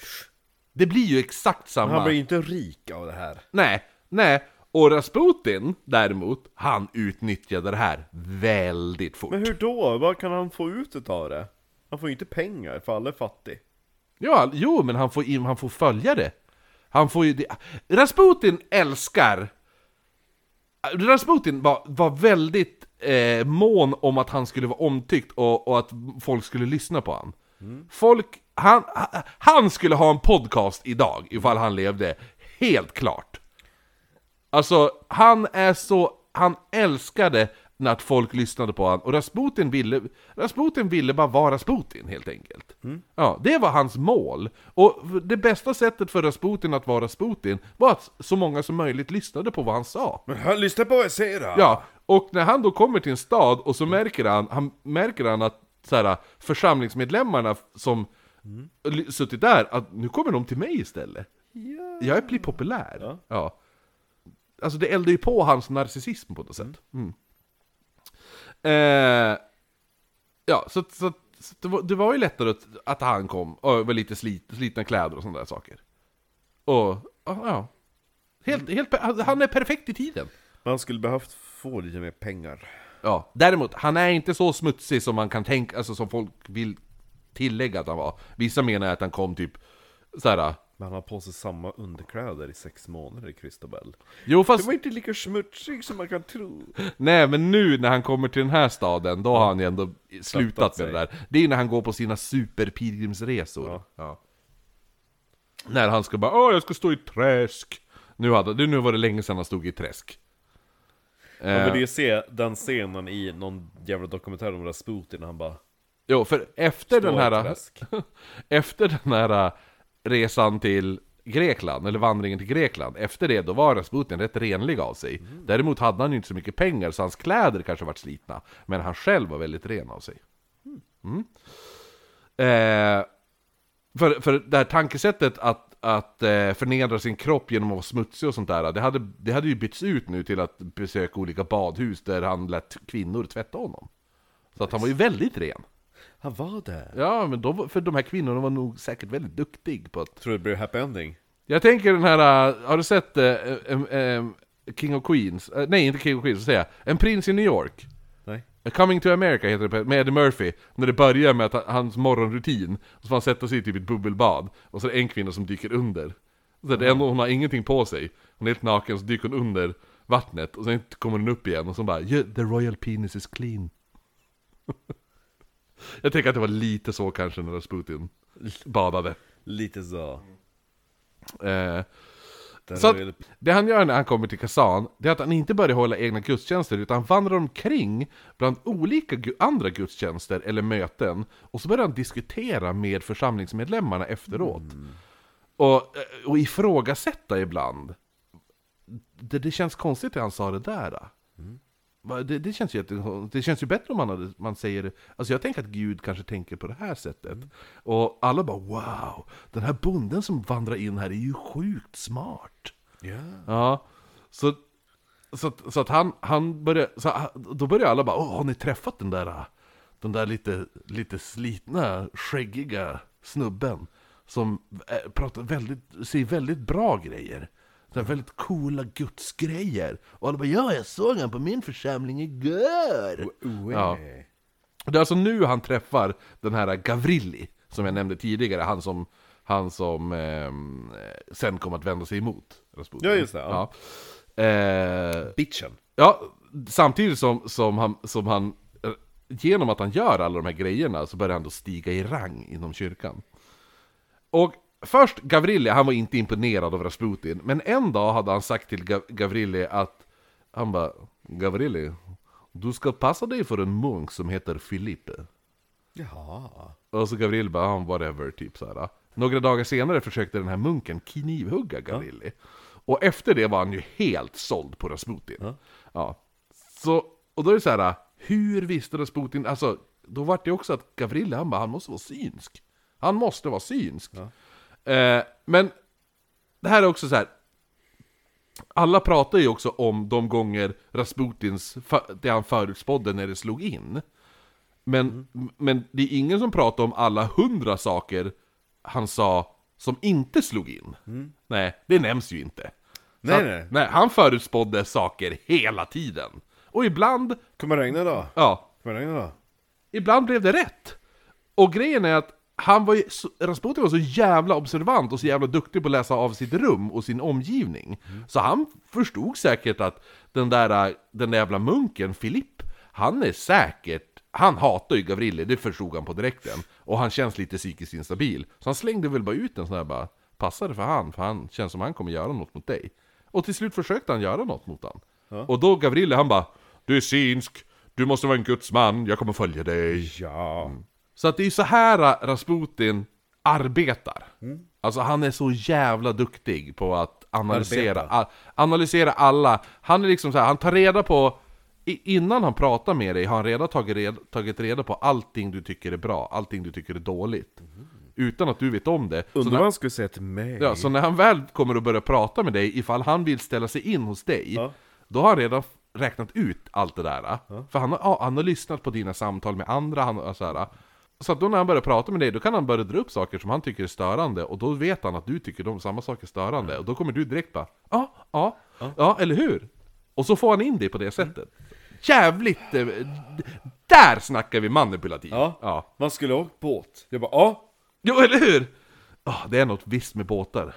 Det blir ju exakt samma. Han blir ju inte rik av det här. Nej, nej. Och Rasputin däremot, han utnyttjade det här väldigt fort. Men hur då? Vad kan han få ut utav det? Han får ju inte pengar, för alla är fattig. Ja, jo, men han får, in, han får följa det. Han får ju det. Rasputin älskar... Rasputin var, var väldigt eh, mån om att han skulle vara omtyckt och, och att folk skulle lyssna på han. Folk... Han, ha- han skulle ha en podcast idag, ifall han levde. Helt klart. Alltså, han är så... Han älskade när att folk lyssnade på han och Rasputin ville... Rasputin ville bara vara Rasputin, helt enkelt. Ja, det var hans mål. Och det bästa sättet för Rasputin att vara Rasputin var att så många som möjligt lyssnade på vad han sa. Men hör, lyssna på vad jag säger då! Ja, Mm. och när han då kommer till en stad och så märker han, han märker han att så här, församlingsmedlemmarna som li- suttit där, att nu kommer de till mig istället. Jag blir populär. Ja. Alltså det eldar ju på hans narcissism på något sätt. Mm. Eh, ja, så, att- så, att- så att det, var, det var ju lättare att, att han kom, och var lite slit, slitna kläder och sådana där saker. Och, ja, ja. Helt, helt, per- han- han är perfekt i tiden. Man skulle behövt få lite mer pengar. Ja, däremot, han är inte så smutsig som man kan tänka, alltså som folk vill tillägga att han var. Vissa menar att han kom typ såhär, Men han har på sig samma underkläder i sex månader, Christobel. jo Det fast, var inte lika smutsig som man kan tro. nej men nu när han kommer till den här staden, då har han ju ändå slutat Tröttat med sig. det där. Det är när han går på sina superpilgrimsresor. Ja. Ja. När han ska bara, åh jag ska stå i ett träsk. Nu, hade, nu var det länge sedan han stod i ett träsk. Man Eh. vill ju se den scenen i någon jävla dokumentär om Rasputin, han bara... Jo, för efter Stå den i här... träsk. efter den här äh, resan till Grekland, eller vandringen till Grekland, efter det då var Rasputin rätt renlig av sig. Däremot hade han ju inte så mycket pengar, så hans kläder kanske varit slitna. Men han själv var väldigt ren av sig. Mm. Eh, för, för det här tankesättet att, att eh, förnedra sin kropp genom att vara smutsig och sånt där, det hade, det hade ju bytts ut nu till att besöka olika badhus där han lät kvinnor tvätta honom. Så att han var ju väldigt ren. Han var där! Ja, men de, för de här kvinnorna var nog säkert väldigt duktig på att... Tror du det blir happy ending? Jag tänker den här, äh, har du sett äh, äh, äh, King of Queens? Äh, nej, inte King of Queens, så säger jag. En prins i New York. Nej. Coming to America heter det på- med Eddie Murphy, när det börjar med att han- hans morgonrutin, så får han sätta sig i typ ett bubbelbad, och så är det en kvinna som dyker under. Så det är en, hon har ingenting på sig, hon är helt naken, så dyker hon under vattnet, och sen kommer hon upp igen och så bara "Yeah, 'The Royal Penis is clean' Jag tänker att det var lite så kanske när Rasputin badade. Lite så. Eh, Den så att, vill- det han gör när han kommer till Kazan, det är att han inte börjar hålla egna gudstjänster, utan han vandrar omkring bland olika gu- andra gudstjänster eller möten, och så börjar han diskutera med församlingsmedlemmarna efteråt. Och, eh, och ifrågasätta ibland. Det, det känns konstigt att han sa det där. då. Va, Det, det, känns ju, jätte- det känns ju bättre om man, hade, man säger Alltså jag tänker att Gud kanske tänker på det här sättet. Och alla bara wow, den här bonden som vandrar in här är ju sjukt smart. Ja, så, så, att, så att han, han började, så, han- då började alla bara, åh har ni träffat den där, den där lite, lite slitna, skäggiga snubben? Som eh, pratar väldigt, säger väldigt bra grejer. Så här väldigt coola gudsgrejer. Och alla bara, ja jag såg han på min församling igår! Ja. eh. Det är alltså nu han träffar den här Gavrilli, som jag nämnde tidigare, han som, han som ehm, eh, sen kom att vända sig emot Rasputin. Ja, just det, Ja. ja. Eh, Bitchen. ja, samtidigt som, som, han, som han, eh, genom att han gör alla de här grejerna så börjar han då stiga i rang inom kyrkan. Och först Gavrilli, han var inte imponerad av Rasputin, men en dag hade han sagt till Gav- Gavrilli att, han bara, Gavrilli, du ska passa dig för en munk som heter Filippe. Jaha. Och så Gavril bara, "Ah, whatever, typ såhär. Några dagar senare försökte den här munken knivhugga Gavrilli. Och efter det var han ju helt såld på Rasputin. Ja. Så, och då är det så här, hur visste Rasputin, alltså, då var det också att Gavril, han bara, han måste vara synsk. Han måste vara synsk. Eh, men, det här är också så här. alla pratar ju också om de gånger Rasputins, fa- det han förutspådde när det slog in. Men, Mm. men det är ingen som pratar om alla hundra saker han sa som inte slog in. Nej, det nämns ju inte. Så Mm. Nej, han, nej. nej. Han förutspådde saker hela tiden. Och ibland, Kommer det regna då? ja, Kommer det regna då? ibland blev det rätt. Och grejen är att han var ju, så- Rasputin var så jävla observant och så jävla duktig på att läsa av sitt rum och sin omgivning. Så han förstod säkert att den där, äh, den där jävla munken, Filipp, han är säkert, han hatar ju Gavrili, det förstod han på direkten. Och han känns lite psykiskt instabil. Så han slängde väl bara ut en sån här bara, passar det för han? För han känns som han kommer göra något mot dig. Och till slut försökte han göra något mot han. Och då Gavrili, han bara, du är synsk, du måste vara en gudsman, jag kommer följa dig. Ja. Så att det är ju så här Rasputin arbetar. Mm. Alltså han är så jävla duktig på att analysera, Arbeta. a- analysera alla. Han är liksom så här, han tar reda på, i- innan han pratar med dig har han redan tagit reda, tagit reda på allting du tycker är bra, allting du tycker är dåligt. Utan att du vet om det. Så Mm. Undrar när- vad han skulle säga till mig? Ja, så när han väl kommer att börja prata med dig, ifall han vill ställa sig in hos dig, Ja. då har han redan f- räknat ut allt det där. För han har, ja, han har lyssnat på dina samtal med andra, han, har- så, här, så att då när han börjar prata med dig, då kan han börja dra upp saker som han tycker är störande, och då vet han att du tycker de samma saker är störande, och då kommer du direkt bara ja, ja, ja, eller hur? Och så får han in det på det sättet. Jävligt... eh, d- Där snackar vi manipulativt! Ja. Man skulle ha åkt båt. Jag bara, ja. Jo, eller hur? Ah, det är något visst med båtar.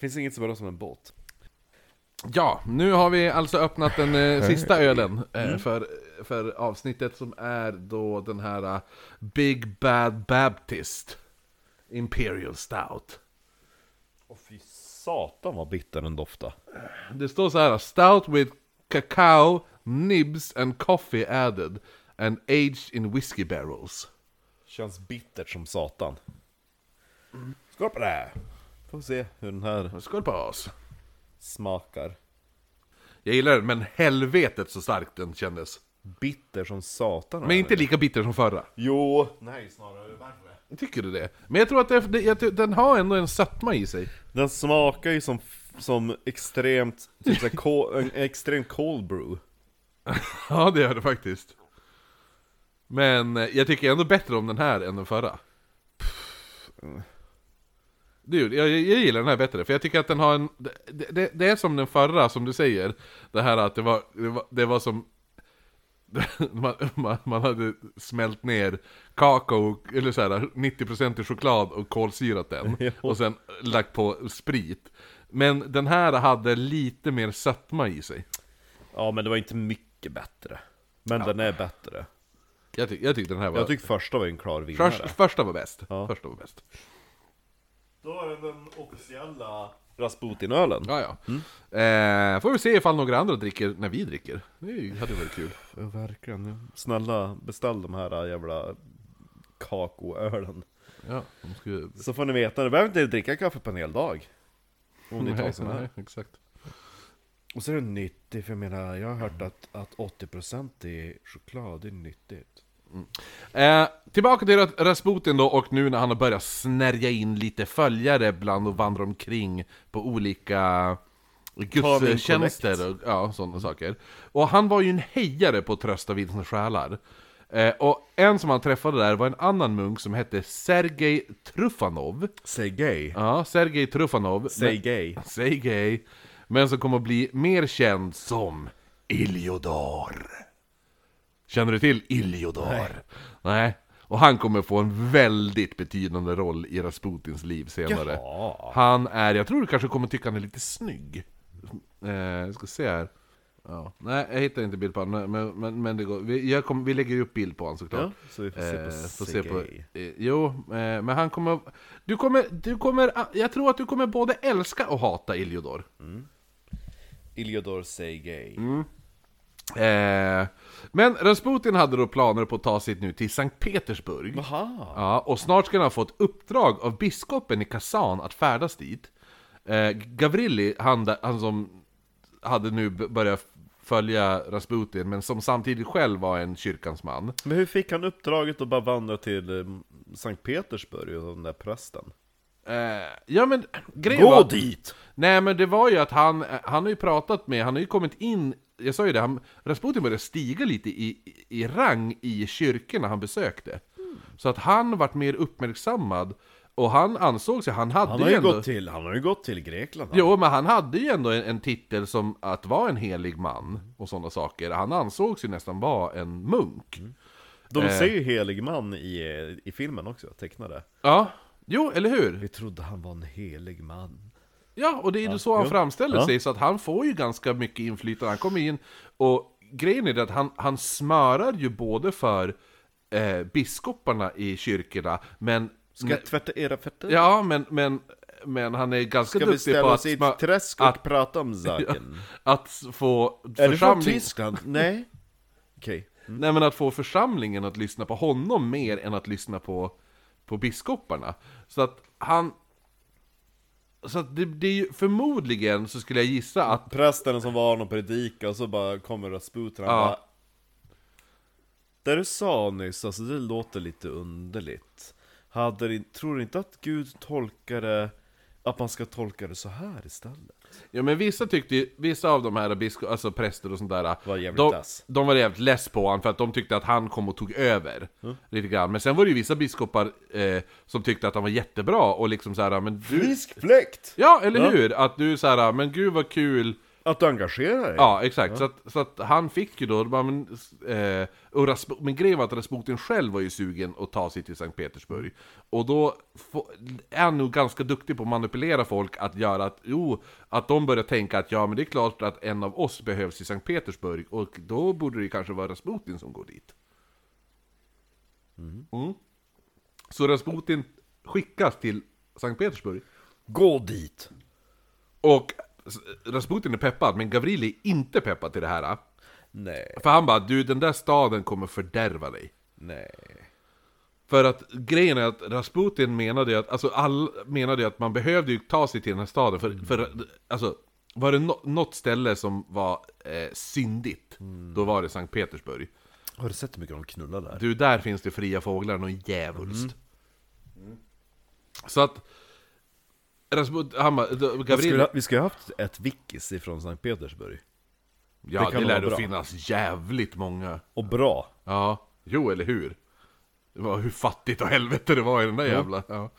Finns inget så bra som en båt. Ja, nu har vi alltså öppnat den eh, sista ölen eh, för, för avsnittet som är då den här eh, Big Bad Baptist Imperial Stout. Åh fy satan vad bitter den doftar. Det står så här Stout with cacao, nibs and coffee added and aged in whiskey barrels. Känns bittert som satan. Skål på det här. Får se hur den här Skål på oss! smakar. Jag gillar den, men helvetet så stark den kändes. Bitter som satan. Men inte lika bitter som förra. Jo. Nej, snarare värre. Tycker du det? Men jag tror att det, det, jag, tror- den har ändå en sötma i sig. Den smakar ju som, som extremt, typ såhär, kol, en extrem cold brew. Ja, det gör det faktiskt. Men eh, jag tycker ändå bättre om den här än den förra. Det gjorde, jag, jag jag gillar den här bättre, för jag tycker att den har en... Det, det, det är som den förra, som du säger. Det här att det var, det var, det var som... Man, man, man hade smält ner kakao, eller så här 90% i choklad och kolsyrat den. Och sen lagt på sprit. Men den här hade lite mer sötma i sig. Ja, men det var inte mycket bättre. Men den är bättre. Jag, tyck, jag tyckte den här var... Jag tyckte första var en klar vinnare. Först, första var bäst. Ja. Första var bäst. Då var det den officiella Rasputinölen. Ja, ja. Mm. Eh, får vi se ifall några andra dricker när vi dricker. Det är ju- hade varit kul. Ja, verkligen. ja. Snälla, beställ de här äh, jävla kakoölen. Ja, de ska ju... Så får ni veta, ni behöver inte dricka kaffe på en hel dag. Om ni tar sån här. nej, exakt. Och så är det nyttigt, för jag menar, jag har hört att, att 80% i choklad, det är nyttigt. Eh, tillbaka till Ras- Rasputin då, och nu när han har börjat snärja in lite följare bland och vandra omkring på olika gudstjänster och ja, sådana saker. Och han var ju en hejare på att trösta vilsna själar. Eh, och en som han träffade där var en annan munk som hette Sergej Trufanov. Säg gay. Ja, Sergej Trufanov. Säg gay. Säg gay. Men som kommer att bli mer känd som Iljodar. Känner du till Iljodar? Nej. Och han kommer få en väldigt betydande roll i Rasputins liv senare. Han är, jag tror du kanske kommer tycka han är lite snygg. Eh, jag ska se här. Ja. Nej, jag hittar inte bild på honom, men, men, men det går. Vi, jag kommer- vi lägger upp bild på honom såklart. Ja, så vi får se på Eh, får Sergej. eh, Jo, eh, men han kommer... Du kommer, du kommer... ah, Jag tror att du kommer både älska och hata Iljodor. Iljodor säg gay. Mm. Eh, men Rasputin hade då planer på att ta sig nu till Sankt Petersburg. Aha. Ja, och snart ska han få ett uppdrag av biskopen i Kazan att färdas dit. Eh, Gavrili, han, där- han som hade nu b- börjat följa Rasputin, men som samtidigt själv var en kyrkans man. Men hur fick han uppdraget att bara vandra till eh, Sankt Petersburg och den där prästen? Eh, ja men grejen Gå var... dit! Nej men det var ju att han, eh, han har ju pratat med, han har ju kommit in, jag sa ju det, han, Rasputin började stiga lite i, i- i rang i kyrkorna han besökte. Så att han vart mer uppmärksammad, och han ansåg sig, han hade Han har ju ändå... gått till, han har ju gått till Grekland. han. Jo, men han hade ju ändå en, en titel som att vara en helig man och sådana saker. Han ansågs ju nästan vara en munk. Mm. De säger ju helig man i, eh, i filmen också, tecknade. Ja, jo, eller hur? Vi trodde han var en helig man. Ja, och det är ju så han jo. framställer Ja. sig, så att han får ju ganska mycket inflytande. Han kommer in, och grejen är det att han, han smörar ju både för eh, biskoparna i kyrkorna, men... Ska jag tvätta era fötter? Ja, men, men, men han är ganska Ska vi duktig på ställa att, oss i smö- ett träsk och att, prata om saken? att få Är du från församling... Tyskland? Nej. Okej. Nej men att få församlingen att lyssna på honom mer än att lyssna på, på biskoparna. Så att han... Så att det, det är ju förmodligen så skulle jag gissa att... Prästen som var honom predika och så bara kommer Rasputin och han Ja. bara Det du sa nyss, alltså det låter lite underligt hade det, Tror du inte att Gud tolkar det, att man ska tolka det så här istället? Ja men vissa tyckte ju, vissa av de här bisko, alltså präster och sånt där Var jävligt de, less. de var jävligt less på honom för att de tyckte att han kom och tog över Mm. Lite grann, men sen var det ju vissa biskopar eh, Som tyckte att han var jättebra och liksom såhär, men du Frisk fläkt! Ja eller hur! Att du såhär, men gud vad kul Att du engagerar dig? Ja, exakt. Så, att, så att han fick ju då, bara, men, eh, och Rasp- men grejen var att Rasputin själv var ju sugen att ta sig till Sankt Petersburg. Och då få, är han nog ganska duktig på att manipulera folk att göra att, jo, att de börjar tänka att ja, men det är klart att en av oss behövs i Sankt Petersburg, och då borde det ju kanske vara Rasputin som går dit. Mm. Så Rasputin skickas till Sankt Petersburg. Gå dit! Och Rasputin är peppad, men Gavrili är inte peppad till det här. Nej, För han bara, du den där staden kommer fördärva dig. nej För att grejen är att Rasputin menade ju att, alltså all, menade ju att man behövde ju ta sig till den här staden. För, för Mm. alltså, var det no, något ställe som var eh, syndigt, Mm. då var det Sankt Petersburg. Har du sett hur mycket de knullar där? Du, där finns det fria fåglar någon djävulskt. Mm. Så att... Rasputin, han bara, då- Vi skulle Gavril, ha- vi skulle ha haft ett wikis ifrån Sankt Petersburg ja det det kan lär vara det bra. finnas jävligt många. Och bra! Ja, jo eller hur? Det var hur fattigt och helvete det var i den där jävla... Ja.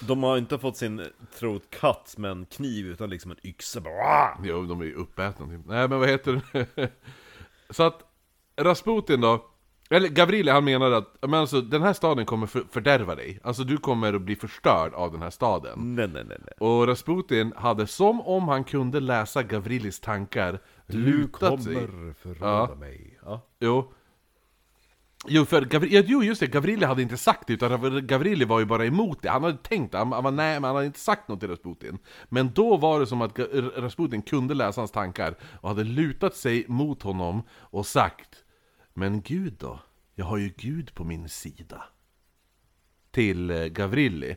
De har inte fått sin trot katt med en kniv utan liksom en yxa bara Jo, de är ju uppätna typ. Nej, men vad heter det? Så att Rasputin då, eller Gavrili han menade att men alltså, den här staden kommer för, fördärva dig. Alltså du kommer att bli förstörd av den här staden. Nej nej nej nej Och Rasputin hade som om han kunde läsa Gavrilis tankar Du lutat sig. kommer förråda Ja. mig ja. Jo. Jo, för Gavri- ja, jo, just det, Gavrili hade inte sagt det, utan Gavrili var ju bara emot det. Han hade tänkt, han, han var nej, men han hade inte sagt något till Rasputin. Men då var det som att Ga- R- Rasputin kunde läsa hans tankar och hade lutat sig mot honom och sagt Men Gud då? Jag har ju Gud på min sida. Till eh, Gavrili.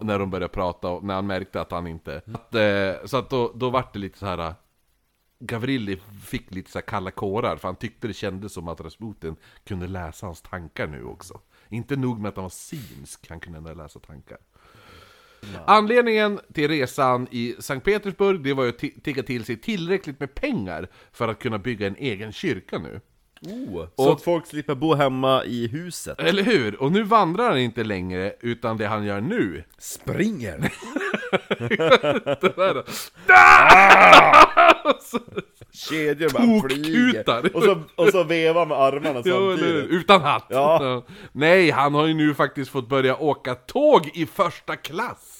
När de började prata, och när han märkte att han inte... Att, eh, så att då, då vart det lite så här Gavrili fick lite så här kalla kårar för han tyckte det kändes som att Rasputin kunde läsa hans tankar nu också. Inte nog med att han var synsk, han kunde ändå läsa tankar. Anledningen till resan i Sankt Petersburg, det var ju att ti- tigga till sig tillräckligt med pengar för att kunna bygga en egen kyrka nu. Oh, så att folk slipper bo hemma i huset Eller hur? Och nu vandrar han inte längre, utan det han gör nu, Springer! det där, Kedjor bara Kokhutar. flyger och så, och så vevar med armarna Ja, eller hur? samtidigt Utan hatt! Ja. Ja. Nej, han har ju nu faktiskt fått börja åka tåg i första klass!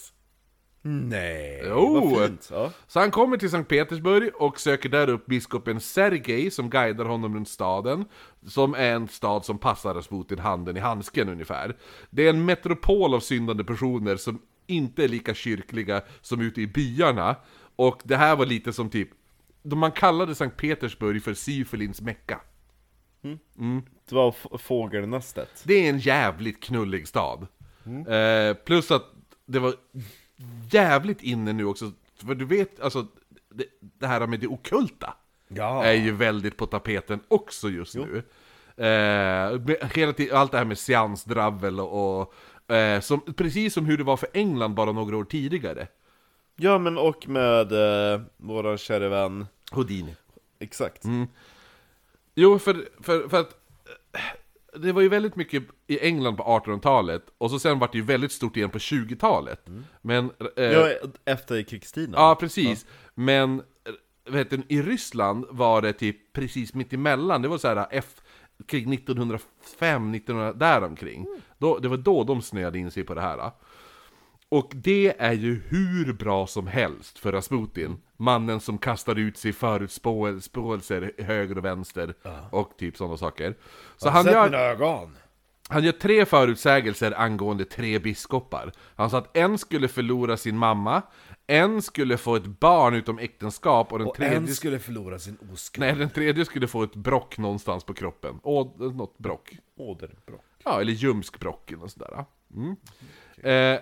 Nej, Jo. vad fint! Ja. Så han kommer till Sankt Petersburg och söker där upp biskopen Sergej som guidar honom runt staden, som är en stad som passar Rasputin handen i handsken ungefär. Det är en metropol av syndande personer som inte är lika kyrkliga som ute i byarna, och det här var lite som typ, man kallade Sankt Petersburg för Syfilins Mecka. Det var f- fågelnästet Det är en jävligt knullig stad. Eh, plus att det var jävligt inne nu också, för du vet, alltså det, det här med det okulta Ja. är ju väldigt på tapeten också just nu. Eh, med- hela tiden, allt det här med seansdravel och, och eh, som, precis som hur det var för England bara några år tidigare. Ja men och med eh, våran käre vän Houdini. Exakt Jo, för, för, för att eh, det var ju väldigt mycket i England på 1800-talet och så sen vart det ju väldigt stort igen på 20-talet. Men... eh, ja, Efter krigstiden Ja, precis. Men eh, vet du, i Ryssland var det typ precis mitt emellan. Det var så här F, kring 1905, 1900, däromkring. Då, det var då de snöade in sig på det här. Och det är ju hur bra som helst för Rasputin. Mannen som kastar ut sig i förutspåelser höger och vänster och typ sådana saker. Så han Sätt gör... mina ögon! Han gör tre förutsägelser angående tre biskopar. Han sa att en skulle förlora sin mamma, en skulle få ett barn utom äktenskap och den Och tredje... en skulle förlora sin oskuld. Nej, den tredje skulle få ett brock någonstans på kroppen. Å, något brock. Åderbråck. Ja, eller ljumskbrock eller sådär. Mm. Eh,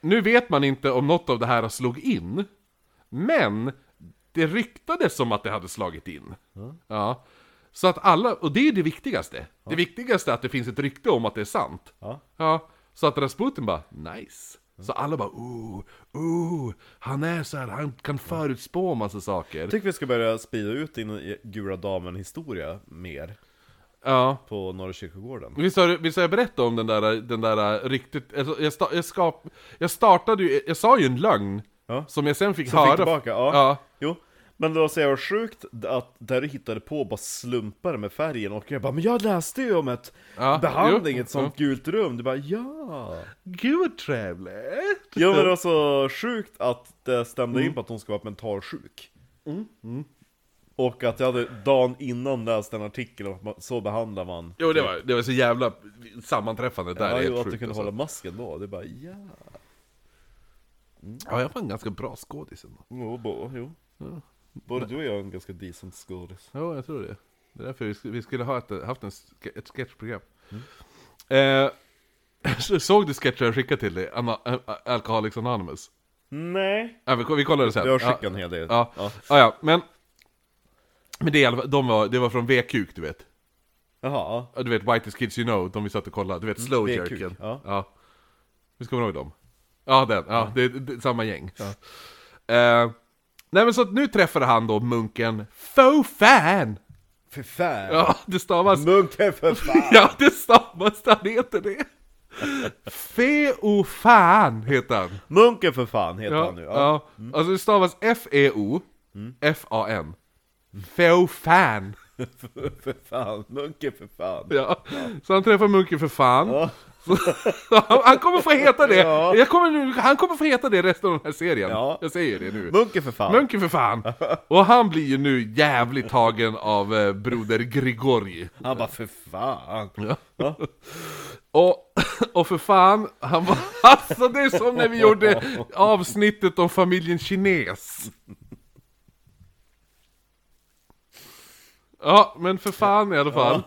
nu vet man inte om något av det här slog in, men det ryktades som att det hade slagit in. Ja. Så att alla, och det är det viktigaste. Det viktigaste är att det finns ett rykte om att det är sant. Ja. Så att Rasputin bara, nice. Så alla bara, ooh, ooh, han är så här, han kan förutspå massa saker. Jag tycker vi ska börja sprida ut din Gula Damen-historia mer Ja. på Norra Kyrkogården. Visst har, du- visst har jag berättat om den där, den där ryktet? Alltså, jag, sta, jag, skap, jag startade ju, jag sa ju en lögn Ja. Som jag sen fick Som höra fick tillbaka, ja. Ja. Jo. Men det var så jävla sjukt att där du hittade på bara slumpar med färgen och jag bara 'Men jag läste ju om ett Ja, behandling, jo, Mm. ett sånt gult rum' Du bara 'Ja' Gud vad trevligt! Ja men det var så sjukt att det stämde Mm. in på att hon ska vara mentalsjuk Och att jag hade dagen innan läst en artikel om att man- så behandlar man Jo det var, det var så jävla sammanträffande där, Ja, det jo, är helt att du sjukt kunde alltså. hålla masken då, det är bara ja. Ja, jag var en ganska bra skådis ändå Jo, bo, jo. Både du och jag är en ganska decent skådis. Jo, jag tror det Det är därför vi, sk- vi skulle ha ett, haft en, ske- ett sketchprogram Mm. eh, så- Såg du sketchen jag skickade till dig? Ana, Ä- Ä- Alcoholics Anonymous? Nej. Ja, vi, vi kollar det sen Jag har skickat ja, en hel del. ja. Ja. ja, men Men det, är i alla fall- de var, det var från V-kuk du vet Jaha. Ja, Du vet White is Kids You Know, de vi satt och kollade, du vet Slow det är kul, Jerken. ja. Mm, Ja. Vi kommer ihåg dem. Ja, den. Ja, Det, det, samma gäng. Eh, nej men så att nu träffar han då munken Fofan! För fan. Ja, det stavas... Munken för fan. Ja, det stavas, han heter det! Feofan heter han. Munken för fan heter Ja, Mm. han nu. Ja. ja. Alltså det stavas F-E-O, F-A-N. Feofan! för fan. Munken för fan. Ja. Så han träffar munken för fan. Så, han, han kommer få heta det! Ja. Jag kommer, nu- han kommer få heta det resten av den här serien. Ja. Jag säger det nu. Munken för fan. Munken för fan! Och han blir ju nu jävligt tagen av eh, broder Grigori. Han bara för fan. Och, och för fan, han var, alltså det är som när vi gjorde avsnittet om familjen kines. Ja, men för fan i alla fall.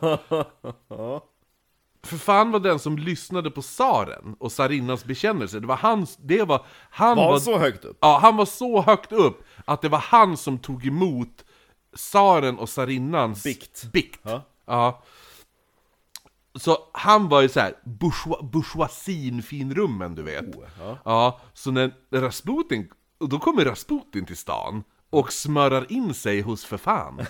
För fan var den som lyssnade på tsaren och tsarinnans bekännelse. Det var hans, det var, han Var han så högt upp? Ja, han var så högt upp att det var han som tog emot tsaren och tsarinnans Bikt. bikt. Ja. Ja. Så han var ju såhär bourgeois, bourgeoisin-finrummen, du vet. Oh, ja. så när Rasputin, och då kommer Rasputin till stan och smörar in sig hos för fan.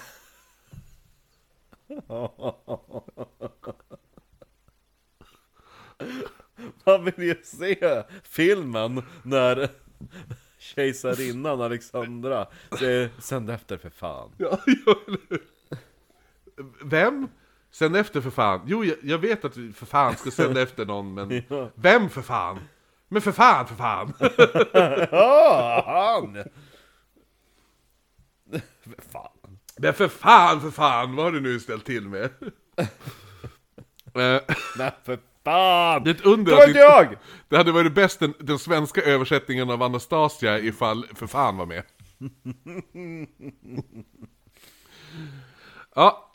Man vill ju se filmen när kejsarinnan Alexandra säger sänd efter för fan. Ja, ja, eller hur? Vem? Sen efter för fan. Jo, jag, jag vet att vi för fan ska sända efter någon, men vem för fan? Men för fan, för fan! Ja, han! För fan. Men för fan, för fan, vad har du nu ställt till med? Eh, Nej, för fan! det är ett under Det var att inte inte- jag! Det hade varit bäst den, den svenska översättningen av Anastasia ifall för fan var med. ja,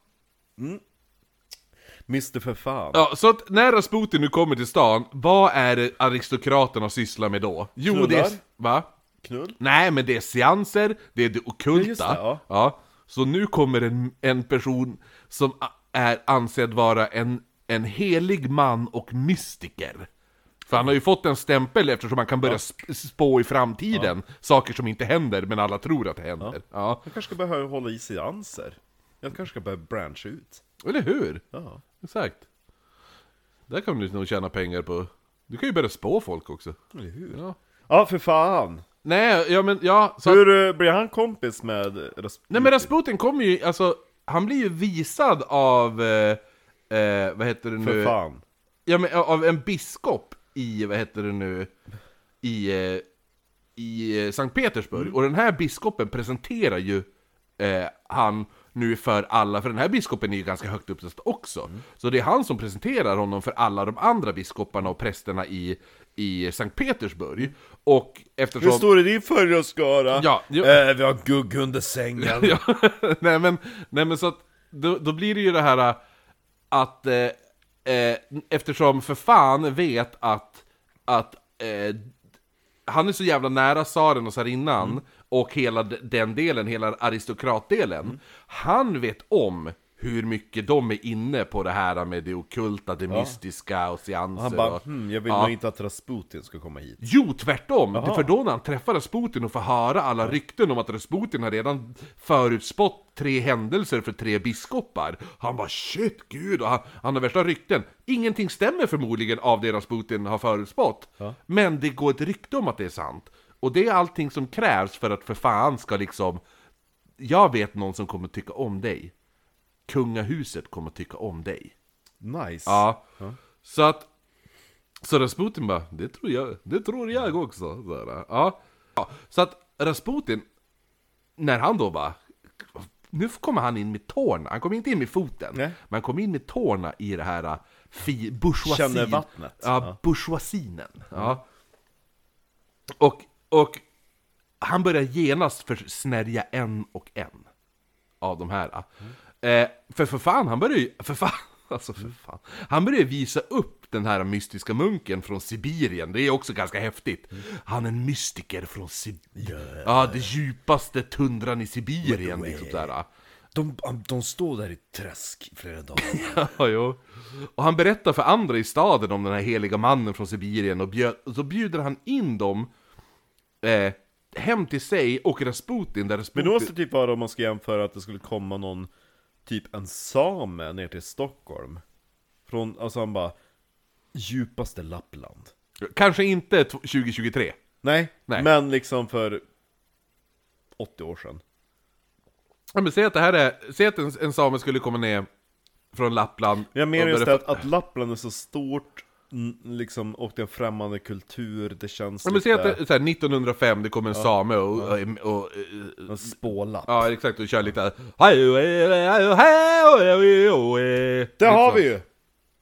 Mr för fan. ja, så att när Rasputin nu kommer till stan, vad är det aristokraterna sysslar med då? Jo, det är... Knullar. Va? Knull? Nej, men det är seanser, det är det ockulta. Ja, just det, ja. Så nu kommer en, en person som a- är ansedd vara en, en helig man och mystiker. För han har ju fått en stämpel eftersom han kan börja sp- spå i framtiden saker som inte händer, men alla tror att det händer. Ja. Jag kanske ska börja hålla i seanser. Jag kanske ska börja brancha ut. Eller hur? Ja. Exakt. Där kan du nog tjäna pengar på. Du kan ju börja spå folk också. Eller hur? Ja. Ja, för fan! Nej, ja men ja... Så Hur eh, blir han kompis med Rasputin? Nej men Rasputin kommer ju, alltså, han blir ju visad av, eh, eh, vad heter det nu? För fan. Ja men av en biskop i, vad heter det nu, i, eh, Mm. i eh, Sankt Petersburg. Och den här biskopen presenterar ju eh, han nu för alla, för den här biskopen är ju ganska högt uppsatt också. Mm. Så det är han som presenterar honom för alla de andra biskoparna och prästerna i, i Sankt Mm. Petersburg. Och eftersom... Hur står det i din följarskara? Ja, jo. eh, vi har gugg under sängen. Ja. nej, men, nej men så att, då, då blir det ju det här äh, att eh, eh, eftersom för fan vet att, att eh, han är så jävla nära tsaren och tsarinnan Mm. och hela d- den delen, hela aristokratdelen. Mm. Han vet om hur mycket de är inne på det här med det okulta, det mystiska och seanser. Han bara, och, hm, jag vill nog inte att Rasputin ska komma hit. Jo, tvärtom! För då när han träffar Rasputin och får höra alla rykten om att Rasputin har redan förutspått tre händelser för tre biskopar. Han bara shit, gud, och han, han har värsta rykten. Ingenting stämmer förmodligen av det Rasputin har förutspått. Men det går ett rykte om att det är sant. Och det är allting som krävs för att för fan ska liksom... Jag vet någon som kommer tycka om dig. Kungahuset kommer tycka om dig. Nice. Ja. Så att... Så Rasputin bara, det tror jag, det tror jag också. Så, här, ja. Ja. så att Rasputin, när han då bara... Nu kommer han in med tårna, han kommer inte in med foten. Nej. Men han kommer in med tårna i det här eh, fi, bourgeoisin. Känner vattnet. Ja, Mm. bourgeoisinen. Ja. Och, och han börjar genast försnärja en och en av de här. Eh, för för fan, han börjar ju, för fan, alltså för fan. Han börjar visa upp den här mystiska munken från Sibirien, det är också ganska häftigt. Han är en mystiker från Sibirien. Mm. Ja, det djupaste tundran i Sibirien liksom sådär. De, de står där i träsk i flera dagar. Ja, jo. Och han berättar för andra i staden om den här heliga mannen från Sibirien och, bjöd, och så bjuder han in dem eh, hem till sig och Rasputin där Men Rasputin... det måste typ vara om man ska jämföra att det skulle komma någon, typ en same ner till Stockholm. Från, alltså han bara, djupaste Lappland. Kanske inte t- 2023. Nej, Nej. men liksom för 80 år sedan. Ja, men säg att det här är, säg att en, en same skulle komma ner från Lappland Jag menar och just det börja att, att Lappland är så stort, n- liksom, och det är en främmande kultur, det känns Ja, men säg lite... att det, så här, 1905, det kommer en same och, och, och, och En spålapp. Ja exakt, och kör lite Det Där har vi ju!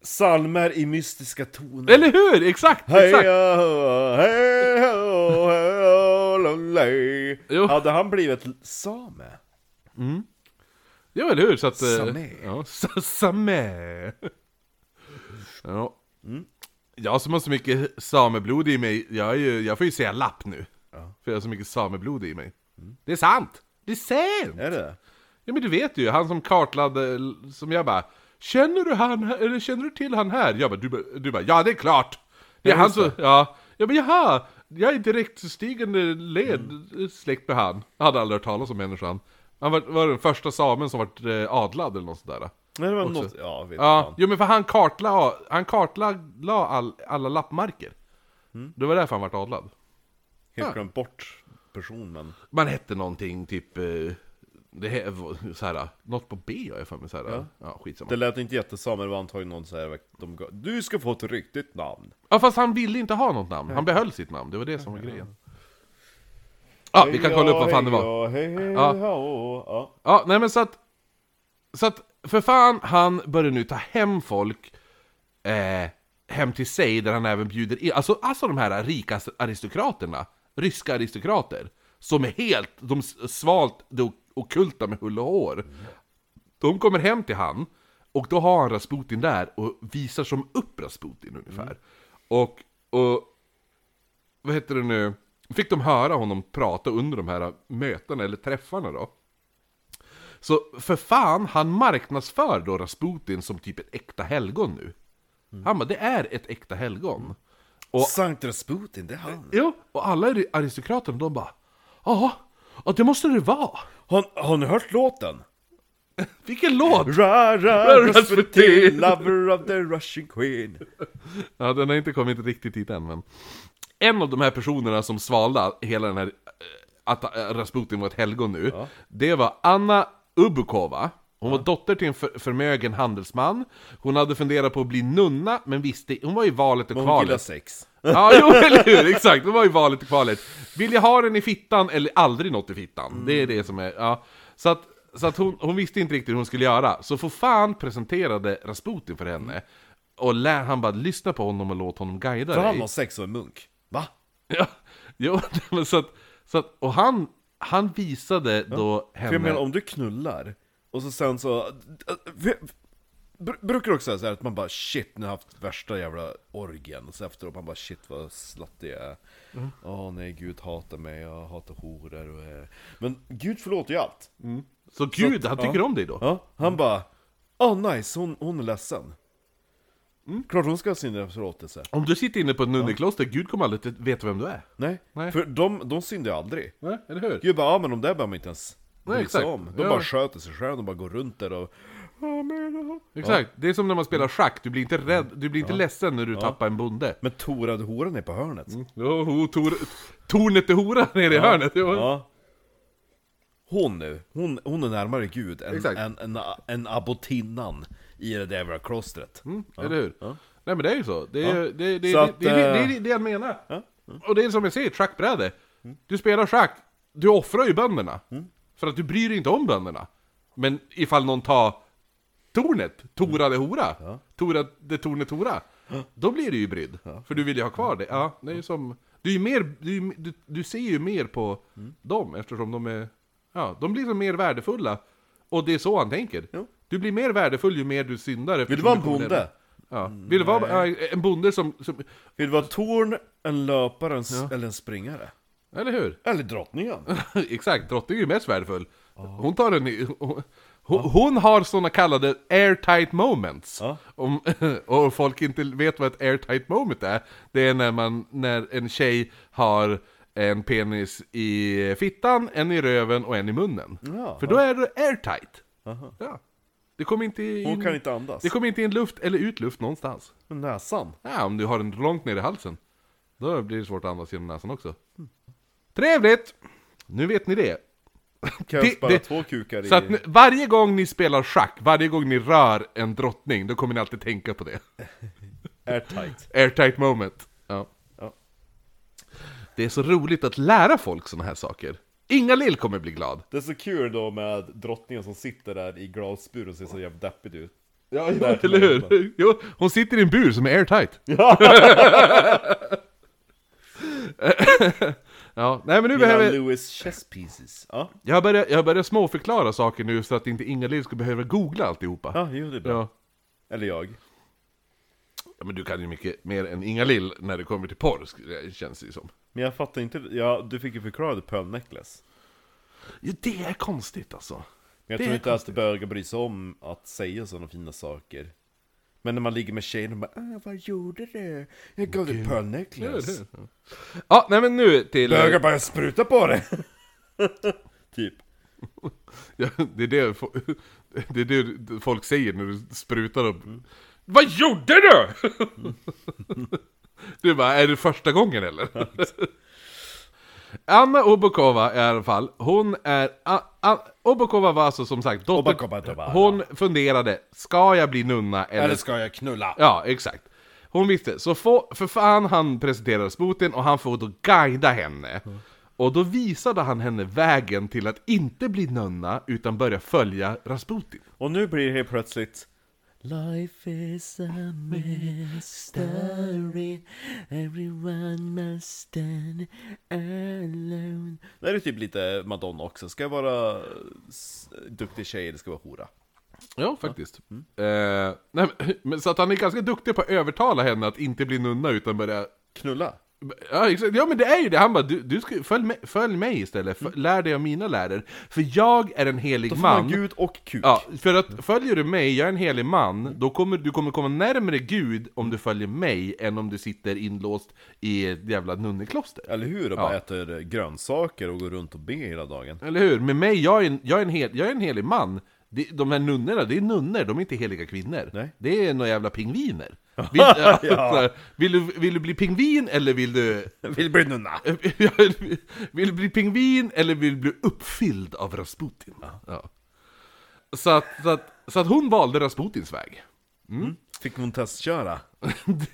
Salmer i mystiska toner. liksom. Eller hur! Exakt! Hej exakt. oh, hej oh, hej oh, lolej. Jo. Hade han blivit l- same? Ja eller hur! Så att, eh, Samé. Ja, sa- samé! Ja. Jag som har så mycket sameblod i mig, jag, är ju, jag får ju säga lapp nu. För jag har så mycket sameblod i mig. Mm. Det är sant! Det är sant! Är det Ja men du vet ju, han som kartlade, som jag bara Känner du han här, eller känner du till han här? Jag bara, du, bara- du bara, ja det är klart! Det är han som, ja, ja men jaha! Jag är direktstigande led, eh, släkt med han Jag hade aldrig hört talas om människan Han var, var den första samen som vart eh, adlad eller något sådär Nej, det var något... Ja, vet Ja, fan. jo men för han kartlade, han kartlade la all, alla lappmarker Det var därför han vart adlad Helt glömt bort personen. Man hette någonting typ, eh, det här, var så här, något på B har jag för mig såhär, ja. ja skitsamma Det lät inte jättesame, det var antagligen någon så här, de gav, Du ska få ett riktigt namn. Ja fast han ville inte ha något namn, han behöll sitt namn, det var det som var grejen Ja, vi kan kolla upp vad fan det var Ja, hej, hej, Ja. ja, ja. Ja, nej men så att Så att, för fan, han börjar nu ta hem folk eh, Hem till sig, där han även bjuder in Alltså, alltså de här rika aristokraterna Ryska aristokrater Som är helt, de s- svalt det okulta med hull och hår De kommer hem till han Och då har han Rasputin där och visar som upp Rasputin ungefär Och, och vad heter det nu, fick de höra honom prata under de här mötena, eller träffarna då. Så för fan, han marknadsför då Rasputin som typ ett äkta helgon nu. Han bara, det är ett äkta helgon. Och, Sankt Rasputin, det är han. Mm. jo, och alla är- aristokraterna de bara, ja, ja det måste det vara. Har, har ni hört låten? Vilken låt! Ra, ra, Rasputin. Rasputin, lover of the Russian queen. Ja, den har inte kommit riktigt hit än, men... En av de här personerna som svalde hela den här... eh, Att eh, Rasputin var ett helgon nu, det var Anna Ubukova. Hon var dotter till en för, förmögen handelsman. Hon hade funderat på att bli nunna, men visste... Hon var i valet och Hon gillar kvalet. sex. Ja, jo, eller hur? Exakt, det var ju Mm. valet och kvalet. Vill jag ha den i fittan eller aldrig något i fittan? Det är det som är, ja. Så att Så att hon, hon visste inte riktigt hur hon skulle göra. Så för fan presenterade Rasputin för henne. Och lär, han bara lyssna på honom och låt honom guida För dig. han var sex och en munk. Va? Ja, jo, men så att, så att, och han, han visade då För jag henne... menar om du knullar, och så sen så... eh, Br- Brukar också säga så här att man bara shit, nu har jag haft värsta jävla orgien och så efteråt man bara shit vad sluttig jag är. Åh Mm. nej, Gud hatar mig, jag hatar horor och... eh. Men Gud förlåter ju allt. Så gud, han tycker om dig då? Ja, han bara, åh nice, hon, hon är ledsen. Mm. Klart hon ska ha sin förlåtelse. Om du sitter inne på ett nunnekloster, gud kommer aldrig att veta vem du är. Nej, Nej. för de, de syndar ju aldrig. Nej, eller hur? Gud bara, ja men de där behöver man inte ens bry sig exakt. om. De Ja. bara sköter sig själva, de bara går runt där och... "Ja, men, ja." Exakt, det är som när man spelar schack, du blir inte rädd, du blir inte ledsen när du tappar en bonde. Men Torad horan är på hörnet. Jo, ho, oh, tor, tornet är hora nere i hörnet. Jo. Ja. Hon nu, hon, hon är närmare Gud än, Exakt. än, än, än abbotinnan i det där jävla klostret. Mm, Eller hur? Nej men det är ju så. Det är ju- det- det- Så det- att, det är eh, Mm. det- det är det jag menar. Och det är som jag säger, schackbräde. Du spelar schack, du offrar ju bönderna. Mm. För att du bryr dig inte om bönderna. Men ifall någon tar tornet, Tora Mm. det hora, Tora det tornet hora. Då blir du ju brydd. För du vill ju ha kvar det. Ja, det är ju som... Du, är ju mer, du, är ju- du, du ser ju mer på Mm. dem eftersom de är... Ja, de blir så mer värdefulla. Och det är så han tänker. Du blir mer värdefull ju mer du syndar. Vill du eftersom vara en kommer bonde? ner- Ja. Vill du vara ja, en bonde som, som... Vill du vara torn, en löpare en, s- eller en springare? Eller hur? Eller drottningen? Exakt, drottningen är ju mest värdefull. Hon tar en... ny- Hon, hon- hon har såna kallade airtight moments. Ja. Om, och folk inte vet vad ett airtight moment är. Det är när, man, när en tjej har en penis i fittan, en i röven och en i munnen. Ja. För då är det airtight. Ja. Det kommer inte in, Hon kan inte andas. Det kommer inte in luft eller ut luft någonstans. Med näsan? Ja, om du har den långt ner i halsen. Då blir det svårt att andas genom näsan också. Mm. Trevligt! Nu vet ni det. Kan jag Det- spara det- två kukar Så i... att ni, varje gång ni spelar schack, varje gång ni rör en drottning, då kommer ni alltid tänka på det. Airtight. Airtight moment. Ja. Ja. Det är så roligt att lära folk såna här saker. Inga Lill kommer bli glad. Det är så kul då med drottningen som sitter där i glasbur och ser så jävligt deppig ut. Ja, eller hur? Jo, hon sitter i en bur som är airtight. Ja, nej men nu Mina behöver... Louis chess pieces. Ja, Jag börjar, jag börjar småförklara saker nu så att inte Inga-Lill ska behöva googla alltihopa. ja jo det är bra. Ja. Eller jag. ja, men du kan ju mycket mer än Inga-Lill när det kommer till porr, sk- känns det ju som. Men jag fattar inte, ja, du fick ju förklara det Pearl Necklace. Ja, det är konstigt alltså. Men jag Det tror är inte att bögar bryr sig om att säga sådana fina saker. Men när man ligger med tjejen och bara "Ah, vad gjorde du? Jag gav dig Pearl Necklace. Ja, nej men nu till... eh, Bögar bara "Jag sprutar på det! typ. Ja, det, är det, fo- det är det folk säger när du sprutar upp. Vad gjorde du? du bara, är det första gången eller? Anna Obokova i alla fall, hon är... A, a, Obokova var alltså som sagt Obokova, det var dotter... Anna. Hon funderade, ska jag bli nunna eller... Eller ska jag knulla? Ja, exakt. Hon visste, så få, för fan han presenterar Rasputin och han får då guida henne. Och då visade han henne vägen till att inte bli nunna utan börja följa Rasputin. Och nu blir det helt plötsligt Life is a mystery. Everyone must stand alone. Det här är typ lite Madonna också, ska jag vara eh, s- duktig tjej eller ska jag vara hora? Ja, faktiskt. Eh, nej, men- men, så att han är ganska duktig på att övertala henne att inte bli nunna utan börja... Knulla? Ja, exakt. ja men det är ju det, han bara du, du ska, följ, mig, följ mig istället, F- lär dig av mina läror. För jag är en helig Mm. Då får man man. Gud och kuk. Ja, för att följer du mig, jag är en helig man, då kommer du kommer komma närmare Gud om du följer mig än om du sitter inlåst i ett jävla nunnekloster. Eller hur? Och bara äter grönsaker och går runt och ber hela dagen. Eller hur? Med mig, jag är en, jag är en, hel, jag är en helig man. De, de här nunnorna, det är nunnor, de är inte heliga kvinnor. Nej. Det är några jävla pingviner. Vill, ja. så här, vill, du, vill du bli pingvin eller vill du... Vill bli nunna! vill du bli pingvin eller vill du bli uppfylld av Rasputin? Ja. Så, att, så, att, så att hon valde Rasputins väg. Mm. Fick hon testköra?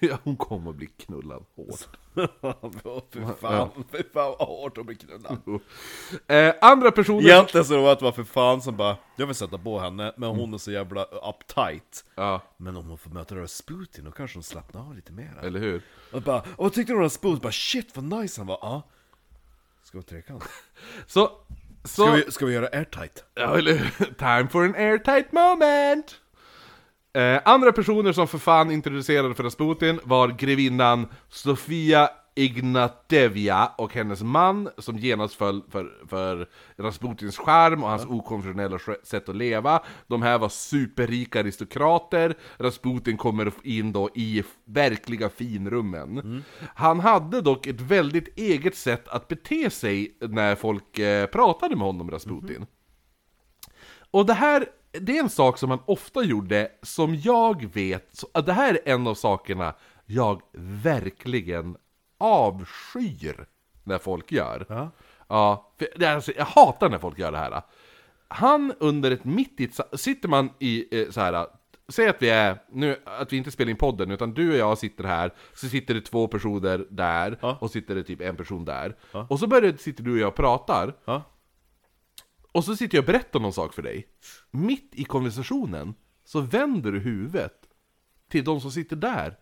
Det- Hon kommer bli knullad hårt. Åh, fy fan, fy fan vad hårt att bli Mm. knullad. Eh, andra personer... Egentligen så var det bara för fan som bara, jag vill sätta på henne, men Mm. hon är så jävla uptight. Ja, Men om hon får möta Rasputin, då kanske hon slappnar av lite mer. eller hur? Och bara, "Åh, vad tyckte du om Rasputin? Bara shit vad nice han var, ja. Ska vi ha trekant? Så... så Ska vi, ska vi göra airtight? Ja, eller Time for an airtight moment! Eh, andra personer som för fan introducerade för Rasputin var grevinnan Sofia Ignatevja och hennes man som genast föll för, för Rasputins charm och hans okonventionella sjö- sätt att leva. De här var superrika aristokrater. Rasputin kommer in då i verkliga finrummen. Han hade dock ett väldigt eget sätt att bete sig när folk eh, pratade med honom, Rasputin. Och det här, det är en sak som han ofta gjorde, som jag vet, så, att det här är en av sakerna jag verkligen avskyr när folk gör. Ja. Ja, för, det är alltså, jag hatar när folk gör det här. Han under ett mitt i ett, sa- sitter man i eh, så här, säg att vi är, nu, att vi inte spelar in podden, utan du och jag sitter här, så sitter det två personer där, och sitter det typ en person där. Och så börjar, sitter du och jag och pratar, och så sitter jag och berättar någon sak för dig. Mitt i konversationen så vänder du huvudet till de som sitter där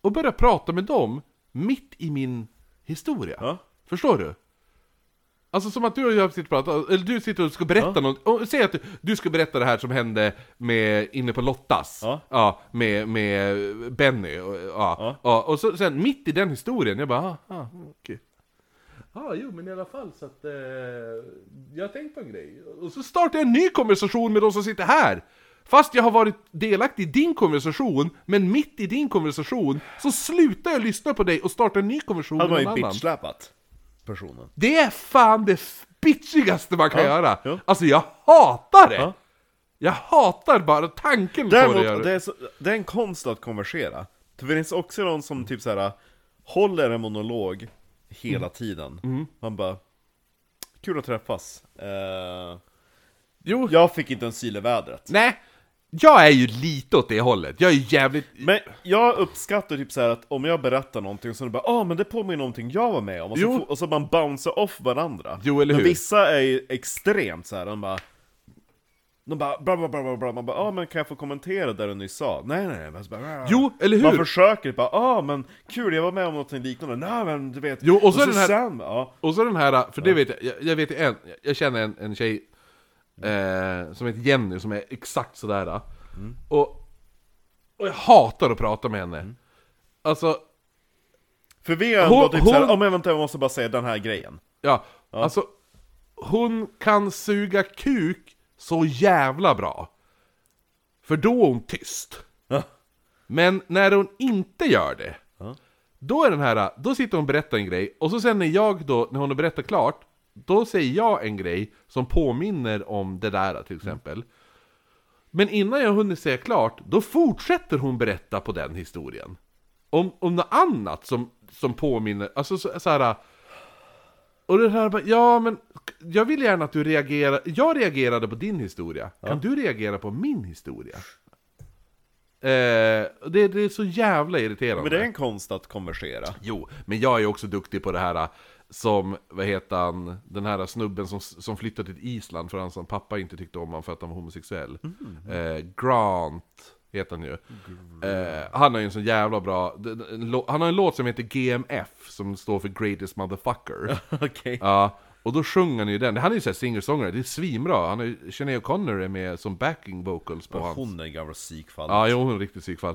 och börjar prata med dem mitt i min historia. Ja. Förstår du? Alltså som att du och jag sitter och pratar, eller du sitter och ska berätta något, och säg att du, du ska berätta det här som hände med, inne på Lottas, Ja. med, med Benny, och, ja, ja. och så, sen mitt i den historien, jag bara, ah, ah, okej. Ja, ah, jo men i alla fall så att eh, jag har tänkt på en grej. Och så startar jag en ny konversation med de som sitter här! Fast jag har varit delaktig i din konversation, men mitt i din konversation så slutar jag lyssna på dig och startar en ny konversation med Hade man någon ju annan. bitchsläpat personen. Det är fan det bitchigaste man kan Ja, göra! ja. Alltså jag hatar det! Ja. Jag hatar bara tanken på det. Däremot, det det... är, så, det är en konst att konversera. Det finns också någon som typ så här håller en monolog hela Mm. tiden. Man bara, kul att träffas. Eh, Jo, jag fick inte en syl i vädret. nej. Jag är ju lite åt det hållet. Jag är jävligt... Men jag uppskattar typ så här att om jag berättar någonting så är det bara ah men det påminner om någonting jag var med om och så, Jo. får- och så man bouncer off varandra Jo, eller Men hur? vissa är ju extremt så här, de bara De bara bla bla bla bla bla, man bara ah men kan jag få kommentera det du nyss sa? Nej nej nej, men så bara, "Ah." Jo, eller Man hur? försöker bara ah men kul jag var med om någonting liknande, nej men du vet Jo, och så är den här- Sam, ja. Och så den här, för det vet jag, jag, jag vet ju en, jag känner en, en tjej eh, som heter Jenny som är exakt sådär. Mm. Och, och jag hatar att prata med henne. Alltså, För vi är Hon- ändå typ såhär, hon- ah men vänta jag måste bara säga den här grejen ja, alltså hon kan suga kuk så jävla bra. För då är hon tyst. Ja. Men när hon inte gör det, då är den här, då sitter hon och berättar en grej, och så sen när jag då, när hon har berättat klart, då säger jag en grej som påminner om det där till Mm. exempel. Men innan jag hunnit säga klart, då fortsätter hon berätta på den historien. Om, om något annat som, som påminner, alltså så, så här. Och det här bara, ja men jag vill gärna att du reagerar, jag reagerade på din historia, kan du reagera på min historia? Eh, och det, det är så jävla irriterande. Men det är en konst att konversera Jo, men jag är också duktig på det här äh, som, vad heter han, den här snubben som, som flyttade till Island för han som pappa inte tyckte om honom för att han var homosexuell. Eh, Grant heter han ju. Eh, han har ju en så jävla bra, d- d- en lå- han har en låt som heter GMF som står för Greatest Motherfucker. Okej Ja, och då sjunger han ju den. Han är ju såhär singer-songwriter, det är svinbra. Han är, ju- Sinead O'Connor är med som backing vocals på hans... Hon är en gammal psykfall Ja, jo, hon är en riktig psykfall.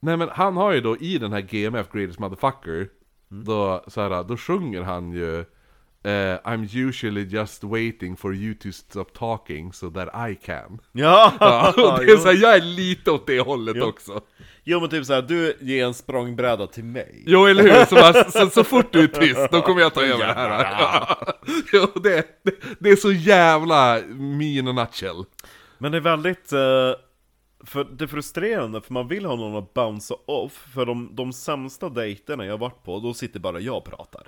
Nej men han har ju då i den här GMF, Greatest Motherfucker, då, så här, då sjunger han ju eh, I'm usually just waiting for you to stop talking so that I can. Ja! Ja, och det är så här, jag är lite åt det hållet också. Jo men typ såhär, du ger en språngbräda till mig Jo, eller hur? Så, bara, så, så fort du är tyst, då kommer jag ta över det här. Ja. Jo, det, det, det är så jävla me in a nutshell. Men det är väldigt, eh, för det är frustrerande för man vill ha någon att bounce off För de, de sämsta dejterna jag har varit på, då sitter bara jag och pratar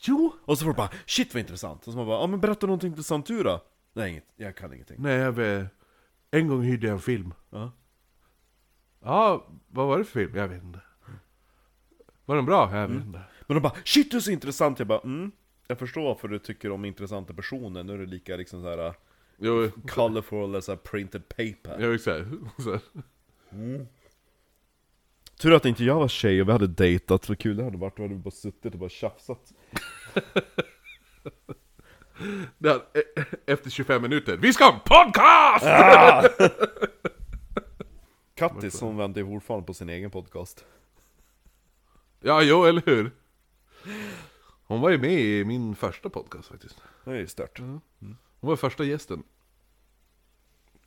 Jo, Och så får du bara 'Shit vad intressant' Och så man bara 'Ja men berätta någonting intressant du då' Nej inget, jag kan ingenting Nej, jag vet. En gång hyrde jag en film. Ja. Ja, vad var det för film? Jag vet inte. Var den bra? Jag vet inte. Men de bara 'Shit du är så intressant' Jag bara mm, jag förstår varför du tycker om intressanta personer, nu är det lika liksom såhär Jo, colorful eller såhär printed paper jag vet inte. Så här. Tur att inte jag var tjej och vi hade dejtat, vad kul det hade varit, då hade vi bara suttit och bara tjafsat Där, e- efter 25 minuter. Vi ska ha en podcast! Kattis som väntar ju fortfarande på sin egen podcast Ja, jo, eller hur? Hon var ju med i min första podcast faktiskt. Det är ju stört Mm. Hon var första gästen.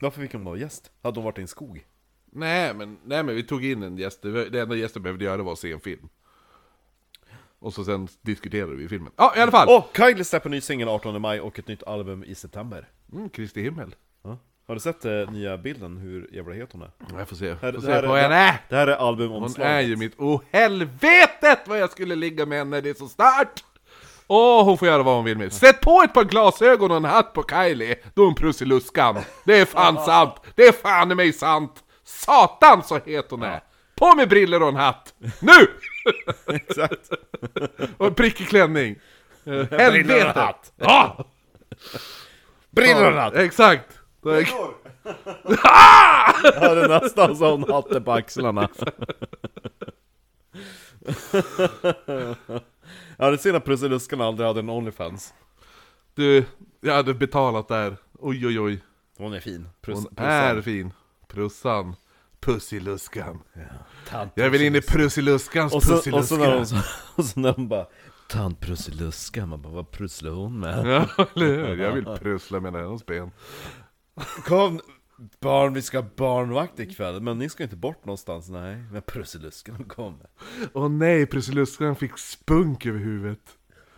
Varför fick hon vara gäst? Hade hon varit i en skog? Nej men, nej, men vi tog in en gäst. Det var- det enda gästen behövde göra var att se en film. Och så sen diskuterade vi filmen. Ja, i alla fall! Åh! Oh, Kylie släpper ny singel 18 maj och ett nytt album i september Mm, Kristi himmel. Ja. Har du sett eh, nya bilden, hur jävla het hon är? Jag får se, Här- får det här se på är- henne! Det här är Hon albumomslaget är ju mitt... Oh, helvetet vad jag skulle ligga med henne, det är så starkt! Åh, hon får göra vad hon vill med. Sätt på ett par glasögon och en hatt på Kylie, då är hon Prussiluskan. Det är fan sant! Det är fan i mig sant! Satan så het hon är! På med briller och en hatt! Nu! Exakt! Och en prickig klänning! Helvete! hatt. Ja! Brillorna! Exakt! Då är- Ja, det är nästan så hon hade på axlarna. ja, det är synd att Prussiluskan aldrig hade en Onlyfans. Du, jag hade betalat där. Oj oj oj. Hon är fin. Hon är fin. Prussan. Pussiluskan. tant Jag vill in i Prussiluskans och, så, och, så när hon, Prussiluska. och så när hon bara Tant Prussiluskan, man bara vad prusslar hon med? Ja, eller hur? Jag vill prussla med hennes ben. Kom barn, vi ska ha barnvakt ikväll, men ni ska inte bort någonstans, nej. Men Prussiluskan kommer. Åh nej, Prussiluskan fick spunk över huvudet.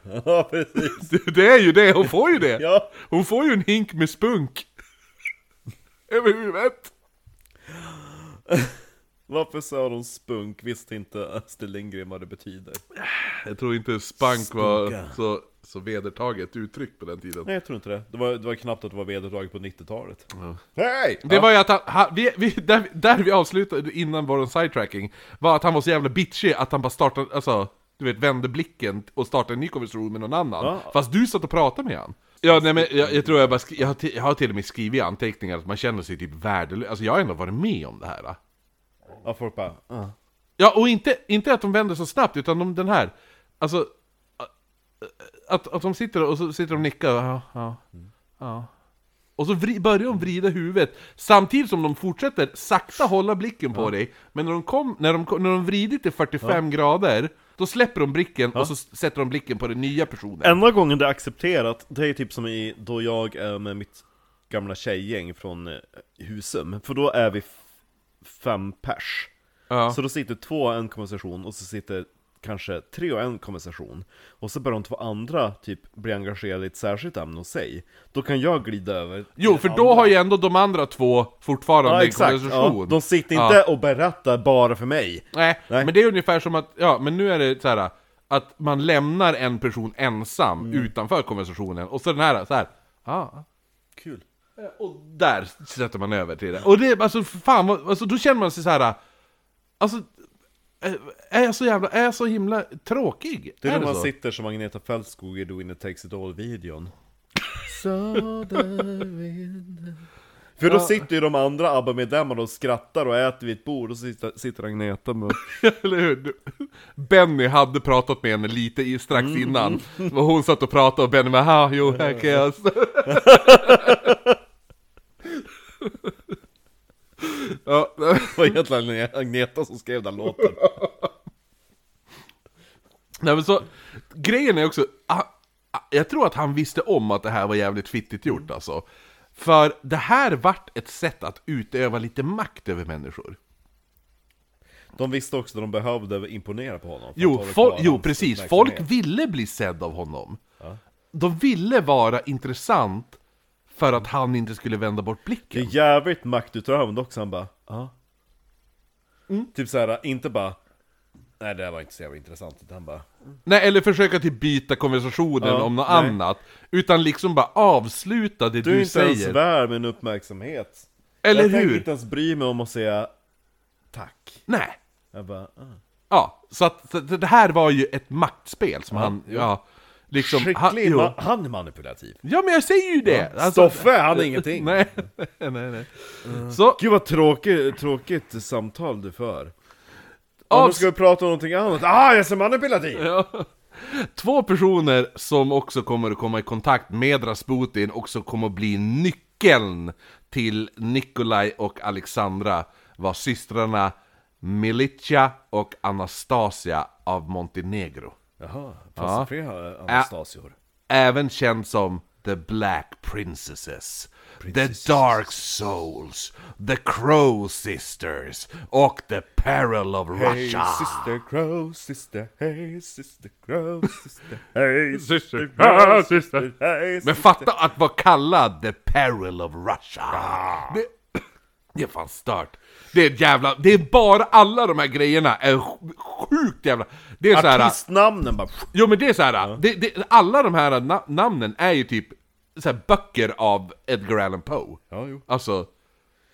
Ja, precis. Det- Det är ju det, hon får ju det! Ja. Hon får ju en hink med spunk. Över huvudet. Varför sa de spunk? Visste inte Astrid Lindgren vad det betyder. Jag tror inte spank var Spunka. så, så vedertaget uttryck på den tiden. Nej, jag tror inte det. Det var, det var knappt att det var vedertaget på 90-talet. Hej! Det var ju att han, han vi, vi, där, där vi avslutade innan vår sidetracking Var att han var så jävla bitchig att han bara startade, alltså Du vet, vände blicken och startade en ny konversation med någon annan Ja. Fast du satt och pratade med han Ja nej men jag, jag tror jag bara, skri- jag har, till, jag har till och med skrivit i anteckningar att man känner sig typ värdelös Alltså jag har ändå varit med om det här då. Ja, folk bara... "Ah." Ja och inte, inte att de vänder så snabbt utan de, den här Alltså äh, att, att de sitter och så sitter de och nickar, ja, ja, ja. Och så vri, börjar de vrida huvudet, samtidigt som de fortsätter sakta hålla blicken på dig Men när de, kom, när, de, kom- när de vridit till 45 grader, då släpper de blicken och så s- sätter de blicken på den nya personen Enda gången det är accepterat, det är typ som i, då jag är med mitt gamla tjejgäng från eh, Husum, för då är vi f- fem pers. Ja. Så då sitter två och en konversation, och så sitter kanske tre och en konversation. Och så börjar de två andra typ bli engagerade i ett särskilt ämne hos sig. Då kan jag glida över Jo, för då har ju ändå de andra två fortfarande Ja en exakt, konversation ja, de sitter Ja. inte och berättar bara för mig. Nej, Nej. men det är ungefär som att, ja, men nu är det så här att man lämnar en person ensam Mm. utanför konversationen och så den här så här. Ja. Kul. Och där sätter man över till det. Och det, är- alltså fan, vad- alltså, då känner man sig så här. Alltså, är- är jag så jävla, är jag så himla tråkig? Det är, när man så? sitter som Agneta Fältskog i Do In It Takes It All-videon. För då sitter ju de andra ABBA-medlemmarna och skrattar och äter vid ett bord och så sitter, sitter Agneta med... Eller hur? Du- Benny hade pratat med henne lite i, strax innan. Och hon satt och pratade och Benny bara "Ha, jo, här kan jag... stå." ja, Det var egentligen Agneta som skrev den låten. nej, men så, grejen är också, ah, ah, jag tror att han visste om att det här var jävligt fittigt gjort alltså. För det här vart ett sätt att utöva lite makt över människor. De visste också att de behövde imponera på honom. för Jo, att hålla fol- kvar jo hans precis. uppmärksamhet. Folk ville bli sedd av honom. De ville vara intressant för att han inte skulle vända bort Det blicken. är jävligt maktutövande också, han bara ja. Typ såhär, inte bara Nej det där var inte så jävla intressant, utan han bara Nej, eller försöka till byta konversationen Ja, om något nej. annat. Utan liksom bara avsluta det Du är du, inte ens säger. värd min uppmärksamhet. Eller jag tänker hur? inte ens bry mig om att säga tack. Nej. Jag bara, ah. Ja, så att så det här var ju ett maktspel som han, ja, liksom... han- Skicklig, jo. ma- han är manipulativ. ja men jag säger ju det! Alltså, Stoffe, han är ingenting. nej, nej, nej. Så, Gud vad tråkigt, tråkigt samtal du för. Ja, nu av ska vi prata om någonting annat. Ah, jag är så manipulativ! två personer som också kommer att komma i kontakt med Rasputin och som kommer att bli nyckeln till Nikolaj och Alexandra var systrarna Milica och Anastasia av Montenegro. Jaha, passar fler här, Anastasior. även känd som The Black Princesses, The Dark Souls, The Crow Sisters och The Peril of Hey Russia. sister crow, sister, hey sister crow, sister, hey Sister sister crow, crow, sister. sister, hey Men sister. fatta att vara kallad The Peril of Russia. Det, det är fan stört. Det är ett jävla, det är bara alla de här grejerna är sj- sjukt jävla... Det är så här, Artistnamnen bara... Jo men det är så här. Det, det, alla de här na- namnen är ju typ så här, böcker av Edgar Allan Poe. Ja, jo. Alltså,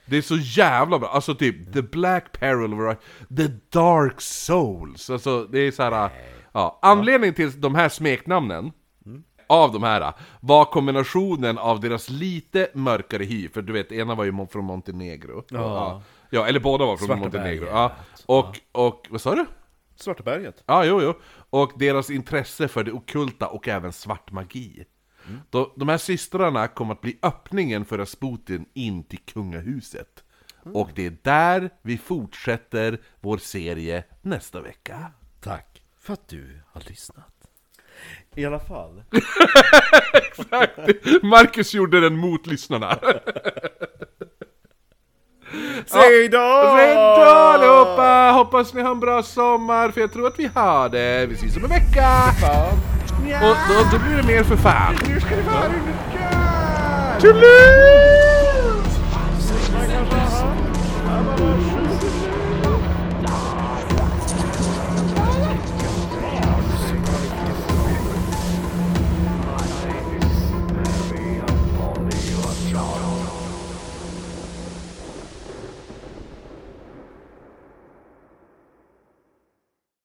det är så jävla bra. Alltså typ The Black Peril of Ri- The Dark Souls. Alltså det är så här. Ja, anledningen till de här smeknamnen av de här var kombinationen av deras lite mörkare hy, för du vet ena var ju mon- från Montenegro. Ja. Ja. eller båda var från Svarta Montenegro. berget. Ja. Och, och, vad sa du? Svarta berget. Ja, jo, jo. Och deras intresse för det okulta och även svart magi. Mm. De, de här systrarna kommer att bli öppningen för Rasputin in till kungahuset. Mm. Och det är där vi fortsätter vår serie nästa vecka. Tack för att du har lyssnat. I alla fall. Marcus gjorde den mot lyssnarna. Säg då! Hej då allihopa! Hoppas ni har en bra sommar, för jag tror att vi har det. Vi ses om en vecka! Och då, då blir det mer för fan. Nu ska ni få höra hur det går! Tjurlut! Man kan så här. Ja, man bara-